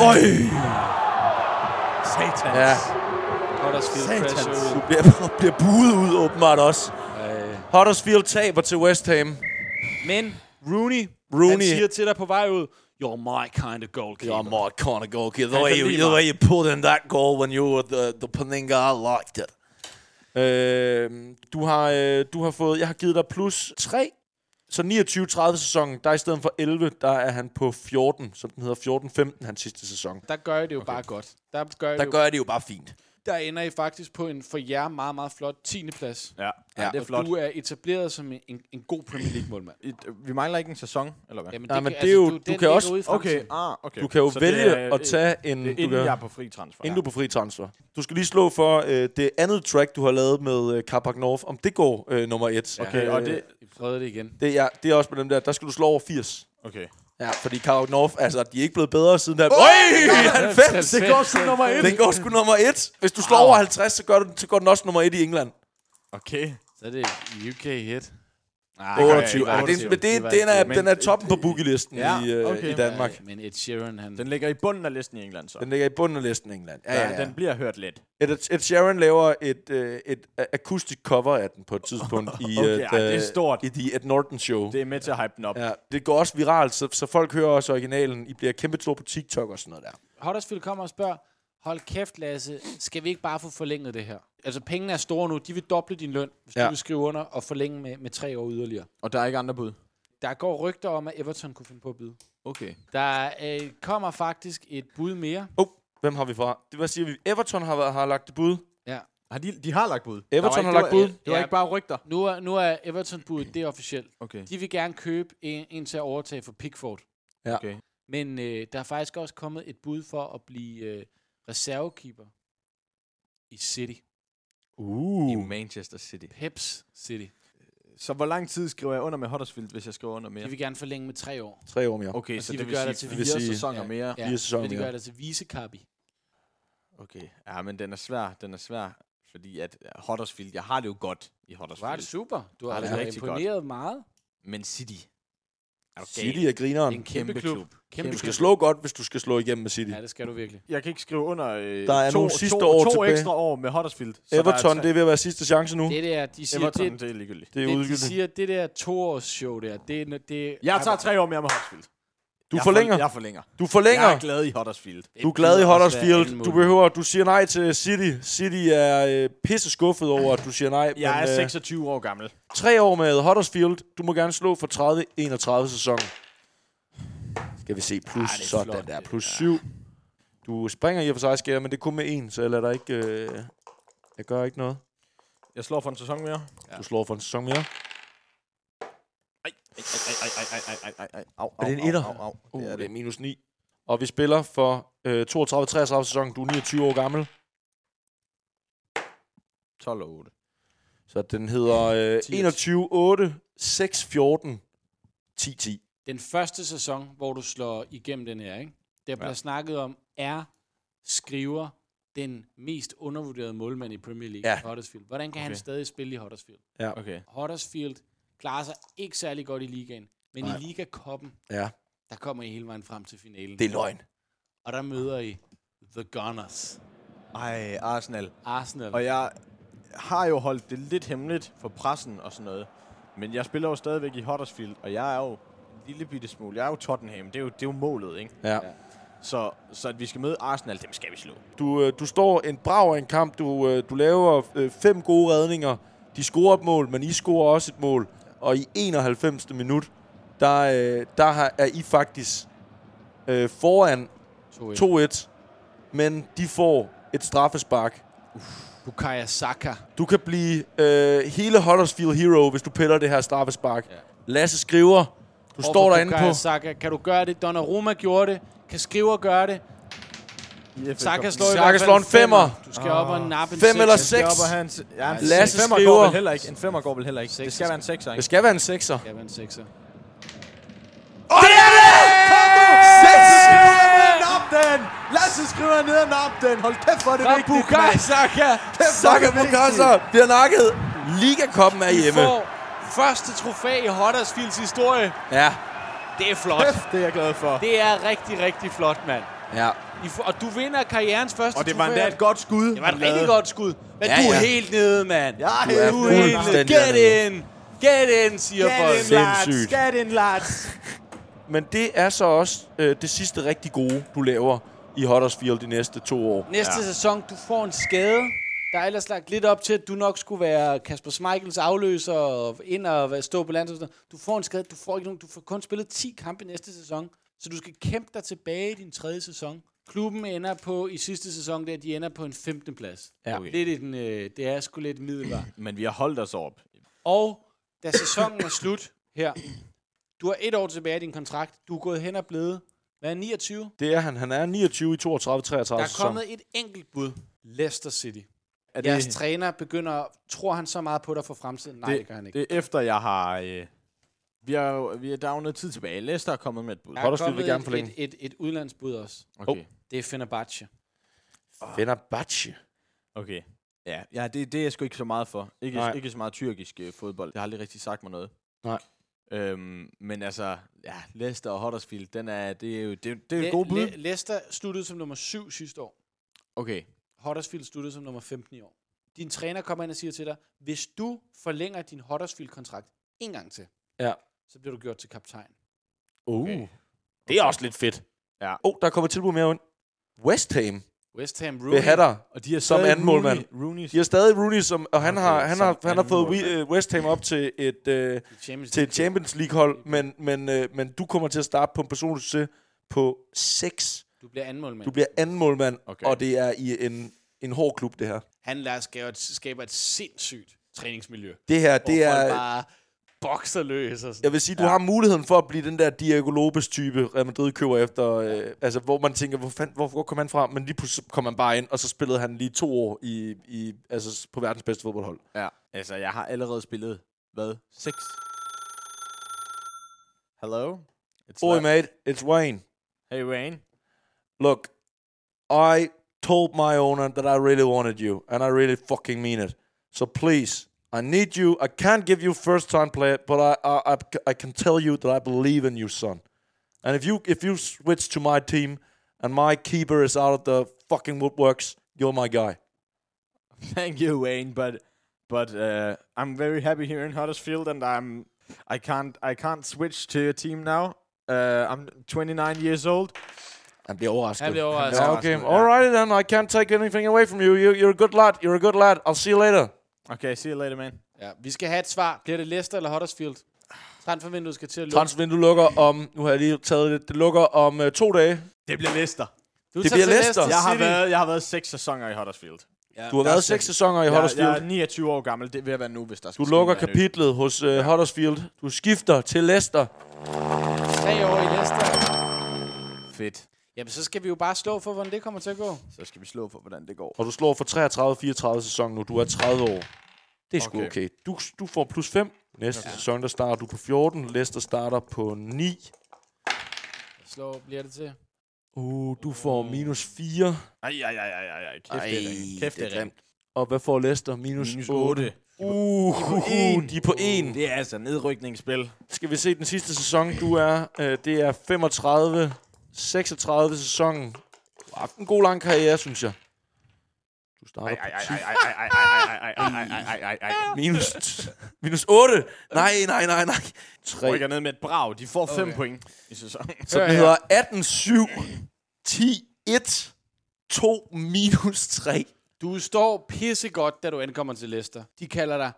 Speaker 2: Satans.
Speaker 3: Ja,
Speaker 4: Huddersfield
Speaker 2: Satans.
Speaker 4: pressure ud.
Speaker 3: du bliver, bliver buet ud åbenbart også. Huddersfield taber til West Ham.
Speaker 4: Men Rooney, han
Speaker 3: Rooney.
Speaker 4: siger til dig på vej ud, You're my kind of goalkeeper.
Speaker 3: You're more corner goalkeeper. The
Speaker 2: Han
Speaker 3: way
Speaker 2: kan
Speaker 3: you,
Speaker 2: lide
Speaker 3: the
Speaker 2: mig.
Speaker 3: way you put in that goal when you were the, the Paninga, I liked it. Øh, du, har, øh, du har fået, jeg har givet dig plus 3. Så 29-30 sæsonen, der er i stedet for 11, der er han på 14. Så den hedder 14-15, hans sidste sæson.
Speaker 4: Der gør I det jo bare godt. Der gør I
Speaker 3: Der
Speaker 4: det jo
Speaker 3: gør jeg det jo bare fint.
Speaker 4: der ender I faktisk på en for jer meget, meget flot 10. plads.
Speaker 2: Ja, ja, det er
Speaker 4: og
Speaker 2: flot.
Speaker 4: du er etableret som en, en god Premier League-målmand.
Speaker 2: Et, vi mangler ikke en sæson, eller hvad?
Speaker 4: Jamen,
Speaker 3: Nej,
Speaker 4: kan- altså,
Speaker 3: men det er jo- du
Speaker 4: den
Speaker 3: kan også-
Speaker 4: ligger ude i
Speaker 2: Okay,
Speaker 4: fremtiden.
Speaker 2: ah, okay.
Speaker 3: Du kan jo
Speaker 2: Så det
Speaker 3: vælge
Speaker 2: er,
Speaker 3: at tage en...
Speaker 2: Det er
Speaker 3: du
Speaker 2: inden
Speaker 3: kan,
Speaker 2: jeg er på fri transfer.
Speaker 3: Inden du er på fri transfer. Du skal lige slå for øh, det andet track, du har lavet med øh, Carpark North, om det går øh, nummer et.
Speaker 2: Okay, og det...
Speaker 4: Vi prøvede det igen.
Speaker 3: Det er, det er også på dem der, der skal du slå over 80.
Speaker 2: Okay.
Speaker 3: Ja, fordi Carpark North, altså, de er ikke blevet bedre siden der. Øj! 90!
Speaker 2: Det går sgu nummer et.
Speaker 3: Den går sgu nummer et. Hvis du slår over 50, så, gør du, så går den også nummer et i England.
Speaker 2: Okay.
Speaker 4: Så er det
Speaker 2: det
Speaker 4: UK hit.
Speaker 2: gør jeg
Speaker 3: 28.
Speaker 2: ikke.
Speaker 3: Ej, det, er- men det, den, er, den er toppen på boogielisten
Speaker 2: Ja,
Speaker 3: i, øh,
Speaker 2: okay.
Speaker 3: i Danmark.
Speaker 4: Men Ed Sheeran, han...
Speaker 2: Den ligger i bunden af listen i England, så.
Speaker 3: Den ligger i bunden af listen i England. Ja, ja, ja.
Speaker 2: Den bliver hørt lidt.
Speaker 3: Ed, Ed Sheeran laver et, øh, et a- akustisk cover af den på et tidspunkt i,
Speaker 2: Okay,
Speaker 3: øh,
Speaker 2: ej, det er stort.
Speaker 3: i The Ed Norton Show.
Speaker 2: Det er med til at hype den op.
Speaker 3: Ja, det går også viralt, så, så folk hører også originalen. I bliver kæmpe store på TikTok og sådan noget der.
Speaker 4: Huddersfield kommer og spørger, hold kæft, Lasse, skal vi ikke bare få forlænget det her? Altså, pengene er store nu. De vil doble din løn, hvis
Speaker 3: Ja.
Speaker 4: ja. du vil skrive under og forlænge med, med tre år yderligere.
Speaker 2: Og der er ikke andre bud.
Speaker 4: Der går rygter om, at Everton kunne finde på at byde.
Speaker 2: Okay.
Speaker 4: Der øh, kommer faktisk et bud mere.
Speaker 3: Oh, hvem har vi fra? Det vil sige, vi Everton har, været- har lagt det bud.
Speaker 2: Har de, de har lagt bud.
Speaker 3: Everton
Speaker 2: Der var ikke-
Speaker 3: har
Speaker 2: det
Speaker 3: lagt
Speaker 2: var-
Speaker 3: bud.
Speaker 2: Det var
Speaker 4: Ja.
Speaker 2: ikke bare rygter.
Speaker 4: Nu er, nu er Everton-budet, det er officielt.
Speaker 2: Okay.
Speaker 4: De vil gerne købe en, en til at overtage for Pickford.
Speaker 3: Ja.
Speaker 2: Okay.
Speaker 4: Men øh, der er faktisk også kommet et bud for at blive øh, reservekeeper i City.
Speaker 2: I
Speaker 3: Uh.
Speaker 2: Manchester City.
Speaker 4: Peps City.
Speaker 2: Så hvor lang tid skriver jeg under med Huddersfield, hvis jeg skriver under
Speaker 4: De
Speaker 2: mere?
Speaker 4: vil gerne forlænge med tre år.
Speaker 3: Tre år mere.
Speaker 2: Okay,
Speaker 4: Og
Speaker 2: så
Speaker 4: de
Speaker 2: det
Speaker 4: vil
Speaker 2: vil
Speaker 4: gøre
Speaker 2: sige
Speaker 4: det til
Speaker 2: fire,
Speaker 3: fire
Speaker 2: sæsoner
Speaker 4: ja.
Speaker 2: mere.
Speaker 4: Ja.
Speaker 3: Fire sæsoner
Speaker 4: Men de
Speaker 3: mere.
Speaker 4: gør det altså til visekapi.
Speaker 2: Okay. Ja, men den er svær. Den er svær. Fordi at Huddersfield, jeg har det jo godt i
Speaker 4: Så er det
Speaker 2: Huddersfield.
Speaker 4: super. Du har
Speaker 2: Ja, det er
Speaker 4: altså
Speaker 2: rigtig
Speaker 4: imponeret godt. meget.
Speaker 2: Men City. Er du gal?
Speaker 3: City er
Speaker 4: Det er
Speaker 3: grineren.
Speaker 4: en kæmpe,
Speaker 2: kæmpe
Speaker 4: klub.
Speaker 2: klub.
Speaker 4: Kæmpe
Speaker 3: Du skal
Speaker 4: klub.
Speaker 3: slå godt, hvis du skal slå igennem med City.
Speaker 4: Ja, det skal du virkelig.
Speaker 2: Jeg kan ikke skrive under øh,
Speaker 3: Der er
Speaker 2: to,
Speaker 3: nogle sidste
Speaker 2: to,
Speaker 3: år
Speaker 2: to
Speaker 3: tilbage.
Speaker 2: ekstra år med Huddersfield. Så
Speaker 3: Everton,
Speaker 2: der
Speaker 3: det er ved at være sidste chance
Speaker 2: Uh.
Speaker 3: nu.
Speaker 4: Det der, de siger,
Speaker 2: Everton,
Speaker 4: det,
Speaker 2: det, det er ligegyldigt.
Speaker 3: Det er
Speaker 4: det, de
Speaker 3: udgivende.
Speaker 4: siger, det der toårsshow der, det, er- det
Speaker 2: Jeg tager tre år mere med Huddersfield.
Speaker 3: Du
Speaker 2: jeg
Speaker 3: forlænger.
Speaker 2: For, jeg forlænger.
Speaker 3: Du forlænger.
Speaker 2: Jeg er glad i Huddersfield.
Speaker 3: Du er glad i
Speaker 4: kunne også være alt
Speaker 3: Huddersfield. Du
Speaker 4: muligt.
Speaker 3: behøver, du siger nej til City. City er øh, pisse skuffet over, at du siger nej.
Speaker 2: Jeg er
Speaker 3: men, øh,
Speaker 2: 26 år gammel.
Speaker 3: tre år med Huddersfield. Du må gerne slå for 30-31 sæsonen. Skal vi se. Plus
Speaker 4: Ah, det er
Speaker 3: sådan
Speaker 4: flot,
Speaker 3: der.
Speaker 4: det
Speaker 3: Plus 7. Du springer i og for sig, skærer, men det er kun med en, så jeg lader dig ikke... Øh, jeg gør ikke noget.
Speaker 2: Jeg slår for en sæson mere.
Speaker 3: Ja. Du slår for en sæson mere.
Speaker 2: Ej, ej, ej, ej, ej, ej, ej, ej, ej. Au,
Speaker 3: Er det en
Speaker 2: au,
Speaker 3: etter?
Speaker 2: Au, au, au.
Speaker 3: Uh,
Speaker 2: det er det.
Speaker 3: minus 9. Og vi spiller for øh, 32-33 sæsonen. Du er 29 år gammel.
Speaker 2: 12 og 8.
Speaker 3: Så den hedder øh, 21 8 6 14 10 10.
Speaker 4: den første sæson, hvor du slår igennem den her, ikke? der bliver
Speaker 2: Ja.
Speaker 4: ja. snakket om, er skriver den mest undervurderede målmand i Premier League
Speaker 3: Ja.
Speaker 4: ja. i Huddersfield. Hvordan kan okay. han
Speaker 2: Okay.
Speaker 4: stadig spille i Huddersfield?
Speaker 2: Okay.
Speaker 4: Huddersfield klarer sig ikke særlig godt i ligaen, men
Speaker 3: Nej.
Speaker 4: Nej. i ligakoppen,
Speaker 3: Ja,
Speaker 4: der kommer I hele vejen frem til finalen.
Speaker 3: det er løgn.
Speaker 4: Og der møder I The Gunners,
Speaker 2: Ej, Arsenal.
Speaker 4: Arsenal.
Speaker 2: Og jeg har jo holdt det lidt hemmeligt for pressen og sådan noget. Men jeg spiller jo stadigvæk i Huddersfield, og jeg er jo en lille bitte smule. Jeg er jo Tottenham. Det er jo, det er jo målet, ikke?
Speaker 3: Ja.
Speaker 2: Så, så at vi skal møde Arsenal, dem skal vi slå.
Speaker 3: Du, øh, du står en brav af en kamp. Du, øh, du laver øh, fem gode redninger. De scorer et mål, men I scorer også et mål. Og i 91. minut, der, øh, der har- er I faktisk øh, foran
Speaker 4: 2-1.
Speaker 3: 2-1. Men de får et straffespark.
Speaker 4: Bukayo Saka.
Speaker 3: Du kan blive øh, hele Huddersfield Hero, hvis du piller det her straffespark. Ja. Lasse skriver. Du står
Speaker 4: Overfor
Speaker 3: derinde
Speaker 4: Bukayo
Speaker 3: på...
Speaker 4: Saka. Kan du gøre det? Donnarumma gjorde det. Kan skriver gøre det? Saka slår, i
Speaker 3: Saka
Speaker 4: hvert fald
Speaker 3: slår en femmer.
Speaker 4: Du skal op og nappe en
Speaker 3: Fem eller
Speaker 4: sekser.
Speaker 3: seks.
Speaker 2: Op, og han, ja, en
Speaker 3: Lasse
Speaker 2: femmer
Speaker 3: skriver-
Speaker 2: Går vel heller ikke. En femmer går vel heller ikke. Det
Speaker 4: Seks.
Speaker 2: skal være en sekser,
Speaker 3: Det
Speaker 2: ikke?
Speaker 3: skal være en sekser.
Speaker 4: Det skal være en sekser.
Speaker 3: Og det er det! Seks!
Speaker 2: Nap den! Lasse skriver ned og nap den! Hold kæft, hvor er det vigtigt,
Speaker 4: Bukayo
Speaker 2: mand!
Speaker 4: Saka
Speaker 2: Kæft, hvor er
Speaker 3: Saka
Speaker 2: det vigtigt.
Speaker 3: Bukasa bliver nakket. Ligakoppen er hjemme.
Speaker 4: får første trofæ i Huddersfields historie.
Speaker 3: Ja,
Speaker 4: Det er flot.
Speaker 2: Kæft, det er jeg glad for.
Speaker 4: Det er rigtig, rigtig flot, mand.
Speaker 3: ja.
Speaker 4: I får, og du vinder karrierens første
Speaker 2: Og det var
Speaker 4: trofæ.
Speaker 2: endda et godt skud.
Speaker 4: Det var et rigtig godt skud. Men
Speaker 3: Ja,
Speaker 4: ja, du er
Speaker 3: ja.
Speaker 4: helt nede, mand.
Speaker 2: Ja,
Speaker 4: du er
Speaker 2: ja,
Speaker 4: helt nede.
Speaker 3: fuldstændig
Speaker 4: Get
Speaker 3: nede.
Speaker 4: in. Get in, siger folk.
Speaker 2: Get in,
Speaker 3: Sindssygt.
Speaker 2: lads! Get in, lads!
Speaker 3: Men det er så også øh, det sidste rigtig gode, du laver i Huddersfield de næste to år.
Speaker 4: Næste ja. sæson, du får en skade. Der er ellers lagt lidt op til, at du nok skulle være Kasper Schmeichels afløser og ind og være- stå på landet. Du får en skade, du får, ikke nogen, du får kun spillet 10 kampe næste sæson. Så du skal kæmpe dig tilbage i din tredje sæson. Klubben ender på, i sidste sæson, der de ender på en 15. plads.
Speaker 3: Ja.
Speaker 4: Okay. Lidt i den, øh, det er sgu lidt middelbar.
Speaker 2: Men vi har holdt os op.
Speaker 4: Og da sæsonen er slut her, du har et år tilbage i din kontrakt, du er gået hen og blevet, hvad er 29?
Speaker 3: Det er han. Han er 29 i 32, 33
Speaker 4: Der er kommet et enkelt bud. Leicester City.
Speaker 2: Er det,
Speaker 4: Jeres træner begynder, tror han så meget på dig for fremtiden? Nej, det, det gør han ikke.
Speaker 2: det er efter, jeg har... Øh, vi har, jo- vi har, der er jo noget tid tilbage. Leicester er kommet med et bud.
Speaker 4: Der er
Speaker 3: Huddersfield vil
Speaker 4: kommet
Speaker 3: gerne
Speaker 4: et-
Speaker 3: forlænge.
Speaker 4: Et, et, et udlandsbud også. Oh,
Speaker 2: Okay.
Speaker 4: Det er Fenerbahce.
Speaker 3: Fenerbahce.
Speaker 2: Okay. Ja, ja det, det er jeg sgu ikke så meget for. Ikke,
Speaker 3: Nej.
Speaker 2: ikke så meget tyrkisk øh, fodbold. Det har aldrig rigtig sagt mig noget.
Speaker 3: Nej.
Speaker 2: Øhm, men altså, ja, Leicester og Huddersfield, den er, det er jo det, er jo- det er
Speaker 4: Le-
Speaker 2: jo gode bud.
Speaker 4: Le- Leicester sluttede som nummer 7 sidste år.
Speaker 2: Okay.
Speaker 4: Huddersfield sluttede som nummer 15 i år. Din træner kommer ind og siger til dig, hvis du forlænger din Huddersfield-kontrakt en gang til,
Speaker 3: Ja.
Speaker 4: så bliver du gjort til kaptajn.
Speaker 3: Uh.
Speaker 2: Okay.
Speaker 3: Det er også lidt fedt.
Speaker 2: Ja.
Speaker 3: Oh, der kommer tilbud mere ind. West Ham
Speaker 4: West Ham Rooney.
Speaker 3: vil have dig.
Speaker 2: Og de er
Speaker 3: Som
Speaker 2: stadig
Speaker 3: anden målmand.
Speaker 2: Rooney, Rooney.
Speaker 3: De har stadig Rooney, som, og han, okay,
Speaker 2: Okay,
Speaker 3: har, han,
Speaker 2: som
Speaker 3: har, han har
Speaker 2: anden
Speaker 3: fået
Speaker 2: målmand.
Speaker 3: Wi- øh, West Ham op til et, øh,
Speaker 4: i Champions
Speaker 3: til et
Speaker 4: League.
Speaker 3: Champions League-hold, men, men, øh, men du kommer til at starte på en personlig succes på 6.
Speaker 4: Du bliver anmålmand.
Speaker 3: Du bliver anden målmand,
Speaker 2: Okay.
Speaker 3: okay. og det er i en, en hård klub, det her.
Speaker 4: Han Lars skaber et, skaber et sindssygt træningsmiljø.
Speaker 3: Det her,
Speaker 4: Hvor det
Speaker 3: det
Speaker 4: er...
Speaker 3: er...
Speaker 4: folk bare bokser løs og sådan.
Speaker 3: Jeg vil sige, du ja. har muligheden for at blive den der Diego Lopez-type, Real Madrid køber efter. Øh, altså, hvor man tænker, hvor, fand, hvor, hvor kom han fra? Men lige pludselig kom han bare ind, og så spillede han lige to år i, i, altså, på verdens bedste fodboldhold.
Speaker 2: Ja. Altså, jeg har allerede spillet, hvad? Seks. Hello? It's
Speaker 3: Oi,
Speaker 2: Ra-
Speaker 3: mate, it's Wayne.
Speaker 2: Hey, Wayne.
Speaker 3: Look, I told my owner that I really wanted you, and I really fucking mean it. So please, I need you. I can't give you first time play, but I, I, I, I can tell you that I believe in you, son. And if you if you switch to my team and my keeper is out of the fucking woodworks, you're my guy.
Speaker 2: Thank you, Wayne, but but uh, I'm very happy here in Huddersfield, and I'm I can't I can't switch to your team now. Uh, I'm 29 years old.
Speaker 3: Han bliver overrasket.
Speaker 4: Han bliver overrasket.
Speaker 3: Ja, okay. All right then. I can't take anything away from you. you. You're a good lad. You're a good lad. I'll see you later.
Speaker 2: Okay, see you later, man.
Speaker 4: Ja, vi skal have et svar. Bliver det Leicester eller Huddersfield? Transfervinduet skal til at lukke.
Speaker 3: Transfervinduet lukker om... Nu har jeg lige taget lidt. Det lukker om øh, to dage.
Speaker 2: Det bliver Leicester.
Speaker 4: du
Speaker 3: det
Speaker 4: tager
Speaker 3: bliver
Speaker 4: til
Speaker 3: Leicester.
Speaker 2: Jeg har
Speaker 4: City.
Speaker 2: været jeg har været seks sæsoner i Huddersfield.
Speaker 3: Du har været seks sæsoner i Huddersfield.
Speaker 2: Jeg, jeg er 29 år gammel. Det vil jeg være nu, hvis der skal
Speaker 3: Du
Speaker 2: ske
Speaker 3: lukker
Speaker 2: noget nyt.
Speaker 3: kapitlet hos øh, Huddersfield. Du skifter til Leicester.
Speaker 4: Tre år i Leicester.
Speaker 2: Fedt.
Speaker 4: Jamen, så skal vi jo bare slå for, hvordan det kommer til at gå.
Speaker 2: Så skal vi slå for, hvordan det går.
Speaker 3: Og du slår for 33-34 sæson nu. Du er 30 år. Det er sgu okay.
Speaker 2: Okay.
Speaker 3: okay. Du, du får plus 5. Næste ja. sæson, der starter du på 14. Leicester starter på 9.
Speaker 4: Slå bliver det til.
Speaker 3: Uh, du får minus 4.
Speaker 2: Ej, ej, ej, ej, ej, ej. Kæft, det er ringe. Kæft, det er ringe.
Speaker 3: Og hvad får Leicester? Minus,
Speaker 2: Minus
Speaker 3: 8.
Speaker 2: 8.
Speaker 3: Uh, de er på 1.
Speaker 2: Det er altså nedrykningsspil.
Speaker 3: Skal vi se den sidste sæson, du er. Øh, det er 35 36 sæsonen. Du har haft en god lang karriere, synes jeg. Du starter
Speaker 2: Ej,
Speaker 3: på
Speaker 2: ej, ej, ej, ej, ej, ej, ej, ej, ej, ej, ej, ej, ej.
Speaker 3: Minus, minus 8. Nej, nej, nej, nej. 3.
Speaker 2: rykker ned med et brag. De får 5 okay. point i sæsonen.
Speaker 3: Så det hedder 18, 7, 10, 1, 2, minus 3.
Speaker 4: Du står pissegodt, da du ankommer til Leicester. De kalder dig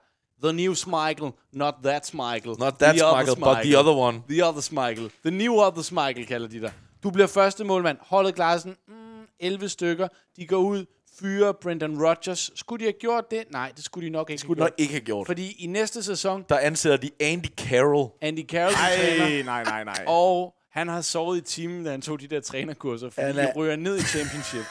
Speaker 4: The News Michael, not That's Michael.
Speaker 3: Not that
Speaker 4: the
Speaker 3: Michael, but the other one.
Speaker 4: The Others Michael. The New Others Michael kalder de dig. Du bliver første målmand. Holdet klarer sådan mm, 11 stykker. De går ud, fyrer Brendan Rodgers. Skulle de have gjort det? Nej, det skulle de nok ikke
Speaker 3: Skulle
Speaker 4: have
Speaker 3: nok ikke have gjort.
Speaker 4: gjort. Fordi i næste sæson,
Speaker 3: Der ansætter de Andy Carroll.
Speaker 4: Andy Carroll som træner,
Speaker 2: Nej, nej, nej, nej.
Speaker 4: og han har sovet i timen, da han tog de der trænerkurser, fordi
Speaker 3: Han
Speaker 4: de
Speaker 3: er-
Speaker 4: ryger ned i championship.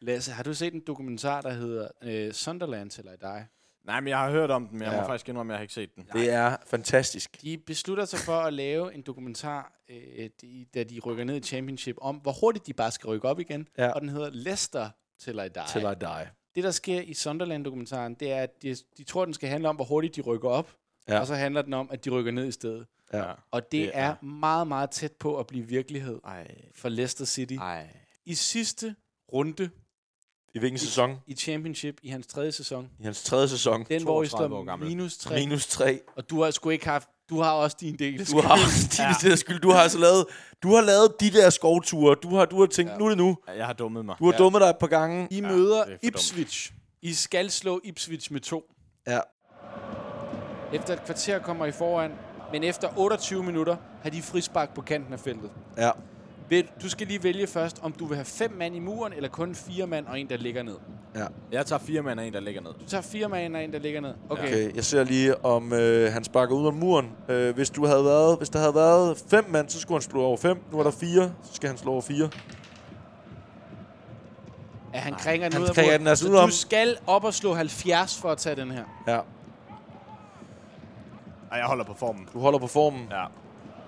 Speaker 4: Lasse, har du set en dokumentar, der hedder øh, Sunderland til dig?
Speaker 2: Nej, men jeg har hørt om den, men jeg ja. må
Speaker 3: Ja.
Speaker 2: faktisk indrømme, at jeg har ikke set den.
Speaker 3: Det er fantastisk.
Speaker 4: De beslutter sig for at lave en dokumentar, øh, de, da de rykker ned i championship, om hvor hurtigt de bare skal rykke op igen.
Speaker 3: Ja.
Speaker 4: Og den hedder Leicester til dig.
Speaker 3: Til I die.
Speaker 4: Det, der sker i Sunderland-dokumentaren, det er, at de, de tror, den skal handle om, hvor hurtigt de rykker op.
Speaker 3: Ja.
Speaker 4: Og så handler den om, at de rykker ned i stedet.
Speaker 3: Ja.
Speaker 4: Og det,
Speaker 2: Det
Speaker 4: det er, er meget, meget tæt på at blive virkelighed
Speaker 2: Ej,
Speaker 4: for Leicester City.
Speaker 2: ej.
Speaker 4: I sidste runde
Speaker 3: I hvilken sæson?
Speaker 4: i Championship i hans tredje sæson,
Speaker 3: I hans tredje sæson.
Speaker 4: den hvor I
Speaker 2: 32 år
Speaker 4: står
Speaker 2: gammel.
Speaker 4: minus 3, minus.
Speaker 3: Minus 3.
Speaker 4: og du har sgu ikke haft, du har også din del. af
Speaker 3: Du har din ja. skyld. Du har altså lavet, du har lavet de der skovture. Du har, du har tænkt, ja. nu er det nu.
Speaker 2: Jeg har dummet mig.
Speaker 3: Du har ja. dummet dig et par gange.
Speaker 4: I
Speaker 3: I,
Speaker 4: møder
Speaker 2: det er for dumt.
Speaker 4: Ipswich. I skal slå Ipswich med to.
Speaker 3: ja.
Speaker 4: Efter et kvarter kommer I foran, men efter 28 minutter har de frispark på kanten af feltet.
Speaker 3: Ja.
Speaker 4: Vil- Du skal lige vælge først, om du vil have fem mand i muren, eller kun fire mand og en, der ligger ned.
Speaker 2: Jeg tager fire mand og en, der ligger ned.
Speaker 4: Du tager fire mand og en, der ligger ned. Okay. okay.
Speaker 3: Okay, jeg ser lige, om øh, han sparker ud af muren. Øh, hvis, du havde været, hvis der havde været fem mand, så skulle han slå over fem. Nu er der fire, så skal han slå over fire.
Speaker 4: Ja, han kringer den
Speaker 3: han
Speaker 4: ud af
Speaker 3: kringer
Speaker 4: muren.
Speaker 3: den altså
Speaker 4: Så
Speaker 3: udenom.
Speaker 4: du skal op og slå 70 for at tage den her.
Speaker 3: Ja,
Speaker 2: Ej, jeg holder på formen.
Speaker 3: du holder på formen.
Speaker 2: Ja.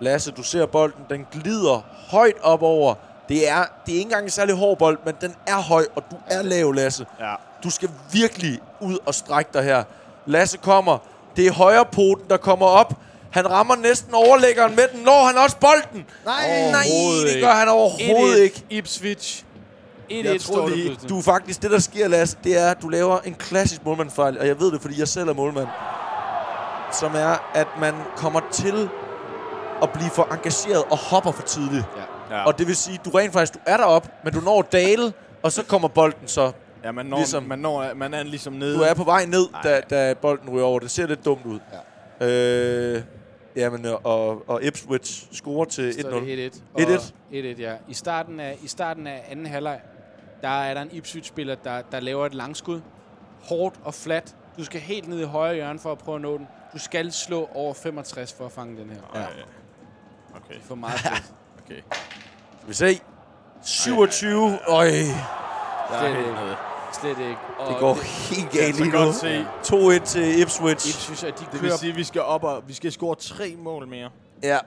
Speaker 3: Lasse, du ser bolden, den glider højt op over. Det er, det er ikke engang en særlig hård bold, men den er høj, og du er lav, Lasse.
Speaker 2: Ja.
Speaker 3: Du skal virkelig ud og strække dig her. Lasse kommer. Det er højre poten, der kommer op. Han rammer næsten overlæggeren med den. Når han også bolden? Nej, Nej det gør han overhovedet
Speaker 4: 1-1
Speaker 3: ikke.
Speaker 4: Ipswich. 1-1
Speaker 2: Jeg troede
Speaker 4: står der
Speaker 2: lige,
Speaker 4: pludselig.
Speaker 3: Du er faktisk, det der sker, Lasse, det er, at du laver en klassisk målmandfejl, og jeg ved det, fordi jeg selv er målmand, som er, at man kommer til at blive for engageret og hopper for tidligt.
Speaker 2: Ja.
Speaker 3: Og det vil sige, du rent faktisk, du er derop, men du når at dale, og så kommer bolden så.
Speaker 2: ja, man når,
Speaker 3: ligesom-
Speaker 2: ligesom, man, når, man er ligesom nede.
Speaker 3: Du er på vej ned, da, da bolden ryger over. Det ser lidt dumt ud. Ja. Øh, jamen, og, og Ipswich scorer til 1-0.
Speaker 4: står det 1-1. Og
Speaker 3: 1-1.
Speaker 4: 1-1, ja. I starten af, i starten af anden halvleg, der er der en Ipswich-spiller, der, der laver et langskud. Hårdt og fladt. Du skal helt ned i højre hjørne for at prøve at nå den. Du skal slå over 65 for at fange den her. Ja.
Speaker 2: Ja. Okay,
Speaker 4: For meget pis.
Speaker 2: okay.
Speaker 3: Skal vi se. 27. Øj,
Speaker 2: Jeg er
Speaker 4: Det-
Speaker 2: helt nede.
Speaker 4: Slet ikke. Og
Speaker 3: det går helt
Speaker 2: Jeg
Speaker 3: galt lige
Speaker 2: kan
Speaker 3: nu.
Speaker 2: godt se.
Speaker 3: 2-1 til Ipswich.
Speaker 4: Ipswich, og de
Speaker 2: Det vil
Speaker 4: kører,
Speaker 2: sige, at vi skal op og vi skal score tre mål mere.
Speaker 3: Ja,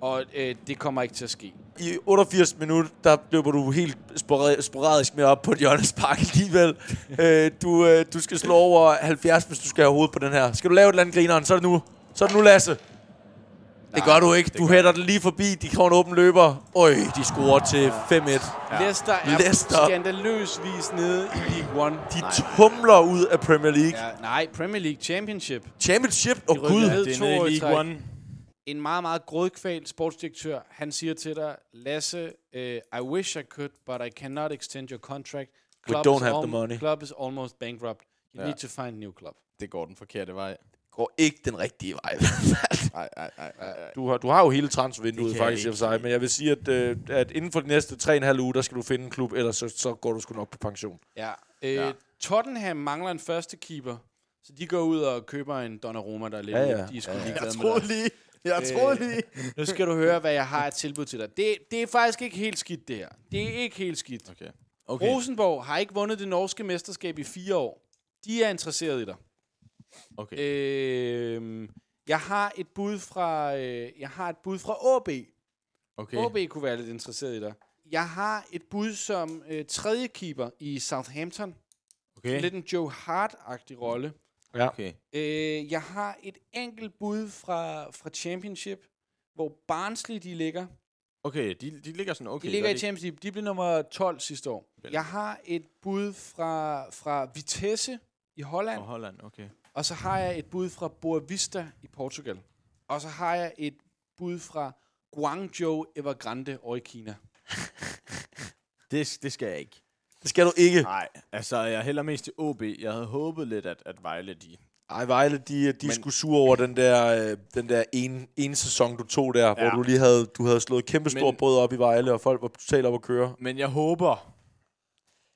Speaker 4: og øh, det kommer ikke til at ske.
Speaker 3: i 88 minut, der løber du helt spora- sporadisk med op på et hjørnespark alligevel. øh, du, øh, du skal slå over 70, hvis du skal have hovedet på den her. Skal du lave et eller andet grineren, så er det nu. Så er det nu, Lasse. Nej, det gør du ikke. Du hætter den lige forbi. De kommer en åben løber. Øj, de scorer til 5-1.
Speaker 4: Ja. Leicester
Speaker 3: Leicester.
Speaker 4: er Leicester. skandaløsvis nede i League One.
Speaker 3: De tumler ud af Premier League. Ja.
Speaker 4: Ja, nej, Premier League Championship.
Speaker 3: Championship? Åh, oh,
Speaker 4: rykker
Speaker 3: Gud.
Speaker 4: ned.
Speaker 2: Det er
Speaker 4: To år
Speaker 2: nede
Speaker 4: i
Speaker 2: i League
Speaker 4: træk.
Speaker 2: One.
Speaker 4: en meget, meget grådkvalt sportsdirektør, han siger til dig, Lasse, uh, I wish I could, but I cannot extend your contract.
Speaker 3: don't
Speaker 4: is
Speaker 3: have
Speaker 4: alm-
Speaker 3: the money."
Speaker 4: Club is almost bankrupt. You
Speaker 2: Ja.
Speaker 4: need to find a new club.
Speaker 2: Det går den forkerte vej.
Speaker 3: Går ikke den rigtige vej.
Speaker 2: Ej, ej, ej, ej, ej.
Speaker 3: du, har, du har jo hele transfervinduet
Speaker 2: Det kan
Speaker 3: faktisk i og for sig, men jeg vil sige, at, øh, at inden for de næste 3,5 uger, der skal du finde en klub, ellers så, så går du sgu nok på pension.
Speaker 4: Ja. Uh, ja. Tottenham mangler en første keeper, så de går ud og køber en Donnarumma, der er lidt
Speaker 3: Ja,
Speaker 4: ja,
Speaker 3: ja.
Speaker 4: ja. De er sgu ja,
Speaker 2: Jeg
Speaker 4: ligeglade med
Speaker 2: troede
Speaker 4: dig.
Speaker 2: lige. Jeg
Speaker 4: Øh,
Speaker 2: troede lige.
Speaker 4: Nu skal du høre, hvad jeg har et tilbud til dig. Det, det er faktisk ikke helt skidt, det her. Det er ikke helt skidt.
Speaker 2: Okay.
Speaker 4: Okay. Rosenborg har ikke vundet det norske mesterskab i fire år. De er interesseret i dig.
Speaker 2: Okay.
Speaker 4: Øh, jeg har et bud fra øh, jeg har et bud fra AB.
Speaker 2: Okay.
Speaker 4: AB kunne være lidt interesseret i dig. Jeg har et bud som øh, tredje keeper i Southampton.
Speaker 2: Okay.
Speaker 4: Lidt en Joe Hart-agtig rolle.
Speaker 2: Okay.
Speaker 4: Øh, jeg har et enkelt bud fra, fra Championship, hvor Barnsley de ligger.
Speaker 2: Okay, de, de ligger sådan okay.
Speaker 4: De ligger
Speaker 2: gør
Speaker 4: i Champions League. De blev nummer 12 sidste år. Jeg har et bud fra, fra Vitesse i Holland.
Speaker 2: Og Holland, okay.
Speaker 4: Og så har jeg et bud fra Boavista i Portugal. Og så har jeg et bud fra Guangzhou Evergrande over i Kina.
Speaker 2: Det, det skal jeg ikke.
Speaker 3: Det skal du ikke.
Speaker 2: Nej, altså jeg hælder mest til OB. Jeg havde håbet lidt, at, at Vejle de...
Speaker 3: Ej, Vejle, de, de skulle sure over den der, øh, den der ene, ene sæson, du tog der, ja. hvor
Speaker 2: Ja.
Speaker 3: du lige havde, du havde slået kæmpe stor
Speaker 2: Men-
Speaker 3: brød op i Vejle, og folk var totalt op at køre.
Speaker 2: Men jeg håber,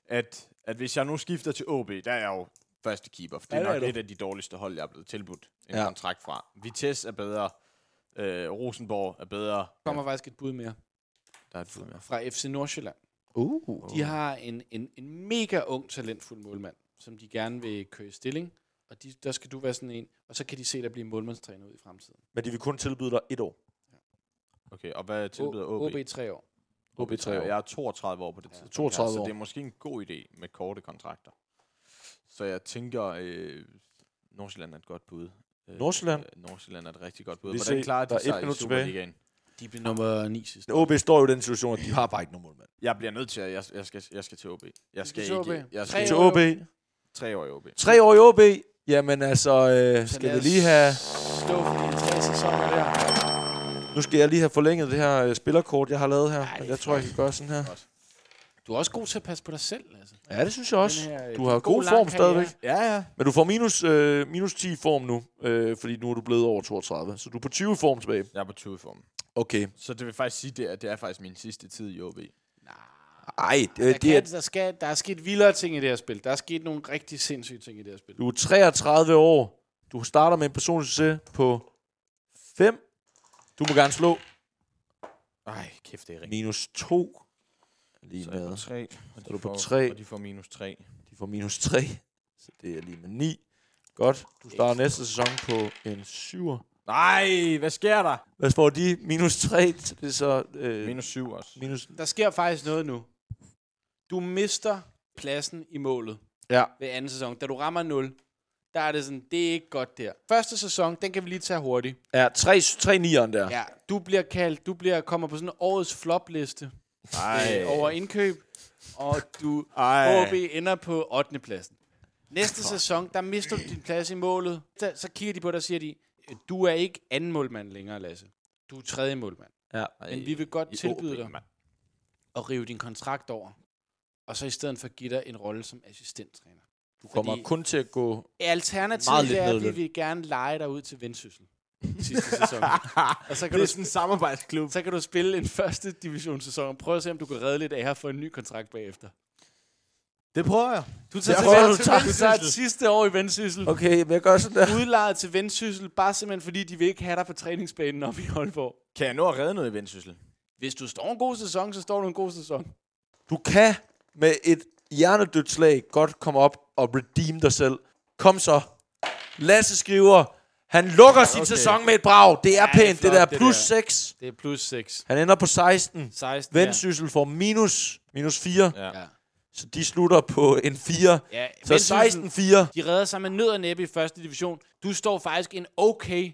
Speaker 2: at, at hvis jeg nu skifter til OB, der er jeg jo første keeper, for det
Speaker 3: Ja,
Speaker 2: er
Speaker 3: det er
Speaker 2: nok
Speaker 3: du.
Speaker 2: et af de dårligste hold, jeg er blevet tilbudt en
Speaker 3: Ja.
Speaker 2: ja. kontrakt fra. Vitesse er bedre, øh, Rosenborg er bedre.
Speaker 4: Der kommer faktisk et bud mere
Speaker 2: Der er et bud mere.
Speaker 4: fra FC Nordsjælland.
Speaker 3: Uh.
Speaker 4: De har en, en, en mega ung, talentfuld målmand, som de gerne vil køre i stilling. Og de, der skal du være sådan en. Og så kan de se dig blive målmandstræner ud i fremtiden.
Speaker 3: Men de vil kun tilbyde dig et år.
Speaker 2: Okay, og hvad tilbyder
Speaker 4: O-
Speaker 2: OB?
Speaker 4: OB i tre år.
Speaker 3: OB tre år.
Speaker 2: Jeg er 32 år på det tidspunkt.
Speaker 3: 32
Speaker 2: her,
Speaker 3: år.
Speaker 2: Så det er måske en god idé med korte kontrakter. Så jeg tænker, øh, Nordsjælland er et godt bud. Øh,
Speaker 3: Nordsjælland?
Speaker 2: Øh, Nordsjælland er et rigtig godt bud.
Speaker 3: Vi
Speaker 2: Hvordan
Speaker 3: se,
Speaker 2: klarer
Speaker 3: der er
Speaker 2: de
Speaker 3: et
Speaker 2: sig i
Speaker 3: minut tilbage.
Speaker 2: Superligaen?
Speaker 4: De blev nummer 9 sidste år.
Speaker 3: OB står jo i den situation, at de har bare ikke nogen målmand.
Speaker 2: Jeg bliver nødt til, at jeg, jeg, skal, jeg skal til OB. Jeg skal,
Speaker 4: til OB?
Speaker 2: ikke... Jeg
Speaker 4: Tre
Speaker 2: skal
Speaker 3: Til
Speaker 4: år.
Speaker 3: OB.
Speaker 2: tre år i OB.
Speaker 3: Tre år i OB. Jamen altså, øh,
Speaker 4: Så
Speaker 3: skal
Speaker 4: lad
Speaker 3: vi
Speaker 4: os
Speaker 3: lige have...
Speaker 4: Stå for de tre sæsoner der.
Speaker 3: Nu skal jeg lige have forlænget det her øh, spillerkort, jeg har lavet her.
Speaker 4: det
Speaker 3: Men
Speaker 4: er
Speaker 3: jeg tror, jeg kan gøre sådan her.
Speaker 4: Du er også god til at passe på dig selv. Altså.
Speaker 3: Ja, det synes jeg også.
Speaker 4: Den her, øh,
Speaker 3: Du har
Speaker 4: god,
Speaker 3: god
Speaker 4: lang
Speaker 3: form
Speaker 4: karriere.
Speaker 3: stadigvæk.
Speaker 2: Ja, ja.
Speaker 3: Men du får minus, øh, minus 10 form nu, øh, fordi nu er du blevet over 32. Så du er på 20 form tilbage.
Speaker 2: Jeg er på 20 form.
Speaker 3: Okay.
Speaker 2: Så det vil faktisk sige, det er, det er faktisk min sidste tid i OB.
Speaker 3: Ej,
Speaker 4: Der,
Speaker 3: det, det er,
Speaker 4: kan, der, skal, der er sket vildere ting i det her spil. Der er sket nogle rigtig sindssyge ting i det her spil.
Speaker 3: du er 33 år. Du starter med en personlig succes på 5. Du må gerne slå
Speaker 2: Ej, kæft, det er rigtigt.
Speaker 3: minus 2. Lige
Speaker 2: Så er jeg på
Speaker 3: med.
Speaker 2: 3. Og
Speaker 3: er du på
Speaker 2: får-
Speaker 3: tre.
Speaker 2: Og de får minus 3.
Speaker 3: De får minus 3. Så det er lige med 9. Godt. Du starter næste sæson på en 7'er.
Speaker 2: Nej, hvad sker der?
Speaker 3: Hvad får de? Minus 3. Så det er så... Øh, minus.
Speaker 2: Minus 7 også.
Speaker 3: minus.
Speaker 4: Der sker faktisk noget nu. Du mister pladsen i målet
Speaker 3: Ja.
Speaker 4: ved anden sæson. Da du rammer 0, der er det sådan, det er ikke godt der. Første sæson, den kan vi lige tage hurtigt.
Speaker 3: Ja, 3, 3 9'eren der. Ja.
Speaker 4: Ja, du bliver kaldt, du bliver kommer på sådan en årets flopliste øh, over indkøb, og du
Speaker 2: Ej.
Speaker 4: OB ender på 8. pladsen. Næste sæson, der mister du din plads i målet. Så, så kigger de på dig og siger de, du er ikke anden målmand længere, Lasse. Du er tredje målmand.
Speaker 3: ja.
Speaker 4: Men vi vil godt
Speaker 2: I
Speaker 4: tilbyde
Speaker 2: OB,
Speaker 4: dig
Speaker 2: mand.
Speaker 4: at rive din kontrakt over, og så i stedet for give dig en rolle som assistenttræner.
Speaker 3: Du kommer
Speaker 4: Fordi-
Speaker 3: kun til at gå... Meget
Speaker 4: Alternativet
Speaker 3: lidt
Speaker 4: er, at vi
Speaker 3: medløn.
Speaker 4: vil gerne lege dig ud til vendsyssel sidste sæson. og så kan,
Speaker 2: Det
Speaker 4: du,
Speaker 2: er sådan en samarbejdsklub.
Speaker 4: så kan du spille en første divisionssæson og prøve at se, om du kan redde lidt af her for en ny kontrakt bagefter.
Speaker 2: Det prøver jeg.
Speaker 4: Du tager,
Speaker 3: prøver
Speaker 4: tilbage
Speaker 3: du
Speaker 4: til
Speaker 3: tak.
Speaker 4: Vendsyssel. du tager et sidste år i vendsyssel. Okay.
Speaker 3: Okay, hvad gør sådan der?
Speaker 4: Udlejet til vendsyssel, bare simpelthen fordi, de vil ikke have dig på træningsbanen oppe i Aalborg.
Speaker 2: Kan jeg nå at redde noget i vendsyssel?
Speaker 4: Hvis du står en god sæson, så står du en god sæson.
Speaker 3: Du kan med et hjernedødt slag godt komme op og redeem dig selv. Kom så. Lasse skriver, han lukker sin okay.
Speaker 2: Okay.
Speaker 3: sæson med et brag. Det er
Speaker 4: det er
Speaker 3: pænt, det,
Speaker 4: flot,
Speaker 3: der.
Speaker 4: det
Speaker 3: Plus
Speaker 4: der.
Speaker 3: 6.
Speaker 4: Det er plus 6.
Speaker 3: Han ender på 16.
Speaker 4: 16,
Speaker 3: Vendsyssel får minus, minus 4. Ja.
Speaker 2: Ja.
Speaker 4: Ja.
Speaker 3: Så de slutter på en 4. Ja.
Speaker 4: ja.
Speaker 3: Så
Speaker 4: Vendsyssel-
Speaker 3: 16-4.
Speaker 4: De redder sig med nød og næppe i første division. Du står faktisk en okay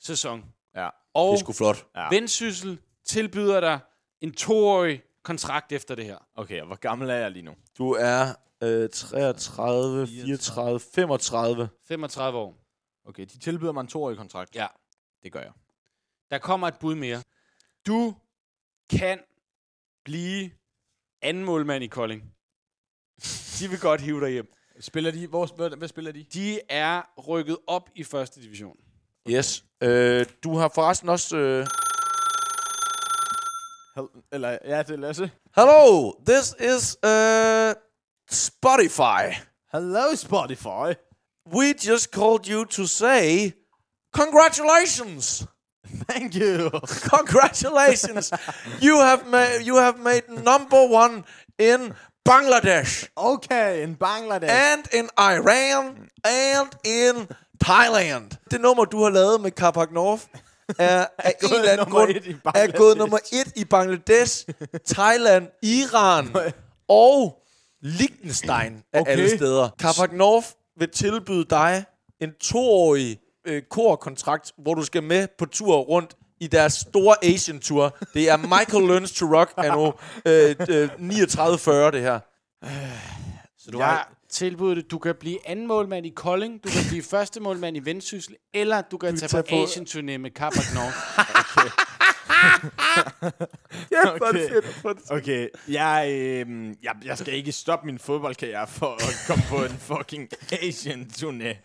Speaker 4: sæson.
Speaker 2: Ja.
Speaker 4: Og
Speaker 3: Det er sgu flot.
Speaker 2: Ja.
Speaker 4: Vendsyssel tilbyder dig en toårig kontrakt efter det her.
Speaker 2: Okay, og hvor gammel er jeg lige nu?
Speaker 3: Du er øh, 33, 34, 35.
Speaker 4: 35 år.
Speaker 2: Okay, de tilbyder mig en toårig kontrakt.
Speaker 4: Ja.
Speaker 2: Det gør jeg.
Speaker 4: Der kommer et bud mere. Du kan blive anden målmand i Kolding. De vil godt hive dig hjem.
Speaker 2: Spiller de? Hvor, hvad, hvad spiller de?
Speaker 4: De er rykket op i første division.
Speaker 3: Yes. Øh, du har forresten også... Øh,
Speaker 2: Hel- eller, ja, det er Lasse.
Speaker 3: Hello, this is uh, Spotify.
Speaker 2: Hello, Spotify.
Speaker 3: We just called you to say, congratulations,
Speaker 2: Thank you.
Speaker 3: congratulations. you have made you have made number one in Bangladesh
Speaker 2: Okay, in Bangladesh.
Speaker 3: and in Iran and in Thailand. Det nummer du har lavet med Kapak North er, er,
Speaker 2: gået
Speaker 3: en eller anden
Speaker 2: nummer
Speaker 3: grund,
Speaker 2: et i
Speaker 3: er gået
Speaker 2: Bangladesh.
Speaker 3: nummer et i Bangladesh, Thailand, Iran og Liechtenstein af okay.
Speaker 2: Okay.
Speaker 3: alle steder. Kapak North vil tilbyde dig en toårig øh, korkontrakt, hvor du skal med på tur rundt i deres store Asian Tour. Det er Michael Learns to Rock anno øh, øh, 3940, det her.
Speaker 4: Så du jeg... har tilbuddet, du kan blive anden målmand i Kolding, du kan blive første målmand i Vendsyssel, eller du kan du tage på
Speaker 3: på-
Speaker 4: Asien-turné med Kapak North.
Speaker 2: Ja, okay. Okay, jeg, øh, jeg, jeg skal ikke stoppe min fodboldkarriere for at komme på en fucking Asian-turné.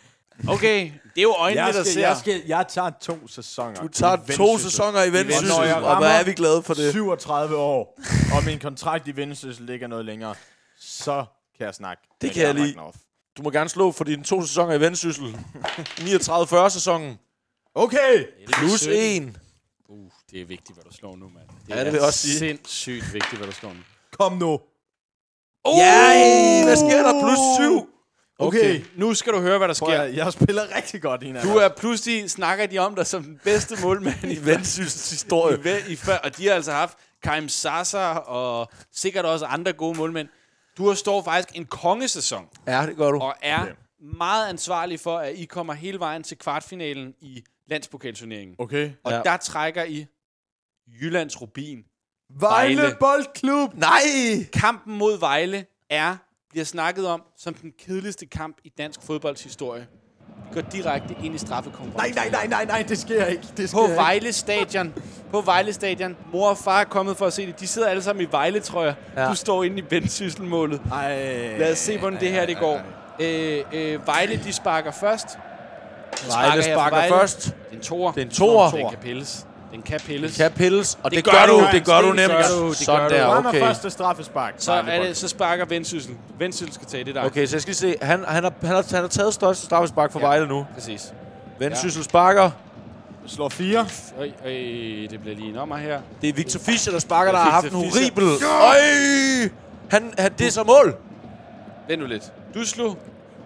Speaker 4: Okay, det er jo øjnene,
Speaker 2: Jeg,
Speaker 4: der
Speaker 2: skal,
Speaker 4: ser.
Speaker 2: jeg, skal, jeg tager to sæsoner.
Speaker 3: Du tager to sæsoner i
Speaker 2: Vendsyssel,
Speaker 3: Vendsyssel,
Speaker 2: og
Speaker 3: og hvor er vi glade for det.
Speaker 2: 37 år, og min kontrakt i Vendsyssel ligger noget længere. Så kan jeg snakke. med
Speaker 3: kan jeg
Speaker 2: Kamak
Speaker 3: lide.
Speaker 2: North.
Speaker 3: Du må gerne slå for dine to sæsoner i Vendsyssel. 39-40 sæsonen.
Speaker 2: Okay!
Speaker 3: Plus 1.
Speaker 4: Uh, det er vigtigt, hvad du slår nu, mand.
Speaker 3: Ja, det vil jeg også sige.
Speaker 4: sindssygt vigtigt, hvad du slår nu.
Speaker 2: Kom nu.
Speaker 3: Oh! Yay! Hvad sker der? Plus 7.
Speaker 2: Okay.
Speaker 4: Nu skal du høre, hvad der
Speaker 2: Prøv
Speaker 4: sker.
Speaker 2: at, jeg spiller rigtig godt, Ina.
Speaker 4: Du er pludselig, snakker de om dig som den bedste målmand i
Speaker 3: I Vendsyssels historie.
Speaker 4: Vendsyssel. I før, og de har altså haft Karim Sasser og sikkert også andre gode målmænd. Du har står faktisk en kongesæson.
Speaker 3: Ja, det gør du.
Speaker 4: og er okay. meget ansvarlig for, at I kommer hele vejen til kvartfinalen i landspokalturneringen.
Speaker 2: Okay.
Speaker 4: Og
Speaker 3: Ja.
Speaker 4: ja. der trækker I Jyllands Rubin.
Speaker 2: Vejle,
Speaker 4: Vejle.
Speaker 2: Boldklub!
Speaker 3: Nej!
Speaker 4: Kampen mod Vejle er, bliver snakket om, som den kedeligste kamp i dansk fodboldshistorie. I går direkte ind i
Speaker 2: Nej,
Speaker 4: straffekonkurrencen.
Speaker 2: nej, nej, nej, nej, det sker ikke. Det sker
Speaker 4: På
Speaker 2: ikke.
Speaker 4: Vejle Stadion. På Vejle Stadion. Mor og far er kommet for at se det. De sidder alle sammen i Vejle, tror jeg.
Speaker 3: Ja.
Speaker 4: Ja. Du står inde i vendsysselmålet.
Speaker 2: Ej.
Speaker 4: Lad os se, hvordan det her det går. Øh, øh, Vejle, de sparker først.
Speaker 3: Vejle
Speaker 4: her for
Speaker 3: sparker
Speaker 4: Vejle.
Speaker 3: først.
Speaker 4: Det er en toer.
Speaker 3: Det er en toer.
Speaker 4: Den kan pilles. Den kan pilles.
Speaker 3: Kan pilles, og det,
Speaker 4: gør
Speaker 3: gør
Speaker 4: du.
Speaker 3: du,
Speaker 4: Nej,
Speaker 3: det gør du
Speaker 4: det
Speaker 3: nemt.
Speaker 4: gør du, det
Speaker 3: Sådan
Speaker 4: gør du.
Speaker 3: der,
Speaker 4: Rammer
Speaker 3: okay.
Speaker 2: første straffespark.
Speaker 4: Så,
Speaker 2: Nej,
Speaker 4: er
Speaker 2: bold.
Speaker 4: det, så sparker Vendsyssel. Vendsyssel skal tage det der.
Speaker 3: Okay, så jeg skal lige se. Han, han, har, han, har, han har taget største straffespark for ja. Vejle nu.
Speaker 4: Præcis.
Speaker 3: Vendsyssel sparker.
Speaker 2: Slår fire.
Speaker 4: Øj, øj, det bliver lige en ommer her.
Speaker 3: Det er Victor Fischer, der sparker, der
Speaker 4: Det er
Speaker 3: har haft en
Speaker 4: Victor Fischer.
Speaker 3: horribel... Øj! Han, han, det er så mål.
Speaker 4: Vent nu lidt. Du slog.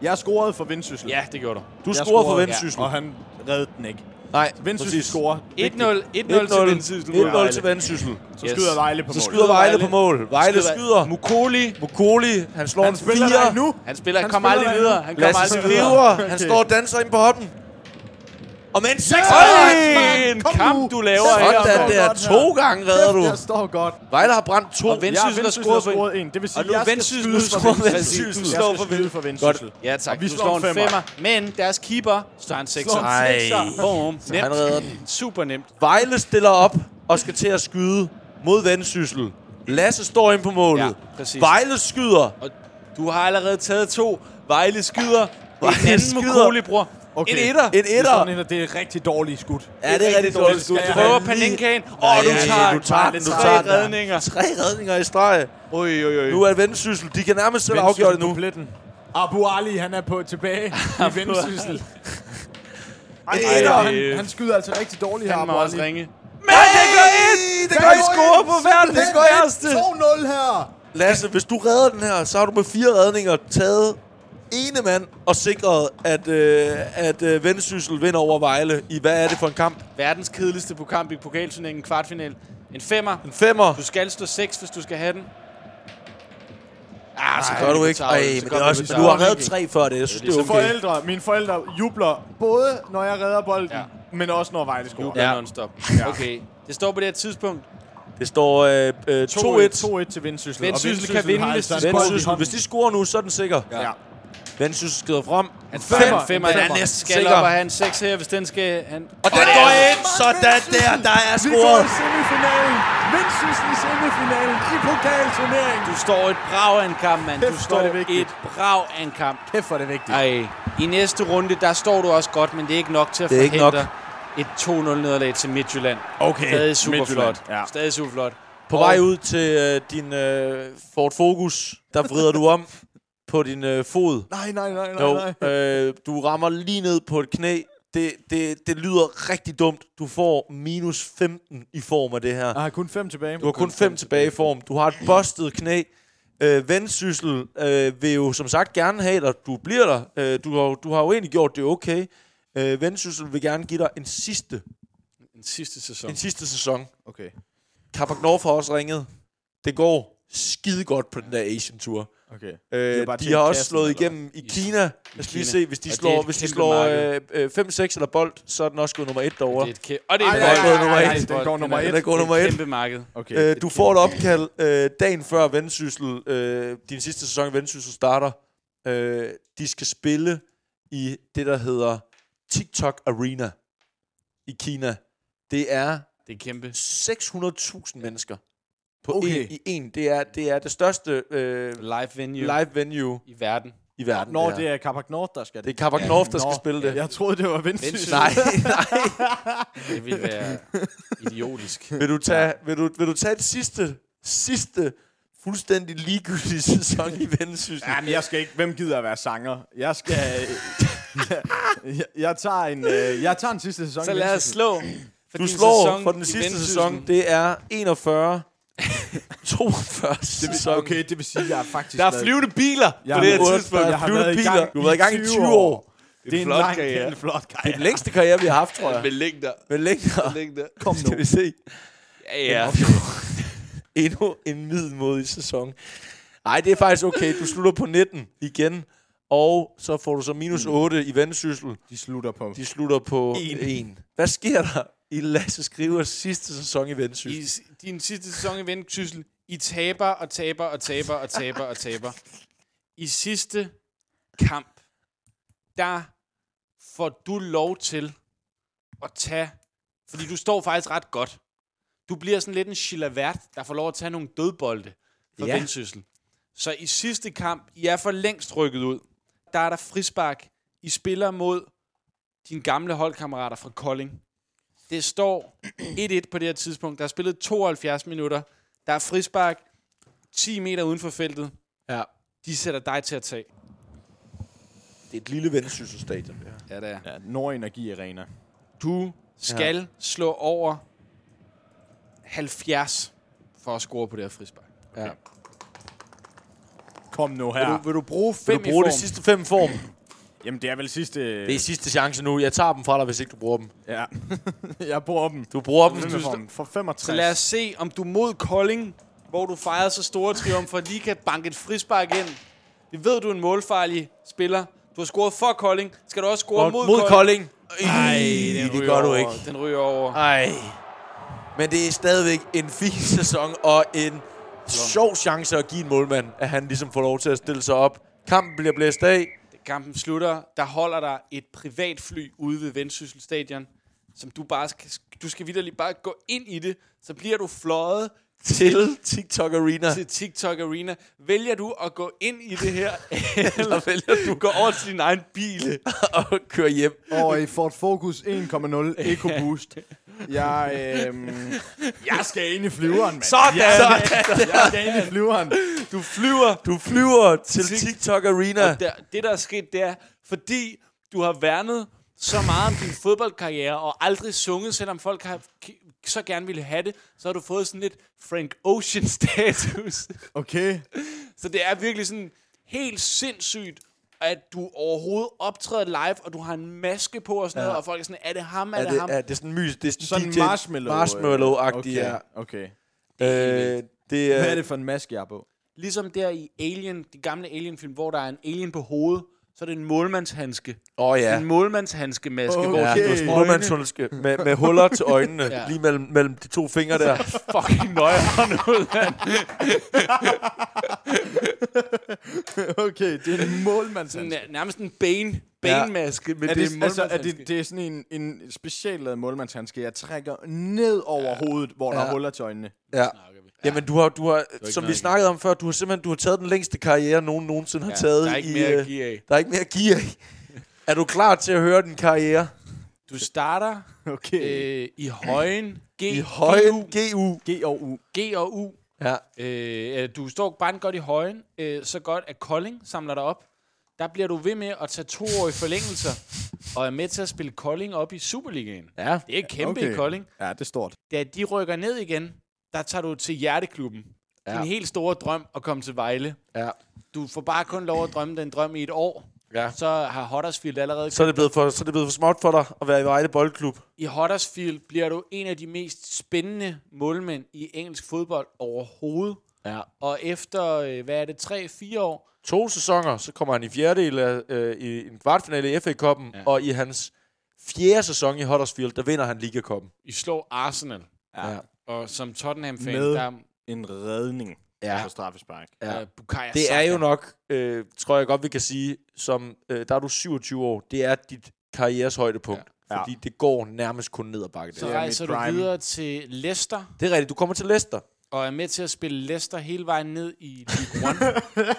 Speaker 2: Jeg scorede for Vendsyssel.
Speaker 4: Ja, det gjorde du.
Speaker 3: Du
Speaker 2: Jeg
Speaker 3: scorer for
Speaker 2: scorede,
Speaker 3: Vendsyssel.
Speaker 2: Og han reddede den ikke.
Speaker 3: Nej,
Speaker 2: Vendsyssel
Speaker 3: præcis. 1-0
Speaker 2: scorer.
Speaker 4: 1-0 1-0 til Vendsyssel.
Speaker 3: til Vendsyssel.
Speaker 2: Så skyder Vejle på
Speaker 3: Så
Speaker 2: mål.
Speaker 3: skyder Vejle på mål. Vejle skyder.
Speaker 4: Mukoli.
Speaker 3: Mukoli, han slår
Speaker 2: Han
Speaker 3: en
Speaker 2: spiller dig
Speaker 3: 4.
Speaker 2: nu.
Speaker 4: Han spiller,
Speaker 2: Han
Speaker 4: han kommer
Speaker 2: spiller
Speaker 4: aldrig
Speaker 2: der
Speaker 4: videre. Han kommer
Speaker 3: Lasse
Speaker 4: aldrig videre.
Speaker 3: skriver. Han står og danser ind på hoppen. Og med en 6
Speaker 4: Øj, en
Speaker 2: Kom
Speaker 4: kamp,
Speaker 2: nu.
Speaker 4: du laver
Speaker 2: Sådan
Speaker 4: her.
Speaker 3: Sådan
Speaker 2: står
Speaker 3: der.
Speaker 2: godt her.
Speaker 3: To gange redder du.
Speaker 2: Jeg står godt.
Speaker 3: Vejle har brændt to.
Speaker 4: Og
Speaker 2: Jeg
Speaker 4: Vendsyssel
Speaker 2: har
Speaker 4: har scoret for en.
Speaker 2: en. Det vil sige,
Speaker 4: Og nu
Speaker 2: jeg skal
Speaker 4: Vendsyssel,
Speaker 2: skyde
Speaker 4: nu
Speaker 2: for
Speaker 4: scorer
Speaker 2: Vendsyssel.
Speaker 4: Vendsyssel.
Speaker 2: Jeg
Speaker 4: Slår
Speaker 2: skal
Speaker 4: for
Speaker 2: skyde for Vendsyssel.
Speaker 4: Ja, tak.
Speaker 2: Og vi
Speaker 4: du
Speaker 2: slår
Speaker 4: slår
Speaker 2: en
Speaker 4: en
Speaker 2: femmer.
Speaker 4: femmer. Men deres keeper står en sekser.
Speaker 2: Slår en
Speaker 3: Ej.
Speaker 2: sekser.
Speaker 4: Boom. Nemt.
Speaker 3: Han redder den.
Speaker 4: Super nemt.
Speaker 3: Vejle stiller op og skal til at skyde mod Vendsyssel. Lasse står ind på målet.
Speaker 4: Ja, præcis.
Speaker 3: Vejle skyder.
Speaker 4: Og du har allerede taget to. Vejle skyder.
Speaker 3: Vejle
Speaker 4: Vejle en anden
Speaker 3: skyder.
Speaker 4: Mukoli, bror.
Speaker 2: Okay.
Speaker 4: En etter.
Speaker 3: En
Speaker 2: Det er
Speaker 3: etter.
Speaker 2: sådan en, at det er rigtig dårligt skudt.
Speaker 3: Ja, det er rigtig dårligt skud.
Speaker 4: Du prøver panenkaen. Åh, oh, du
Speaker 3: Ja, ja,
Speaker 4: tager,
Speaker 3: du tager den, du
Speaker 4: tre
Speaker 3: tager den.
Speaker 4: redninger.
Speaker 3: Tre redninger i streg.
Speaker 4: Oj, oj, oj.
Speaker 3: Nu er Vendsyssel. De kan nærmest selv afgøre det nu.
Speaker 2: Pletten. Abu Ali, han er på tilbage i Vendsyssel. Ej,
Speaker 3: Ej,
Speaker 2: etter.
Speaker 3: ej.
Speaker 2: han, han skyder altså rigtig dårligt her,
Speaker 4: Han
Speaker 2: Abu
Speaker 4: må også
Speaker 2: Ali.
Speaker 4: ringe.
Speaker 3: Men det går ind! Det går i score på verdens
Speaker 2: Det går ind.
Speaker 3: værste.
Speaker 2: 2-0 her.
Speaker 3: Lasse, hvis du redder den her, så har du med fire redninger taget ene mand og sikret, at, øh, at øh, Vendsyssel vinder over Vejle i, hvad er det for en kamp?
Speaker 4: Verdens kedeligste program i pokalturneringen kvartfinal. En femmer.
Speaker 3: En femmer.
Speaker 4: Du skal stå seks, hvis du skal have den.
Speaker 3: Ah, så gør du ikke. Ej, men det er også, du har reddet tre før det. Jeg synes, det er
Speaker 2: Så
Speaker 3: okay.
Speaker 2: forældre, mine forældre jubler både, når jeg redder bolden,
Speaker 4: Ja.
Speaker 2: ja. men også når Vejle scorer.
Speaker 4: Ja. Non-stop. Okay. Det står på det her tidspunkt.
Speaker 3: Det står øh, øh, 2-1.
Speaker 2: 2-1 til Vendsyssel.
Speaker 4: Vendsyssel
Speaker 2: Og
Speaker 4: kan vinde,
Speaker 2: har
Speaker 4: hvis de
Speaker 2: altså en bold i
Speaker 3: Vendsyssel,
Speaker 2: hånden.
Speaker 3: hvis de scorer nu, så er den sikker. Ja.
Speaker 2: Ja.
Speaker 3: Vendsyssel skrider frem.
Speaker 4: Han
Speaker 2: femmer.
Speaker 4: femmer. femmer.
Speaker 3: Den er
Speaker 4: Han
Speaker 3: næsten
Speaker 4: skal
Speaker 3: sikker.
Speaker 4: op og have en seks her, hvis den skal... Han.
Speaker 3: Og den går ind! Sådan der, der er
Speaker 2: Vi går
Speaker 3: scoret.
Speaker 2: i semifinalen. Vendsyssel i semifinalen i pokalturneringen.
Speaker 4: Du står et brag af en kamp, mand. Du
Speaker 2: Kæft,
Speaker 4: står
Speaker 2: hvor er det vigtigt.
Speaker 4: et brag af en kamp.
Speaker 2: Kæft, hvor er det vigtigt.
Speaker 4: Ej. I næste runde, der står du også godt, men det er ikke nok til at
Speaker 3: Det er ikke
Speaker 4: forhindre et 2-0-nederlag til Midtjylland.
Speaker 3: Okay.
Speaker 4: Stadig super flot.
Speaker 2: Midtjylland, ja.
Speaker 4: Stadig super flot.
Speaker 3: På vej ud til øh, din øh, Ford Focus, der vrider du om på din øh, fod.
Speaker 2: Nej, nej, nej, nej, nej.
Speaker 3: Jo, øh, du rammer lige ned på et knæ. Det, det, det lyder rigtig dumt. Du får minus 15 i form af det her.
Speaker 2: Jeg har kun fem tilbage.
Speaker 3: Du har kun fem tilbage i form. Du har et bustet knæ. Øh, vendsyssel øh, vil jo som sagt gerne have dig. Du bliver der. Øh, du, har, du har jo egentlig gjort det okay. Øh, vendsyssel vil gerne give dig en sidste,
Speaker 4: Den sidste sæson.
Speaker 3: en sidste sæson.
Speaker 2: Okay.
Speaker 3: Kapak North har også ringet. Det går skide godt på den der Asian Tour.
Speaker 2: Okay.
Speaker 3: Øh,
Speaker 2: er bare
Speaker 3: de
Speaker 2: tændt
Speaker 3: har også
Speaker 2: kassen,
Speaker 3: slået
Speaker 2: eller hvad?
Speaker 3: igennem i Kina. Lad os lige
Speaker 4: Kina.
Speaker 3: se, hvis de
Speaker 4: Og det er
Speaker 3: slår,
Speaker 4: et
Speaker 3: hvis de
Speaker 4: kæmpe
Speaker 3: slår øh,
Speaker 4: marked.
Speaker 3: øh, 5-6 eller bold, så er den også gået nummer 1
Speaker 4: Det
Speaker 3: derovre.
Speaker 4: er et kæ- og det er
Speaker 2: Ej,
Speaker 4: et
Speaker 2: ej, ej,
Speaker 4: marked.
Speaker 2: ej,
Speaker 3: nummer
Speaker 2: ej,
Speaker 3: et.
Speaker 2: den går nummer
Speaker 3: Den
Speaker 2: et.
Speaker 3: er gået nummer
Speaker 4: Det er
Speaker 3: 1.
Speaker 4: et kæmpe marked.
Speaker 2: Okay.
Speaker 3: Øh, du får et opkald øh, dagen før Vendsyssel, øh, din sidste sæson i Vendsyssel starter. Øh, de skal spille i det, der hedder TikTok Arena i Kina. Det er
Speaker 4: Det er kæmpe.
Speaker 3: 600.000 mennesker på
Speaker 2: Okay.
Speaker 3: en, i en. Det er, det er det største øh,
Speaker 4: Live venue live.
Speaker 3: live venue
Speaker 4: i verden.
Speaker 3: i verden.
Speaker 2: Når
Speaker 3: det,
Speaker 2: det
Speaker 3: her.
Speaker 2: er Kapak Nord, der skal
Speaker 3: det er Kabak North, der skal spille det.
Speaker 2: Jeg troede, det var Vendsyssel.
Speaker 4: Vendsyssel.
Speaker 3: Nej, nej.
Speaker 4: Det ville være idiotisk.
Speaker 3: Vil du tage, vil du, vil du tage det sidste, sidste fuldstændig ligegyldige sæson i Vendsyssel?
Speaker 2: Ja, men jeg skal ikke. Hvem gider at være sanger? Jeg skal... jeg, jeg, tager en, øh, jeg tager en sidste sæson.
Speaker 4: Så
Speaker 2: i
Speaker 4: lad os
Speaker 2: Vendsyssel.
Speaker 4: slå for
Speaker 3: Du
Speaker 4: din
Speaker 3: slår
Speaker 4: sæson
Speaker 3: for den
Speaker 4: i
Speaker 3: sidste
Speaker 4: Vendsyssel.
Speaker 3: sæson. Det er 41, 42
Speaker 2: Det vil,
Speaker 3: sæson.
Speaker 2: okay, det vil sige, at jeg er faktisk...
Speaker 4: Der er
Speaker 2: været-
Speaker 4: flyvende biler
Speaker 3: på
Speaker 2: Jeg har
Speaker 3: det her
Speaker 2: været-
Speaker 3: tidspunkt.
Speaker 2: jeg har
Speaker 3: Flyvende
Speaker 2: været i
Speaker 3: biler.
Speaker 2: gang
Speaker 3: Du har været i gang i 20 år.
Speaker 2: Det er en
Speaker 4: flot
Speaker 2: lang,
Speaker 4: karriere.
Speaker 2: det er en flot
Speaker 3: Det er den
Speaker 2: karriere.
Speaker 3: længste karriere, vi har haft, tror jeg.
Speaker 4: med længder.
Speaker 3: Men længere.
Speaker 4: længder.
Speaker 2: Kom nu.
Speaker 3: Skal vi se.
Speaker 4: Ja, ja.
Speaker 3: Endnu en middelmodig sæson. Nej, det er faktisk okay. Du slutter på 19 igen. Og så får du så minus 8 i vendsyssel.
Speaker 2: De slutter på.
Speaker 3: De slutter på
Speaker 2: En.
Speaker 3: 1. Hvad sker der i Lasse Skrivers sidste sæson i vendsyssel?
Speaker 4: I s- din sidste sæson i Vendsyssel, I taber og taber og taber og taber og taber. I sidste kamp, der får du lov til at tage, fordi du står faktisk ret godt. Du bliver sådan lidt en chilavert, der får lov at tage nogle dødbolde for ja. Vendsyssel. Så i sidste kamp, I er for længst rykket ud. Der er der frispark. I spiller mod dine gamle holdkammerater fra Kolding. Det står 1-1 på det her tidspunkt. Der er spillet 72 minutter. Der er frispark 10 meter uden for feltet.
Speaker 3: Ja.
Speaker 4: De sætter dig til at tage.
Speaker 3: Det er et lille vendsysselstadion, det her.
Speaker 4: Ja, det er.
Speaker 6: Ja, Nordenergi Arena.
Speaker 4: Du skal ja. slå over 70 for at score på det her frispark.
Speaker 3: Ja.
Speaker 6: Kom nu
Speaker 4: Vil,
Speaker 6: her.
Speaker 4: du, vil du bruge
Speaker 3: Vil
Speaker 4: fem
Speaker 3: du bruge
Speaker 4: i
Speaker 3: de
Speaker 4: form?
Speaker 3: sidste fem form?
Speaker 6: Jamen, det er vel sidste...
Speaker 3: Det er sidste chance nu. Jeg tager dem fra dig, hvis ikke du bruger dem.
Speaker 6: Ja. jeg bruger dem.
Speaker 3: Du bruger dem.
Speaker 6: Fem i form. For 65.
Speaker 4: Så lad os se, om du mod Kolding, hvor du fejrede så store triumfer, lige kan banke et frispark ind. Det ved du er en målfarlig spiller. Du har scoret for Kolding. Skal du også score
Speaker 3: Mod,
Speaker 4: mod,
Speaker 3: mod
Speaker 4: Kolding?
Speaker 3: Kolding.
Speaker 4: Ej,
Speaker 3: Ej,
Speaker 4: den
Speaker 3: det
Speaker 4: ryger
Speaker 3: gør du
Speaker 4: over.
Speaker 3: ikke.
Speaker 4: Den ryger over.
Speaker 3: Ej. Men det er stadigvæk en fin sæson og en sjov chance at give en målmand, at han ligesom får lov til at stille sig op. Kampen bliver blæst af.
Speaker 4: Kampen slutter. Der holder der et privatfly ude ved Vendsyssel Stadion, som du bare skal, du skal videre lige bare gå ind i det, så bliver du fløjet
Speaker 3: Til TikTok Arena.
Speaker 4: til TikTok Arena. Vælger du at gå ind i det her, eller vælger du at gå over til din egen bil?
Speaker 3: og køre hjem.
Speaker 6: Og i Ford Focus 1,0 Eco Boost. Jeg, øhm, jeg skal ind i flyveren, mand.
Speaker 3: Sådan! Sådan!
Speaker 6: Jeg skal ind i flyveren.
Speaker 4: Du flyver
Speaker 3: Du flyver til TikTok Arena.
Speaker 4: Og der, det, der er sket, det er, fordi du har værnet så meget om din fodboldkarriere, og aldrig sunget, selvom folk har, så gerne ville have det, så har du fået sådan lidt Frank Ocean-status.
Speaker 6: Okay.
Speaker 4: så det er virkelig sådan helt sindssygt, at du overhovedet optræder live, og du har en maske på og sådan ja. noget, og folk er sådan, er det ham, er,
Speaker 3: Er
Speaker 4: det,
Speaker 3: det,
Speaker 4: ham?
Speaker 3: er det sådan en mys? Det er sådan,
Speaker 6: Sådan
Speaker 3: DJ
Speaker 6: marshmallow, øh,
Speaker 3: Marshmallow-agtig, ja.
Speaker 6: Okay. okay.
Speaker 3: Øh, det
Speaker 6: Hvad er
Speaker 3: er...
Speaker 6: det for en maske, jeg har på?
Speaker 4: Ligesom der i Alien, de gamle Alien-film, hvor der er en alien på hovedet, så er det en målmandshandske.
Speaker 3: Åh oh, ja.
Speaker 4: En målmandshandske-maske, okay. hvor
Speaker 3: Ja,
Speaker 6: Okay.
Speaker 3: du er sådan en målmandshundske med, med huller til øjnene,
Speaker 4: Ja.
Speaker 3: ja. lige mellem, mellem de to fingre der.
Speaker 4: fucking nøjeren ud af
Speaker 6: Okay, det er en målmandshandske.
Speaker 4: Næ- nærmest en bane, banemaske, ja. men
Speaker 6: Er
Speaker 4: det, er
Speaker 6: det, altså, er
Speaker 4: målmandshandske.
Speaker 6: det, det er sådan en, en speciallavet målmandshandske, jeg trækker ned over ja. hovedet, hvor der
Speaker 3: Ja.
Speaker 6: er huller til øjnene.
Speaker 3: Ja. Jamen, du har, du har som vi snakkede om før, du har simpelthen du har taget den længste karriere, nogen nogensinde har taget.
Speaker 4: der er ikke
Speaker 3: i,
Speaker 4: mere
Speaker 3: øh,
Speaker 4: at give af.
Speaker 3: Der er ikke mere at give af. Er du klar til at høre din karriere?
Speaker 4: Du starter
Speaker 6: Okay.
Speaker 4: øh, i højen, G,
Speaker 3: I højen GU.
Speaker 6: G og U.
Speaker 4: G og U.
Speaker 3: Ja.
Speaker 4: Øh, øh, du står bare godt i højen, øh, så godt at Kolding samler dig op. Der bliver du ved med at tage to år i forlængelser, og er med til at spille Kolding op i Superligaen.
Speaker 3: Ja.
Speaker 4: Det er kæmpe okay.
Speaker 6: Okay.
Speaker 4: i Kolding.
Speaker 6: Ja, det er stort.
Speaker 4: Da de rykker ned igen, der tager du til Hjerteklubben. Ja. Din helt store drøm at komme til Vejle.
Speaker 3: Ja.
Speaker 4: Du får bare kun lov at drømme den drøm i et år.
Speaker 3: ja.
Speaker 4: Så har Huddersfield allerede
Speaker 3: Så er, det blevet for, så er det blevet for småt for dig at være i Vejle Boldklub.
Speaker 4: I Huddersfield bliver du en af de mest spændende målmænd i engelsk fodbold overhovedet.
Speaker 3: Ja.
Speaker 4: Og efter, øh, hvad er det, 3-4 år,
Speaker 3: to sæsoner, så kommer han i fjerdedel af, øh, i en kvartfinale i FA-koppen, ja. og i hans fjerde sæson i Huddersfield, der vinder han Liga-koppen.
Speaker 4: I slår Arsenal.
Speaker 3: Ja.
Speaker 4: Og som Tottenham-fan,
Speaker 6: Med-
Speaker 4: der
Speaker 6: En redning
Speaker 3: Ja.
Speaker 6: ja. på straffespark.
Speaker 4: er
Speaker 3: Ja.
Speaker 4: øh, Bukayo
Speaker 3: Det er
Speaker 4: Saka.
Speaker 3: jo nok, øh, tror jeg godt, vi kan sige, som, øh, der er du 27 år, det er dit karrieres højdepunkt. Ja.
Speaker 6: Ja.
Speaker 3: Fordi det går nærmest kun ned ad bakke.
Speaker 4: Så
Speaker 3: Det.
Speaker 6: er mit
Speaker 4: rejser du
Speaker 6: prime.
Speaker 4: videre til Leicester,
Speaker 3: det er rigtigt, du kommer til Leicester.
Speaker 4: og er med til at spille Leicester hele vejen ned i League One.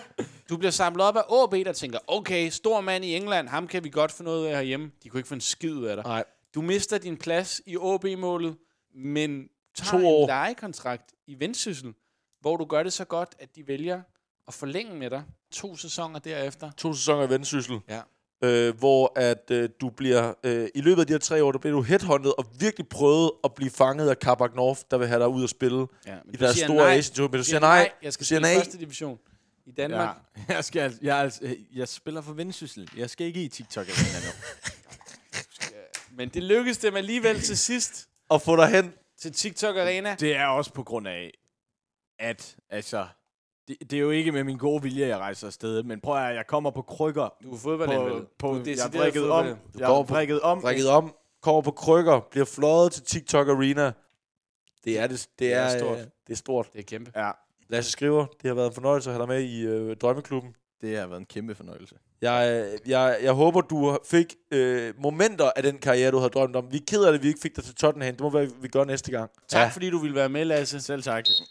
Speaker 4: du bliver samlet op af AB, der tænker, okay, stor mand i England, ham kan vi godt få noget af herhjemme. De kunne ikke få en skid ud af dig.
Speaker 3: Nej.
Speaker 4: Du mister din plads i OB-målet, men tager
Speaker 3: To
Speaker 4: en
Speaker 3: år.
Speaker 4: lejekontrakt i Vendsyssel, hvor du gør det så godt, at de vælger at forlænge med dig to sæsoner derefter.
Speaker 3: To sæsoner i vendsyssel.
Speaker 4: Ja.
Speaker 3: Øh, hvor at øh, du bliver, øh, i løbet af de her tre år, der bliver du headhunted og virkelig prøvet at blive fanget af Kabak North, der vil have dig ud og spille
Speaker 4: Ja,
Speaker 3: i deres store Asian Tour. Men du siger nej,
Speaker 4: jeg skal
Speaker 3: du siger nej.
Speaker 4: spille første division i Danmark.
Speaker 6: Ja.
Speaker 4: Ja.
Speaker 6: Jeg, skal, altså- jeg, er altså- øh, jeg spiller for Vendsyssel. Jeg skal ikke i TikTok eller nu.
Speaker 4: Men det lykkedes dem alligevel til sidst
Speaker 3: og få dig hen.
Speaker 4: til TikTok Arena.
Speaker 6: Det er også på grund af, at altså, det, det er jo ikke med min gode vilje, jeg rejser afsted, men prøv at høre, jeg kommer på krykker.
Speaker 4: Du er fodboldanmeldet.
Speaker 6: På, på,
Speaker 4: Du er
Speaker 6: jeg er
Speaker 4: decideret
Speaker 6: vrikket om.
Speaker 4: fodboldanmeldet.
Speaker 6: Jeg
Speaker 3: går
Speaker 6: er
Speaker 3: på-
Speaker 6: vrikket om.
Speaker 3: Brækket om, kommer på krykker, bliver fløjet til TikTok Arena. Det er, det, det
Speaker 4: er
Speaker 3: er,
Speaker 4: stort.
Speaker 3: stort. Det er stort.
Speaker 4: Det er kæmpe.
Speaker 6: Ja,
Speaker 3: Lasse Skriver, det har været en fornøjelse at have dig med i øh, Drømmeklubben.
Speaker 6: det har været en kæmpe fornøjelse.
Speaker 3: Jeg, øh, jeg, jeg håber, du fik øh, momenter af den karriere, du havde drømt om. Vi er ked af det, at vi ikke fik dig til Tottenham. Det må være, vi gør næste gang.
Speaker 4: Tak fordi du ville være med, Lasse.
Speaker 6: Selv tak.